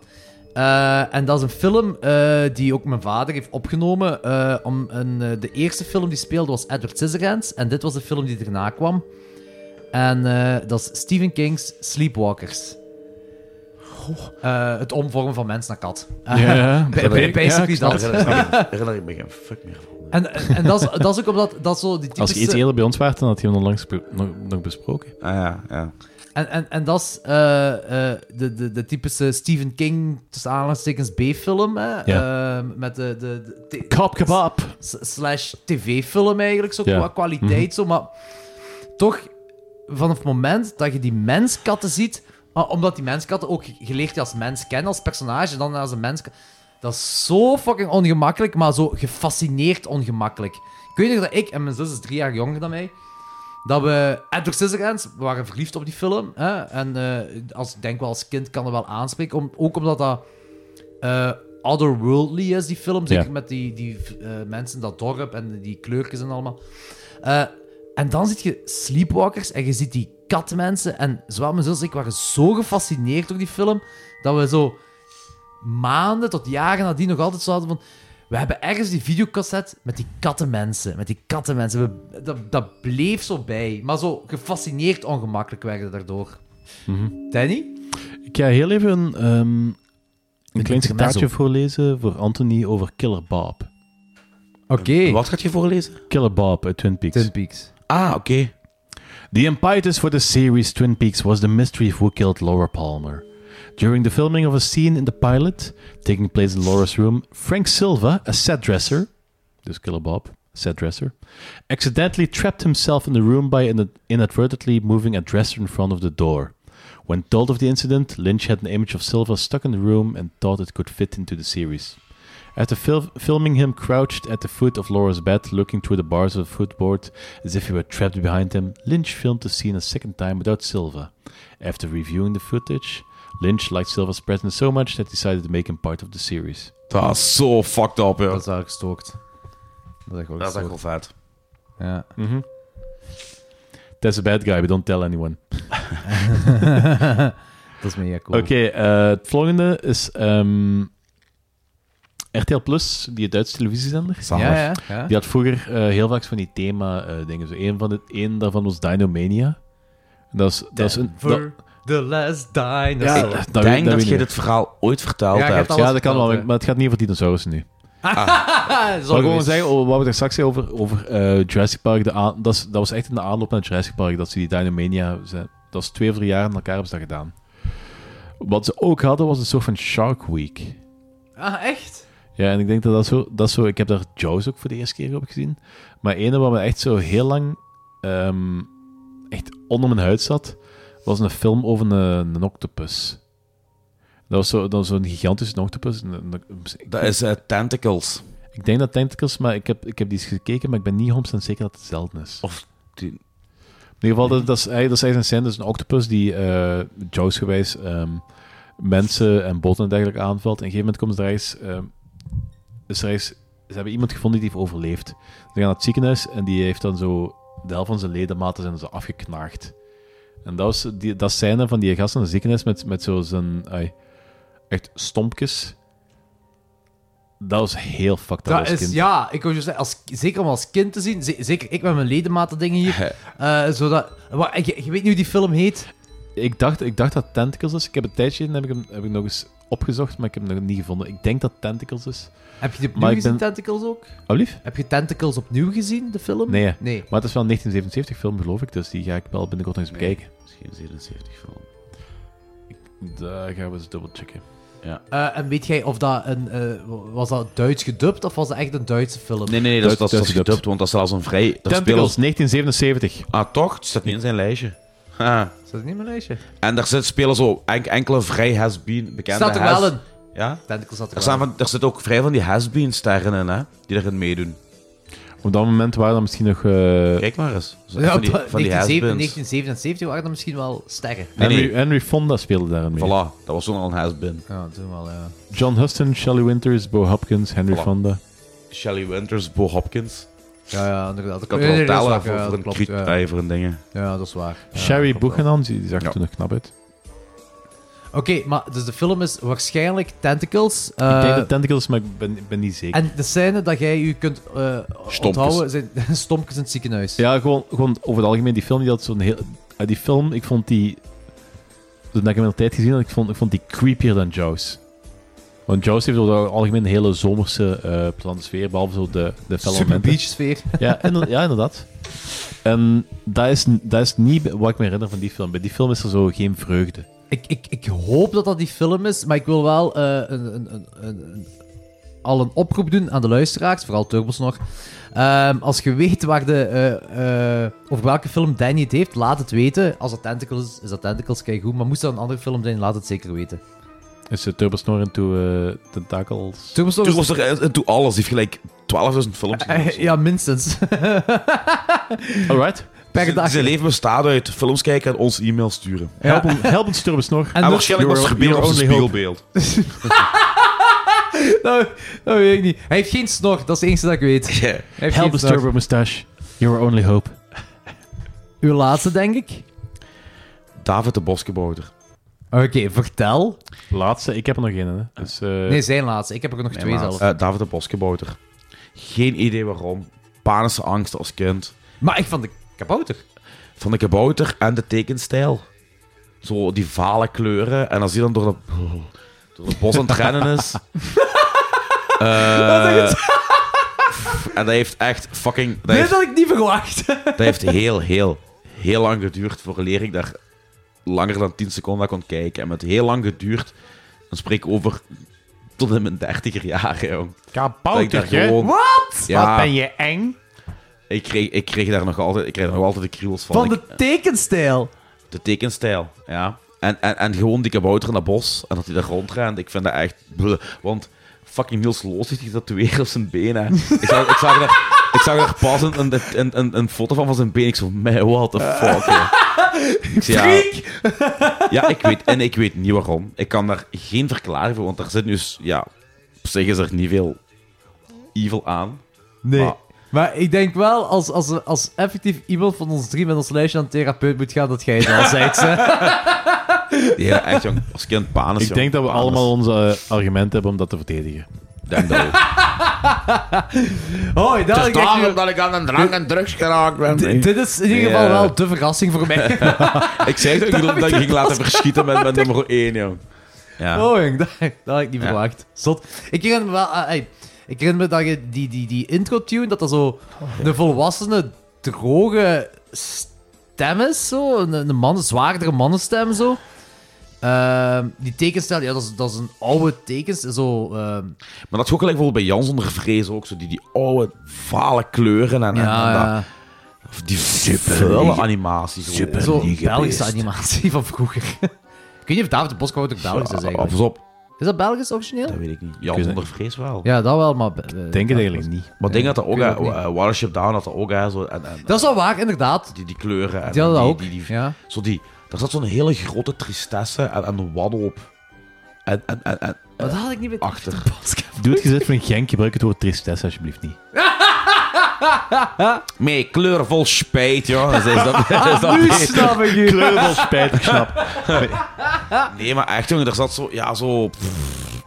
Eh, en dat is een film eh, die ook mijn vader heeft opgenomen. eh, om een, eh, de eerste film die speelde was Edward Scissorhands. En dit was de film die erna kwam. En eh, dat is Stephen King's Sleepwalkers. Eh, het omvormen van mens naar kat. Eh,
Ja,
ba- ba- basically dat.
Herinner- Herinner ik me geen fuck meer van.
En, en dat, is, dat is ook omdat dat is zo die
Als
typische...
je iets eerder bij ons werd, dan had je hem onlangs be- nog, nog besproken.
Ah ja, ja.
En, en, en dat is eh, eh, de, de, de typische Stephen King, tussen aanhalingstekens, B-film. Hè? Eh, met de... de, de te-
Kap kebab.
s- slash tv-film eigenlijk, zo
Ja.
qua kwaliteit. zo, maar toch, vanaf het moment dat je die menskatten ziet... ah, Omdat die menskatten ook... Je leert die als mens kennen, als personage, dan als een mens... Dat is zo fucking ongemakkelijk, maar zo gefascineerd ongemakkelijk. Ik weet nog dat ik, en mijn zus is drie jaar jonger dan mij... Dat we Edward Scissorhands, we waren verliefd op die film. Hè? En eh, als, ik denk wel als kind kan dat wel aanspreken. Om, ook omdat dat eh, otherworldly is, die film. Zeker
Ja.
met die, die eh, mensen in dat dorp en die kleurtjes en allemaal. Eh, En dan zit je Sleepwalkers en je ziet die katmensen. En zowel mijn zus als ik waren zo gefascineerd door die film, dat we zo maanden tot jaren nadien nog altijd zouden van... We hebben ergens die videocassette met die kattenmensen. Met die kattenmensen. We- dat, dat bleef zo bij. Maar zo gefascineerd ongemakkelijk werden daardoor. Danny?
Ik ga heel even ehm, een klein
er net
citaatje
op.
voorlezen voor Anthony over Killer Bob.
Oké.
Wat gaat je voorlezen?
Killer Bob uit Twin Peaks.
Twin Peaks.
Ah, oké.
The impetus for the series Twin Peaks was the mystery of who killed Laura Palmer. During the filming of a scene in the pilot, taking place in Laura's room, Frank Silva, a set dresser, dus Killer Bob, set dresser, accidentally trapped himself in the room by in inadvertently moving a dresser in front of the door. When told of the incident, Lynch had an image of Silva stuck in the room and thought it could fit into the series. After fil- filming him crouched at the foot of Laura's bed, looking through the bars of the footboard as if he were trapped behind him, Lynch filmed the scene a second time without Silva. After reviewing the footage, Lynch liked Silva's presence so much that he decided to make him part of the series.
Dat is zo fucked up, joh.
Dat is wel gestookt. Dat is echt wel
Dat is echt
gestookt.
wel vet.
Ja.
That's a bad guy, but don't tell anyone.
Dat is mega cool.
Oké, eh, het volgende is ehm, RTL Plus, die Duitse televisiezender.
Zalig.
Ja, ja, ja.
Die had vroeger eh, heel vaak van die eh, thema-dingen. Eén van de- één daarvan was Dinomania. En Dat is, dat is een... dat-
For the last
Ja,
dinosaur.
dat
Ik
weet-
denk
dat
dat,
weet
je
ik
dit verhaal ooit verteld
Ja, ik heb
hebt.
dat-
Ja,
Alles
dat kan wel,
verteld, hè.
maar het gaat niet over dinosaurussen nu.
Ja,
Ik wil gewoon zeggen, oh, wat we daar straks zei over, over eh, Jurassic Park, de aan- dat, is- dat was echt in de aanloop naar Jurassic Park, dat ze die Dinomania, ze- dat is twee of drie jaar aan elkaar hebben ze dat gedaan. Wat ze ook hadden, was een soort van Shark Week.
Ah, echt?
Ja, en ik denk dat dat zo, dat zo ik heb daar Jaws ook voor de eerste keer op gezien, maar ene waar me echt zo heel lang ehm, echt onder mijn huid zat, was een film over een, een octopus. Dat was zo- dat was zo'n gigantische octopus. een- een- een-
Dat is eh, Tentacles.
ik denk dat Tentacles, maar ik heb, ik heb die eens gekeken, maar ik ben niet 100% zeker dat het hetzelfde is.
Of die-
In ieder geval, dat, dat, is, eigenlijk- dat is eigenlijk een scène, dus een octopus die eh Jaws gewijs ehm, mensen en botten en dergelijke aanvalt. En op een gegeven moment komt er ergens, ehm, is er ergens- ze hebben iemand gevonden die heeft overleefd. Ze gaan naar het ziekenhuis en die heeft dan zo de helft van zijn ledematen zijn zo afgeknaagd. En dat was die, dat scène van die gast in het ziekenhuis met, met zo zijn ai, echt stompjes. Dat was heel fucked up
Dat
als
is,
kind.
ja, ik wou je zeggen, als, zeker om als kind te zien, ze- zeker ik met mijn ledematen dingen hier,
(laughs)
eh, zodat, maar, je, je weet nu hoe die film heet?
Ik dacht, ik dacht dat Tentacles is. Ik heb een tijdje geleden heb ik hem heb ik nog eens opgezocht, maar ik heb hem nog niet gevonden. Ik denk dat Tentacles is.
Heb je die opnieuw
Maar ik
gezien,
ben-
Tentacles ook?
Oh, lief?
Heb je Tentacles opnieuw gezien, de film?
Nee.
Nee.
Maar het is wel een 1977 film, geloof ik, dus die ga ik wel binnenkort nog eens bekijken.
Misschien 77 film.
Daar gaan we eens dubbelchecken.
Eh, en weet jij of dat een, eh, was dat Duits gedubt of was dat echt een Duitse film?
Nee, nee, nee, dat, is-
Dat-
dat,
dat
is-
is
dat is
gedubt.
gedubt, want dat is zelfs een vrij... Dat
Tentacles, 1977.
Ah, toch? Het staat niet in zijn lijstje. Ha.
Is dat niet in mijn lijstje?
En daar zit, spelen zo en- enkele vrij has-been bekende
Staat er
has-
wel een.
Ja?
Tentacles staat er wel
Er, staan
in.
van, er zitten ook vrij van die has-been-sterren in, hè? Die erin meedoen.
Op dat moment waren er misschien nog... eh,
Kijk maar eens. Zo,
Ja,
van die,
pa-
van die
1977
has-beens.
1977 waren er misschien wel sterren.
Nee,
Henry,
nee.
Henry Fonda speelde daarin mee.
Voilà, dat was toen al een has-been.
Ja, toen wel, ja.
John Huston, Shelley Winters, Bo Hopkins, Henry
Voilà.
Fonda.
Shelley Winters, Bo Hopkins.
Ja, ja, inderdaad.
Ik kan
Nee,
het
nee,
wel
dat is waar,
tellen voor,
ja,
voor
dat
een
klopt,
kriet,
ja.
eh, voor een dingen.
Ja, dat is waar. Ja, dat
Sherry
klopt wel.
Buchanan, die die zag er
Ja.
toen nog knap uit.
Oké, maar dus de film is waarschijnlijk Tentacles. eh,
ik denk dat Tentacles, is, maar ik ben, ik ben niet zeker.
en de scène dat jij je kunt eh onthouden zijn (laughs) stompjes in het ziekenhuis.
Ja, gewoon, gewoon over het algemeen, die film die had zo'n heel... eh, die film, ik vond die... Toen ik hem een tijd gezien had, ik vond, ik vond die creepier dan Jaws. Want Jaws heeft over het algemeen een hele zomerse, eh plante sfeer, behalve zo de, de felle
Super
momenten.
beach sfeer.
Ja, inder- ja, inderdaad. En dat is, dat is niet wat ik me herinner van die film. Bij die film is er zo geen vreugde.
Ik, ik, ik hoop dat dat die film is, maar ik wil wel eh, een, een, een, een, een- al een oproep doen aan de luisteraars, vooral Turbos nog. Ehm, als je weet waar de, eh, eh, over welke film Danny het heeft, laat het weten. Als dat Tentacles is, is dat Tentacles, kijk goed. Maar moest dat een andere film zijn, laat het zeker weten.
Is de Turbosnor en toe eh, tentakels...
Turbos nog
Toen
eens-
was er en toen alles. Die heeft gelijk 12.000 films gezien.
Eh, ja, minstens.
Alright.
(laughs) per dag.
Zijn leven bestaat uit films kijken en ons e-mail sturen.
(laughs)
Help, ons- help ons Turbosnor.
En
En,
nog-
waarschijnlijk was
Your-
het gebeurd op
your
zijn
only hope.
spiegelbeeld.
Nou, dat weet ik niet. Hij heeft geen snor, dat is het enige dat ik weet. Hij heeft
Help
geen
us
snor.
Turbo Moustache. You're our only hope.
Uw laatste, denk ik.
David de Boskebouter.
Oké, vertel.
Laatste, ik heb er nog één. Hè. Dus, eh,
Nee, zijn laatste. Ik heb er nog
Nee,
twee
maar,
zelf.
eh, David de Boskebouter. Geen idee waarom. Panische angst als kind.
maar ik van de kabouter.
Van de kabouter en de tekenstijl. Zo die vale kleuren. En als hij dan door de, door de bos aan het rennen (laughs) is. Eh, en dat heeft echt fucking... Dat
Dit
heeft,
had ik niet verwacht. (laughs)
dat heeft heel, heel, heel lang geduurd vooraleer ik daar langer dan 10 seconden naar kon kijken. En met heel lang geduurd, dan spreek ik over tot in mijn dertiger jaren, jong.
kaboutertje?
Dat ik daar gewoon-
Wat?
Ja,
je eng?
ik kreeg, ik kreeg daar nog altijd, ik kreeg er nog altijd de kriebels van.
Van
Ik-
de tekenstijl.
De tekenstijl, ja. En, en, en gewoon die kabouter in dat bos en dat hij daar rondrent. Ik vind dat echt... bleh. want fucking Niels Loos heeft die tatoeëer op zijn benen. Ik zag, ik zag, daar, ik zag daar pas een, een, een, een, een foto van van zijn been. Ik zo, man, what the fuck, joh." Ik zei, ja,
Freak!
ja, ik weet. En ik weet niet waarom. Ik kan daar geen verklaring voor, want daar zit nu... s- Ja, op zich is er niet veel evil aan.
Nee.
Maar-
Maar ik denk wel, als, als, als effectief iemand van ons drie met ons lijstje aan een therapeut moet gaan, dat jij het wel zegt.
(laughs)
hè.
Ja, echt, jong. Als kind panis,
Ik
jong.
denk dat we
Panis.
allemaal onze eh, argumenten hebben om dat te verdedigen.
Ik denk dat ook.
Hoi, dat had ik echt niet-
dat ik aan een drank en drugs geraakt ben.
Dit- Dit is in ieder geval
Ja.
wel de verrassing voor
(laughs)
mij.
Ik zei het ook niet dat ik ging laten verschieten met, met nummer 1, jong. Ja.
Oh, jong, dat, dat had ik niet
Ja.
verwacht. Zot. Ik herinner me wel... eh, ey, ik herinner me dat je die, die, die intro-tune, dat dat zo een volwassene, droge stem is. Zo. Een, een man, een zwaardere mannenstem, zo. Ehm, die tekenstel, ja, dat is, dat is een oude tekens. Zo, ehm,
Maar dat is ook gelijk bijvoorbeeld bij Jans onder vrees ook. Zo die, die oude, vale kleuren en, en- en dat-
ja,
of die vuile animaties. Super.
zo Belgische animatie van vroeger. (laughs) ik weet niet of David de Boskoud ook Belgisch is eigenlijk.
Pas op,
Is dat Belgisch origineel?
dat weet ik niet.
Ik
Jans
weet
onder vrees wel.
Ja, dat wel, maar... eh,
Ik denk het eigenlijk niet.
Maar ik denk dat dat ook,
ik weet het
eh, eh, Watership Down had dat ook, hè, zo, en, en,
Dat is wel waar, inderdaad.
die, die kleuren. En
Die hadden dat ook.
Die, die-
ja.
zo die, daar zat zo'n hele grote tristesse en, en een waddel op. En, en, en, en
Maar dat had ik niet met
achter.
Doe het gezet van een genk, gebruik het woord tristesse alsjeblieft niet.
Nee, kleurvol spijt, joh. Dat is dat, dat is dat
Nu snap ik je.
Kleurbel spijt, ik snap.
Nee, maar echt, jongen, er zat zo... Ja, zo... pff,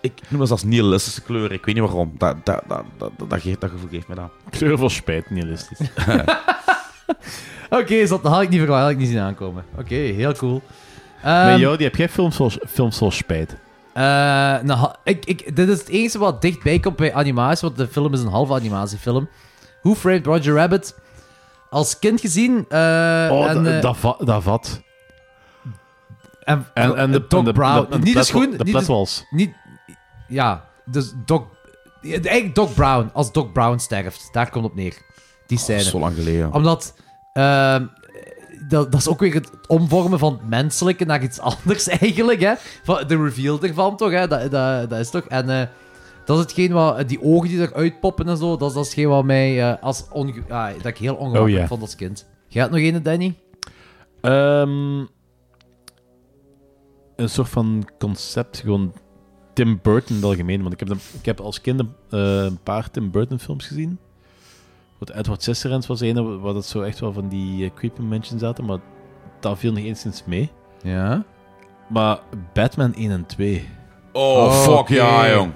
ik noem dat zelfs nihilistische kleuren. Ik weet niet waarom. Dat, dat, dat, dat, dat, dat, geeft- dat gevoel geeft me dat.
Kleurbel spijt, nihilistisch.
Oké, zot, dat had ik niet verwacht, had ik niet zien aankomen. Oké, heel cool. Ehm,
Met jou, die heb jij films zoals, films zoals spijt.
eh, nou, ha- ik, ik, dit is het enige wat dichtbij komt bij animatie, want de film is een halve animatiefilm. Who Framed Roger Rabbit? Als kind gezien. eh,
Oh,
en,
da-
eh,
dat va- dat vat.
en,
En, en de,
Doc
en de-
Brown.
de- en
niet de
plet-
schoen.
De
niet de-
pletwals.
niet, ja, dus Doc. Eigenlijk Doc Brown. Als Doc Brown sterft, daar komt op neer. Die
Dat
Oh,
scène.
is zo lang geleden.
Omdat ehm, dat, dat is ook weer het omvormen van het menselijke naar iets anders (laughs) eigenlijk. Hè? Van, de reveal ervan toch, hè? Dat, dat, dat is toch. En eh, dat is hetgeen wat, die ogen die eruit poppen en zo, dat is, dat is hetgeen wat mij eh, als onge- ah, dat ik heel ongemakkelijk
Oh, ja.
vond als kind. Jij had nog een, Danny?
Ehm, een soort van concept, gewoon Tim Burton in het algemeen. Want ik heb, dan- ik heb als kind een, eh, een paar Tim Burton films gezien. Wat Edward Scissorhands was een, waar dat zo echt wel van die eh, creepy mensen zaten. Maar dat viel niet eens mee.
Ja.
Maar Batman 1 en 2.
Oh,
fuck ja, jong.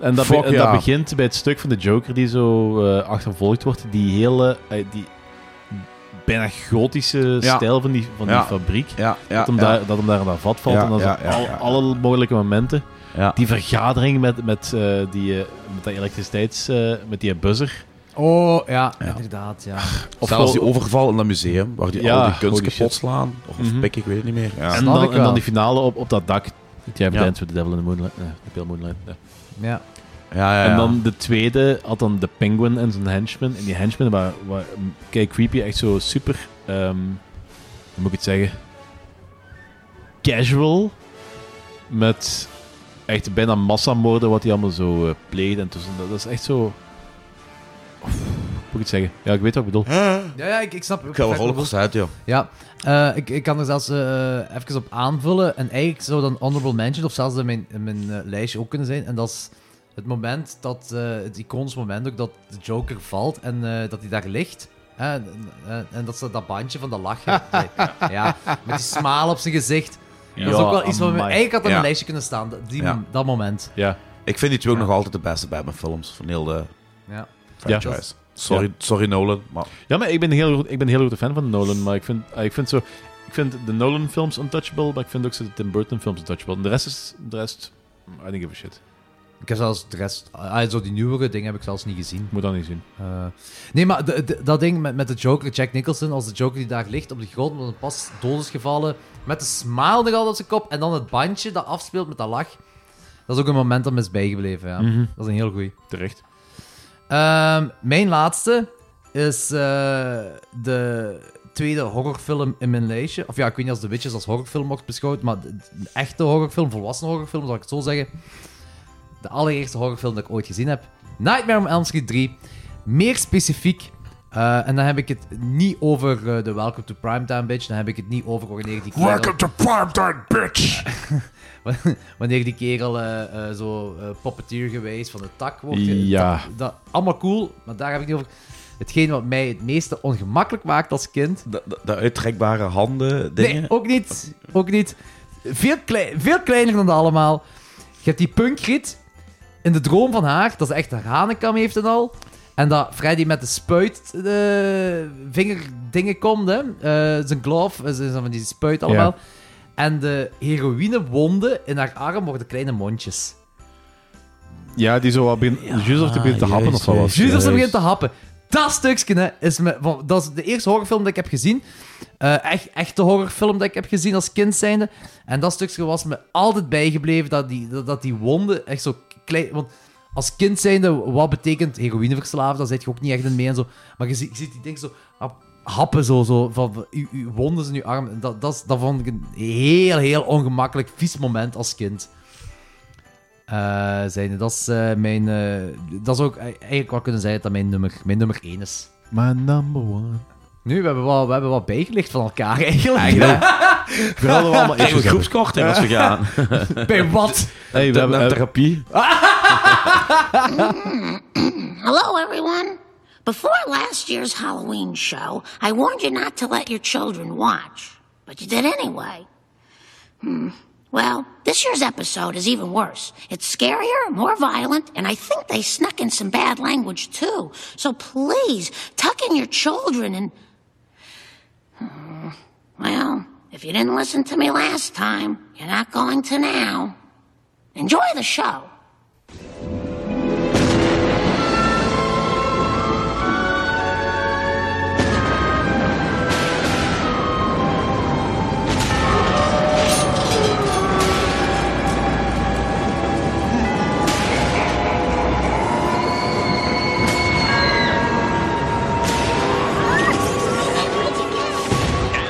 En dat, be-
Fuck
en
ja.
dat begint bij het stuk van de Joker die zo eh, achtervolgd wordt. Die hele, eh, die bijna gotische
Ja.
stijl van die, van
Ja.
die fabriek.
Ja, ja,
dat, hem
ja.
Daar, dat hem daar in dat vat valt.
Ja,
en dan
ja,
zo
ja,
al-
ja.
alle mogelijke momenten.
Ja.
Die vergadering met, met, eh, die, eh, met dat elektriciteits... eh, met die buzzer.
Oh, ja, inderdaad, ja.
Of
Zelfs die
gewoon-
overval in dat museum, waar die
Ja,
al die kunst
holy
kapot slaan. Of
Mhm.
pik, ik weet het niet meer. Ja.
en,
Snap ik
dan, en
wel.
dan die finale op, op dat dak. Die hebben
Ja.
Dance with the Devil in the Moonlight. Nee, the Pale Moonlight. nee.
ja.
Ja, Ah, ja, ja.
En dan de tweede had dan de Penguin en zijn henchmen. En die henchmen waren, waren kijk creepy, echt zo super. ehm, hoe moet ik het zeggen? Casual. Met echt bijna massamoorden wat die allemaal zo eh pleegden. En tussen, dat, dat is echt zo. Oef, hoe moet ik het zeggen? Ja, ik weet wat ik bedoel.
Ja, ja, ik, ik snap
Ik ga wel rollen uit, joh.
Ja, eh, ik, ik kan er zelfs eh, even op aanvullen. En eigenlijk zou dan honorable mention, of zelfs in mijn, in mijn eh, lijstje ook kunnen zijn. En dat is het moment dat, eh, het iconisch moment ook, dat de Joker valt en eh, dat hij daar ligt. En, en, en dat ze dat bandje van de lach heeft. Nee, ja, met die smaal op zijn gezicht. dat is
Ja,
ook wel iets wat we
amai.
eigenlijk had op
Ja.
een lijstje kunnen staan. dat- Die,
Ja.
Dat moment.
Ja.
Ik vind die twee ook nog altijd de beste Batman-films van heel de
Ja.
franchise.
Ja.
Sorry,
Ja.
sorry Nolan, maar
Ja, maar ik ben een heel, groot- ik ben een heel grote fan van Nolan, maar ik vind, ah, ik vind, zo, ik vind de Nolan-films untouchable, maar ik vind ook zo de Tim Burton-films untouchable. En de rest is... De rest... I don't give a shit.
Ik heb zelfs de rest... ah, zo die nieuwere dingen heb ik zelfs niet gezien.
Moet dat niet zien.
Eh, nee, maar de- de- dat ding met, met de Joker, Jack Nicholson, als de Joker die daar ligt op de grond, omdat hij pas dood is gevallen, met de smile nog altijd op zijn kop, en dan het bandje dat afspeelt met dat lach. Dat is ook een moment dat me is bijgebleven, ja.
Mhm.
Dat is een heel goeie.
Terecht.
Ehm, mijn laatste is eh, de tweede horrorfilm in mijn lijstje. Of ja, ik weet niet als The Witches als horrorfilm wordt beschouwd, maar de, de echte horrorfilm, volwassen horrorfilm, zal ik het zo zeggen. De allereerste horrorfilm dat ik ooit gezien heb. Nightmare on Elm Street 3. Meer specifiek, eh, en dan heb ik het niet over eh, de Welcome to Primetime bitch, dan heb ik het niet over wanneer die kerel...
Welcome to Primetime, bitch!
(laughs) wanneer die kerel eh, eh, zo eh, puppeteer geweest van de tak wordt. ge-
Ja.
Dat, dat- allemaal cool, maar daar heb ik niet over. Hetgeen wat mij het meeste ongemakkelijk maakt als kind.
de, de, de uittrekbare handen, dingen.
Nee, Oh. ook niet. Ook niet. Veel, klei- veel kleiner dan dat allemaal. Je hebt die punkrit in de droom van haar, dat ze echt een hanenkam heeft en al. En dat Freddy met de spuit eh, vingerdingen komt, hè. Eh, zijn glove, eh, zijn van die spuit allemaal. En de heroïnewonden in haar arm worden kleine mondjes.
Ja, die zo wat begint... juist of die
Ah,
begint te happen of zo. was.
Juist als ze begint te happen. Dat stukje hè, is, me, van- dat is de eerste horrorfilm dat ik heb gezien. Eh echt, echte horrorfilm dat ik heb gezien als kind zijnde. En dat stukje was me altijd bijgebleven. Dat die, dat, dat die wonden echt zo klein... Want als kind zijnde, wat betekent heroïne verslaafd? Daar zit je ook niet echt in mee en zo. Maar je ziet, je ziet die dingen zo hap- happen zo. zo van, van uw, uw wonden in uw arm. En Dat, dat, is- dat vond ik een heel, heel ongemakkelijk, vies moment als kind. Eh, zijnde. Dat is eh, mijn. eh, dat is ook eh, eigenlijk wel kunnen zeggen dat mijn nummer, mijn nummer 1 is.
My number one.
Nu, we hebben wel, we hebben wat bijgelicht van elkaar eigenlijk.
We hadden wel allemaal
Even
issues hebben.
groepskorting als we gaan.
(laughs) Bij wat?
Hey, we
De,
hebben...
naar therapie.
Hello, everyone. Before last year's Halloween show, I warned you not to let your children watch, but you did anyway. Hmm. Well, this year's episode is even worse. It's scarier, more violent, and I think they snuck in some bad language too. So please, tuck in your children and. Hmm. Well, if you didn't listen to me last time, you're not going to now. Enjoy the show.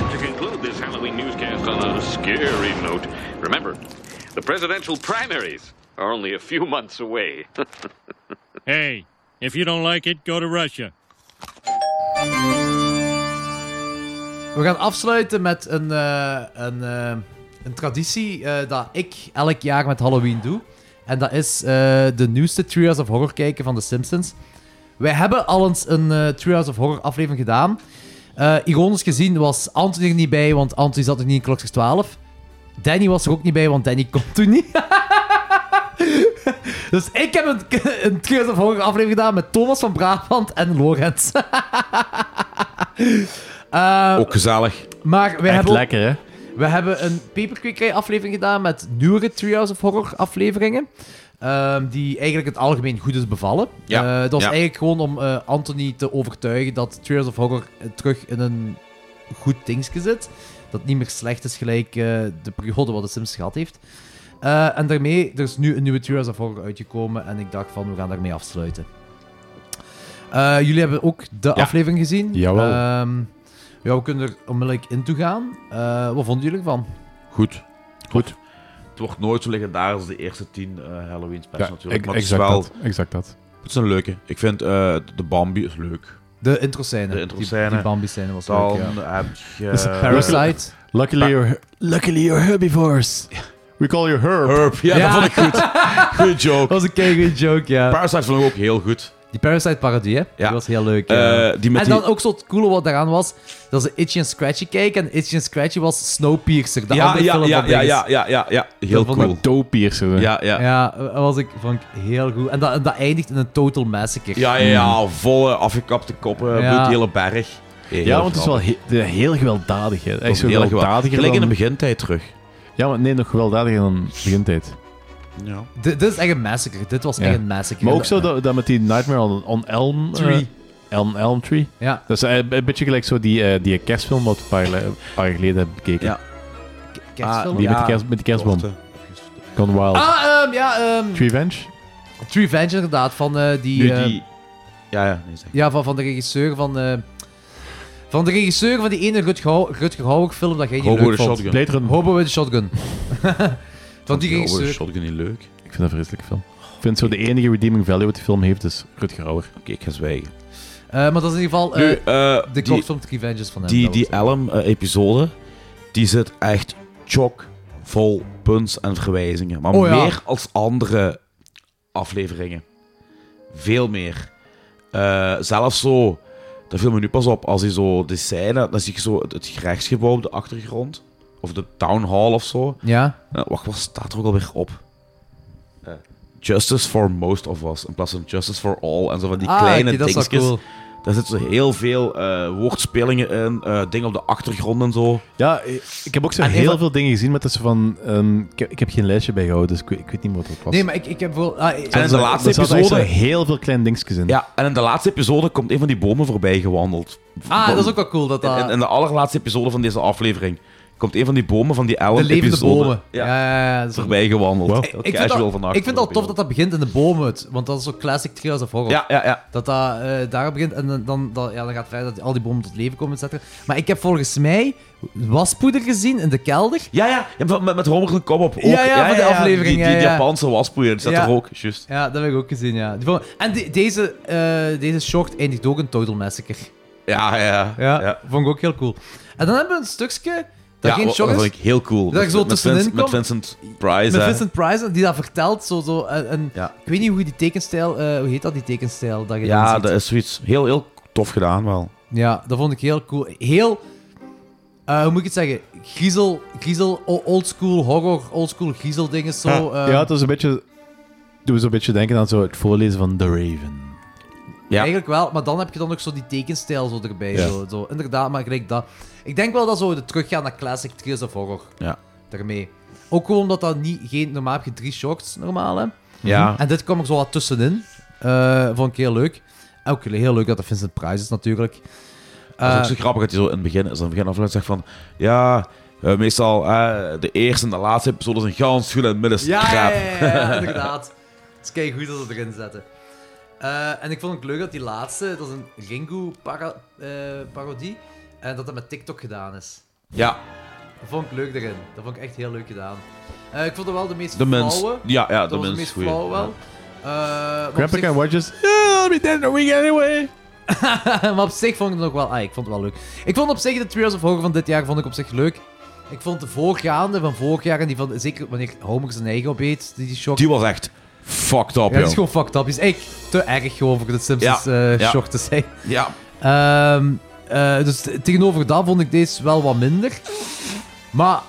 And to conclude this Halloween newscast on a scary note, remember, the presidential primaries are only a few months away. (laughs)
Hey, if you don't like it, go to Russia.
We gaan afsluiten met een, eh, een, eh, een traditie eh, dat ik elk jaar met Halloween doe. En dat is eh, de nieuwste Trials of Horror kijken van The Simpsons. Wij hebben al eens een eh Trials of Horror aflevering gedaan. Eh, ironisch gezien was Anthony er niet bij, want Anthony zat nog niet in klokjes 12. Danny was er ook niet bij, want Danny komt toen niet. (laughs) dus ik heb een, een Trials of Horror aflevering gedaan met Thomas van Brabant en Lorenz. (laughs) Eh,
Ook gezellig.
maar we
Echt
hebben, ook-
lekker, hè?
we hebben een Paperquick aflevering gedaan met nieuwere Trials of Horror afleveringen. ehm, die eigenlijk het algemeen goed is bevallen.
Ja,
Eh, dat was
ja.
eigenlijk gewoon om eh, Anthony te overtuigen dat Trials of Horror eh, terug in een goed dingetje zit. Dat het niet meer slecht is gelijk eh, de periode wat de Sims gehad heeft. Eh, en daarmee, er is nu een nieuwe Trials of Horror uitgekomen en ik dacht van, we gaan daarmee afsluiten. Eh, jullie hebben ook de aflevering gezien.
Jawel.
Ehm, ja, we kunnen er onmiddellijk in toe gaan. Eh, wat vonden jullie ervan?
Goed. Goed.
Het wordt nooit zo legendarisch als de eerste tien eh, Halloween specials
Ja,
natuurlijk.
ik-
maar het is
exact
wel...
dat. Exact dat.
Het is een leuke. Ik vind eh, de Bambi is leuk.
De introscène.
De introscène.
Die, die Bambi-scène was
Dan eh,
leuk, ja.
heb je...
Dus
Parasite.
Luckily you're, luckily you're herbivores. We call you herb.
Herb. Ja,
Ja. (laughs)
(laughs) dat vond ik goed. Goeie joke.
Dat was een keigoed joke, ja.
Parasite vond ik ook heel goed.
Die Parasite-parodie, hè? Die was heel leuk. ja.
Eh, die met
en dan
die-
ook zo het coole wat daaraan was, dat ze Itchy en Scratchy keken. En Itchy en Scratchy was Snowpiercer, de
Ja,
andere
ja,
film
ja,
van
ja,
Dinges.
ja, ja, ja, ja. Heel
Dat vond ik-
cool.
Toepiercer.
Ja, ja.
Ja, dat was ik, vond ik heel goed. En dat, en dat eindigt in een total massacre.
Ja, ja, ja, volle afgekapte koppen,
Hmm. Ja.
bloed, hele berg. Heel
ja, want het is wel
grappig.
he- de- heel gewelddadig. Hè.
Dat is
Echt zo
heel geweld-
gewelddadiger
Gelijk in
dan-
de begintijd terug.
Ja, maar nee, nog gewelddadiger dan begintijd.
Ja.
Dit, dit is echt een massacre. Dit was echt een massacre.
Maar ook zo dat, dat met die Nightmare on, on Elm... eh,
Tree.
Elm, Elm Tree.
Ja.
Dat is eh, een beetje gelijk zo die, eh, die kerstfilm wat we een paar, le- een paar jaar geleden hebben bekeken.
Ja.
Kerstfilm?
die met,
Ja.
de kerst, met die kerstboom. Gone Wild.
Ah, ehm, ja, ehm
Tree Revenge?
True Revenge inderdaad, van eh, die...
Nu
eh,
die... Ja, ja, nee, zeg.
Ja, van, van de regisseur van... eh, van de regisseur van die ene Rutger Hau- Rutger Hauer film dat jij niet
Hobo
leuk
with a
vond.
Shotgun. Blade
Hobo with a Shotgun. (laughs) van die
Oh,
regisseur.
is Shotgun niet leuk? Oké,
Ik vind dat vreselijk film. Ik vind zo de enige redeeming value wat die film heeft is Rutger Hauer.
ik ga zwijgen.
Eh, maar dat is in ieder geval eh,
Nu, eh,
de
die-
kortfilm True Revenges van hem.
Die,
dat
die Elm-episode, die zit echt chock vol punts en verwijzingen. Maar
Oh ja.
meer als andere afleveringen. Veel meer. Eh, zelfs zo, dat viel me nu pas op, als hij zo de scène, dan zie je zo het, het gerechtsgebouw op de achtergrond. Of de town hall of zo.
Ja.
Eh, wacht, wat staat er ook alweer op? Eh, justice for most of us, in plaats van justice for all. En zo van die
Ah,
kleine
oké, dat is wel
dingetjes.
cool.
Daar zitten zo heel veel eh, woordspelingen in, eh, dingen op de achtergrond en zo.
Ja, ik heb ook zo
En
heel
even-
veel dingen gezien, maar dat is van... ehm, ik, heb, ik heb geen lijstje bijgehouden, dus ik, weet- ik weet niet meer wat dat was. Dus
Nee, maar ik, ik heb wel... ah, eh,
En in de laatste
Er zaten echt zo
episode...
heel veel kleine dingetjes in.
Ja, en in de laatste episode komt een van die bomen voorbij gewandeld.
Ah, dat is ook wel cool. Dat, dat,
In, in de allerlaatste episode van deze aflevering komt een van die bomen van die elf
de levende
episode
bomen. Ja, ja, ja, dat is-
voorbij gewandeld. Heel
Ik vind,
casual
dat,
vannacht.
ik vind het al tof dat dat begint in de bomen, het- want dat is zo classic Trials of Horror.
Ja, ja, ja.
Dat dat eh, daar begint en dan, dan, dan- ja, dan gaat verder dat al die bomen tot leven komen, et cetera. Maar ik heb volgens mij waspoeder gezien in de kelder.
Ja, ja, ja, van- met, met Homer een kop op. Ook,
Ja, ja, van de aflevering,
Die, die,
ja, ja.
Japanse waspoeier, die zat
Ja.
er ook, juist.
Ja, dat heb ik ook gezien, ja. Die vond- En die- deze, eh, deze short eindigt ook in Total Massacre.
Ja, ja,
Ja, vond ik ook heel cool. En dan hebben we een stukje dat
Ja,
geen
wa-
shock
dat
is.
vond ik heel cool.
Dat ik zo
met,
tussenin
Vincent, met
kom.
Vincent Price.
Met
hè.
Vincent Price, die dat vertelt. Zo, zo, en, en
Ja.
Ik weet niet hoe die tekenstijl... eh, hoe heet dat, die tekenstijl? Dat je dan
Ja,
ziet?
dat is zoiets heel, heel tof gedaan wel.
Ja, dat vond ik heel cool. Heel, eh, hoe moet ik het zeggen? Griezel, griezel o- oldschool horror, oldschool griezel dingen zo.
ja,
eh,
ja, het was een beetje... Doe zo'n beetje denken aan zo het voorlezen van The Raven.
Eigenlijk wel, maar dan heb je dan ook zo die tekenstijl zo erbij.
Ja.
Zo, zo. Inderdaad, maar gelijk dat. Ik denk wel dat zo de teruggaan naar classic Tales of Horror.
Ja.
Daarmee. Ook gewoon omdat dat niet, geen, normaal heb je drie shorts, normaal hè.
Ja.
Mhm. En dit kwam er zo wat tussenin. Eh vond ik heel leuk. En ook heel leuk dat de Vincent Price is natuurlijk.
Dat is ook
Eh,
zo grappig dat je zo in het begin, als aan het begin aflevering zegt van... Ja, eh, meestal eh, de eerste en de laatste episode is een gans goed en midden is
Ja, ja,
crap.
ja, ja, (laughs) ja, inderdaad. Het is kei goed dat ze erin zetten. Eh, en ik vond het leuk dat die laatste, dat is een Ringu-parodie, en eh, dat dat met TikTok gedaan is.
(laughs) Ja,
Dat vond ik leuk erin. Dat vond ik echt heel leuk gedaan. Eh, ik vond het wel de meest
de mens.
flauwe.
Ja, ja,
dat
de
was de
mens.
meest
goeie.
flauwe wel. Eh, maar op
Grandpa
zich-
can watch us. Yeah, I'll be dead in a week anyway.
(laughs) maar op zich vond ik het ook wel... Ah, ik vond het wel leuk. Ik vond op zich de Trials of Horror van dit jaar vond ik op zich leuk. Ik vond de voorgaande van vorig jaar, en die van, zeker wanneer Homer zijn eigen opeet, die, die shock...
Die was echt fucked up,
Ja,
joh.
het is gewoon fucked up. Het is echt te erg gewoon voor de Simpsons
Ja,
eh,
ja.
short te zijn.
Ja.
Ehm, eh, dus t- tegenover dat vond ik deze wel wat minder. Maar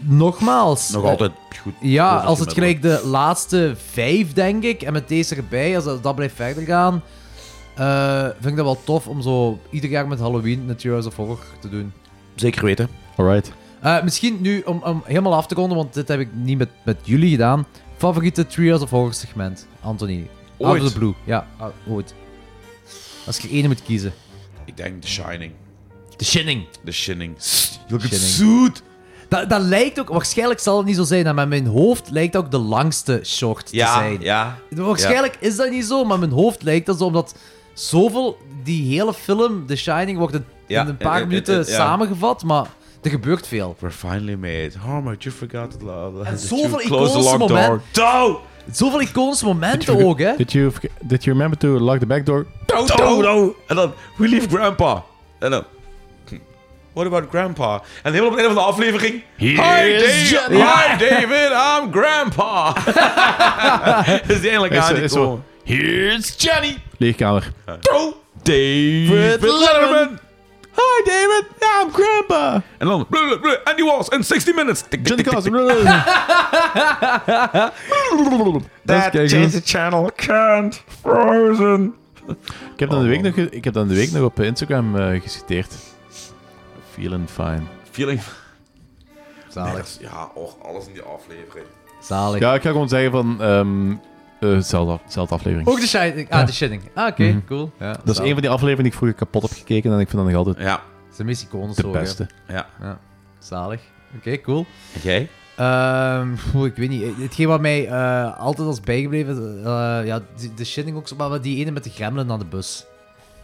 nogmaals...
Nog
eh,
altijd goed.
ja,
boven
als het
gemiddelde.
gelijk de laatste vijf, denk ik, en met deze erbij, als dat, dat blijft verder gaan, eh, vind ik dat wel tof om zo ieder jaar met Halloween een Trials of Horror te doen.
Zeker weten.
Alright.
Eh, misschien nu, om, om helemaal af te ronden, want dit heb ik niet met, met jullie gedaan, favoriete Trials of Horror segment, Anthony. Out
Ooit?
of the blue. Ja, ah, ooit. Als je er ene moet kiezen.
Ik denk The Shining.
The Shining.
The Shining. You look
Shining.
zoet.
Dat, dat lijkt ook, waarschijnlijk zal het niet zo zijn, maar met mijn hoofd lijkt ook de langste short te
Ja,
zijn.
ja.
Waarschijnlijk is dat niet zo, maar mijn hoofd lijkt dat zo, omdat zoveel, die hele film, The Shining, wordt in,
Ja,
in een paar
eh, eh,
minuten
eh, eh, ja.
samengevat, maar er gebeurt veel.
We're finally made. Harmony, you forgot it love.
En
Did
zoveel
you close
iconische
the locked door?
momenten.
Doe!
Zoveel iconische
(laughs)
momenten ook, hè?
Did you, forget- did you remember to lock the back door?
Doe, doe, doe. En dan, we leave grandpa. En dan, hm, what about grandpa? En helemaal op het einde van de aflevering. Hi,
is
Dave.
Jen-
(laughs) Hi David, I'm grandpa. is die eindelijk
Is zo- is zo-
aangekomen.
Here's Johnny. Leegkamer.
Go, David Letterman.
Hi, David. I'm Grandpa.
En dan... blah, blah, blah, Andy Walls in 60 minutes. Tik, tik, tik,
(laughs)
tik,
That change the
channel can't frozen.
Ik heb, dan de week nog, ge- ik heb dan de week nog op Instagram eh, geciteerd. Feeling fine.
Feeling
Zalig.
ja, och, alles in die aflevering.
Zalig.
Ja, ik ga gewoon zeggen van... ehm eh, Zelfde af- zelfde aflevering.
Ook de shining. Ah, de shitting. Ah, oké,
Mhm.
cool. Ja,
dat is een van die afleveringen die ik vroeger kapot heb gekeken en ik vind dat nog altijd
Ja.
Ze meest iconen
de beste.
Ja.
ja. Zalig. Oké, cool.
En jij?
Ehm, poeh, ik weet niet. Hetgeen wat mij eh, altijd als bijgebleven... eh, ja, de, de shitting ook zo, maar die ene met de gremlin aan de bus.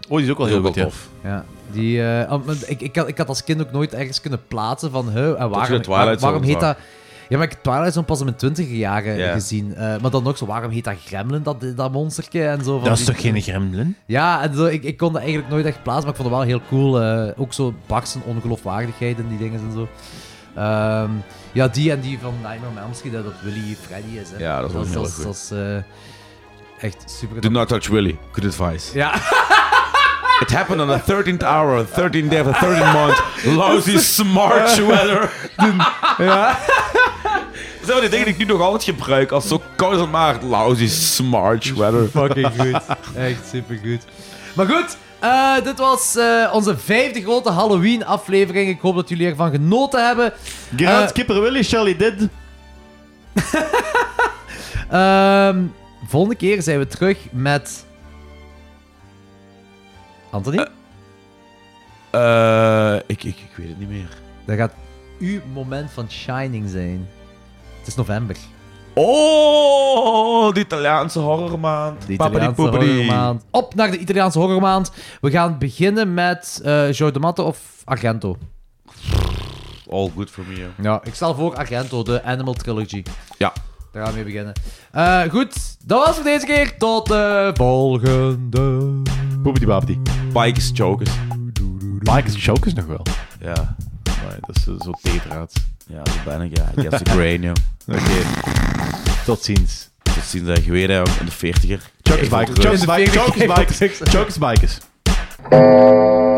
Oh, die is ook wel
Die
heel
is ook
goed,
wel
ja.
tof.
Ja, die, eh, ah, maar ik, ik, had, ik had als kind ook nooit ergens kunnen plaatsen van... Huh, en
je
waarom,
de Twilight
waar- waarom
Zone
heet
zag.
dat... Ja, maar ik heb Twilight Zone pas in mijn twintiger jaren
Ja.
gezien. Eh, maar dan nog zo, waarom heet dat gremlin, dat, dat monsterke en zo. Van
Dat is
die-
toch geen gremlin?
Ja, en zo, ik, ik kon dat eigenlijk nooit echt plaatsen, maar ik vond het wel heel cool. eh, ook zo Baks en ongeloofwaardigheid en die dingen en zo. Ehm, ja, die en die van Nightmare on Elm Street, dat dat Willy Freddy is. Hè.
Ja, dat is wel heel
dat
goed.
Dat is eh, echt super.
Do not touch Willy. Good advice.
Ja.
It happened on the 13th hour, 13th day of the 13th month. (laughs) Lousy smart weather.
ja.
(laughs) Dat zijn wel die dingen die ik nu nog altijd gebruik. Als het zo koud is het maar. Lousy smart weather.
Fucking goed. Echt super goed. Maar goed, eh, dit was eh, onze vijfde grote Halloween-aflevering. Ik hoop dat jullie ervan genoten hebben.
Gerard
Eh,
Kipper Willy Charlie did.
Ehm, volgende keer zijn we terug met. Anthony?
Eh, ik, ik, ik weet het niet meer.
dat gaat uw moment van Shining zijn. Het is november.
Oh, die Italiaanse horrormaand.
De Italiaanse horrormaand. Op naar de Italiaanse horrormaand. We gaan beginnen met eh Joe D'Amato of Argento.
All good for me. joh.
Ja, ik stel voor Argento, de Animal Trilogy.
Ja.
Daar gaan we mee beginnen. Eh, goed, dat was het voor deze keer. Tot de volgende.
Boepity babity.
Bikes, chokers.
Bikes chokers nog wel.
Ja.
Maar dat is eh, zo theedraad.
Ja, dat ben ik. Ja. Ik heb ze grain, joh.
Oké. Tot ziens.
Tot ziens, dat je weer hè, in de 40er.
Chokers bikers. Chokers bikers. Chokers bikers. Chokers bikers.
bikers.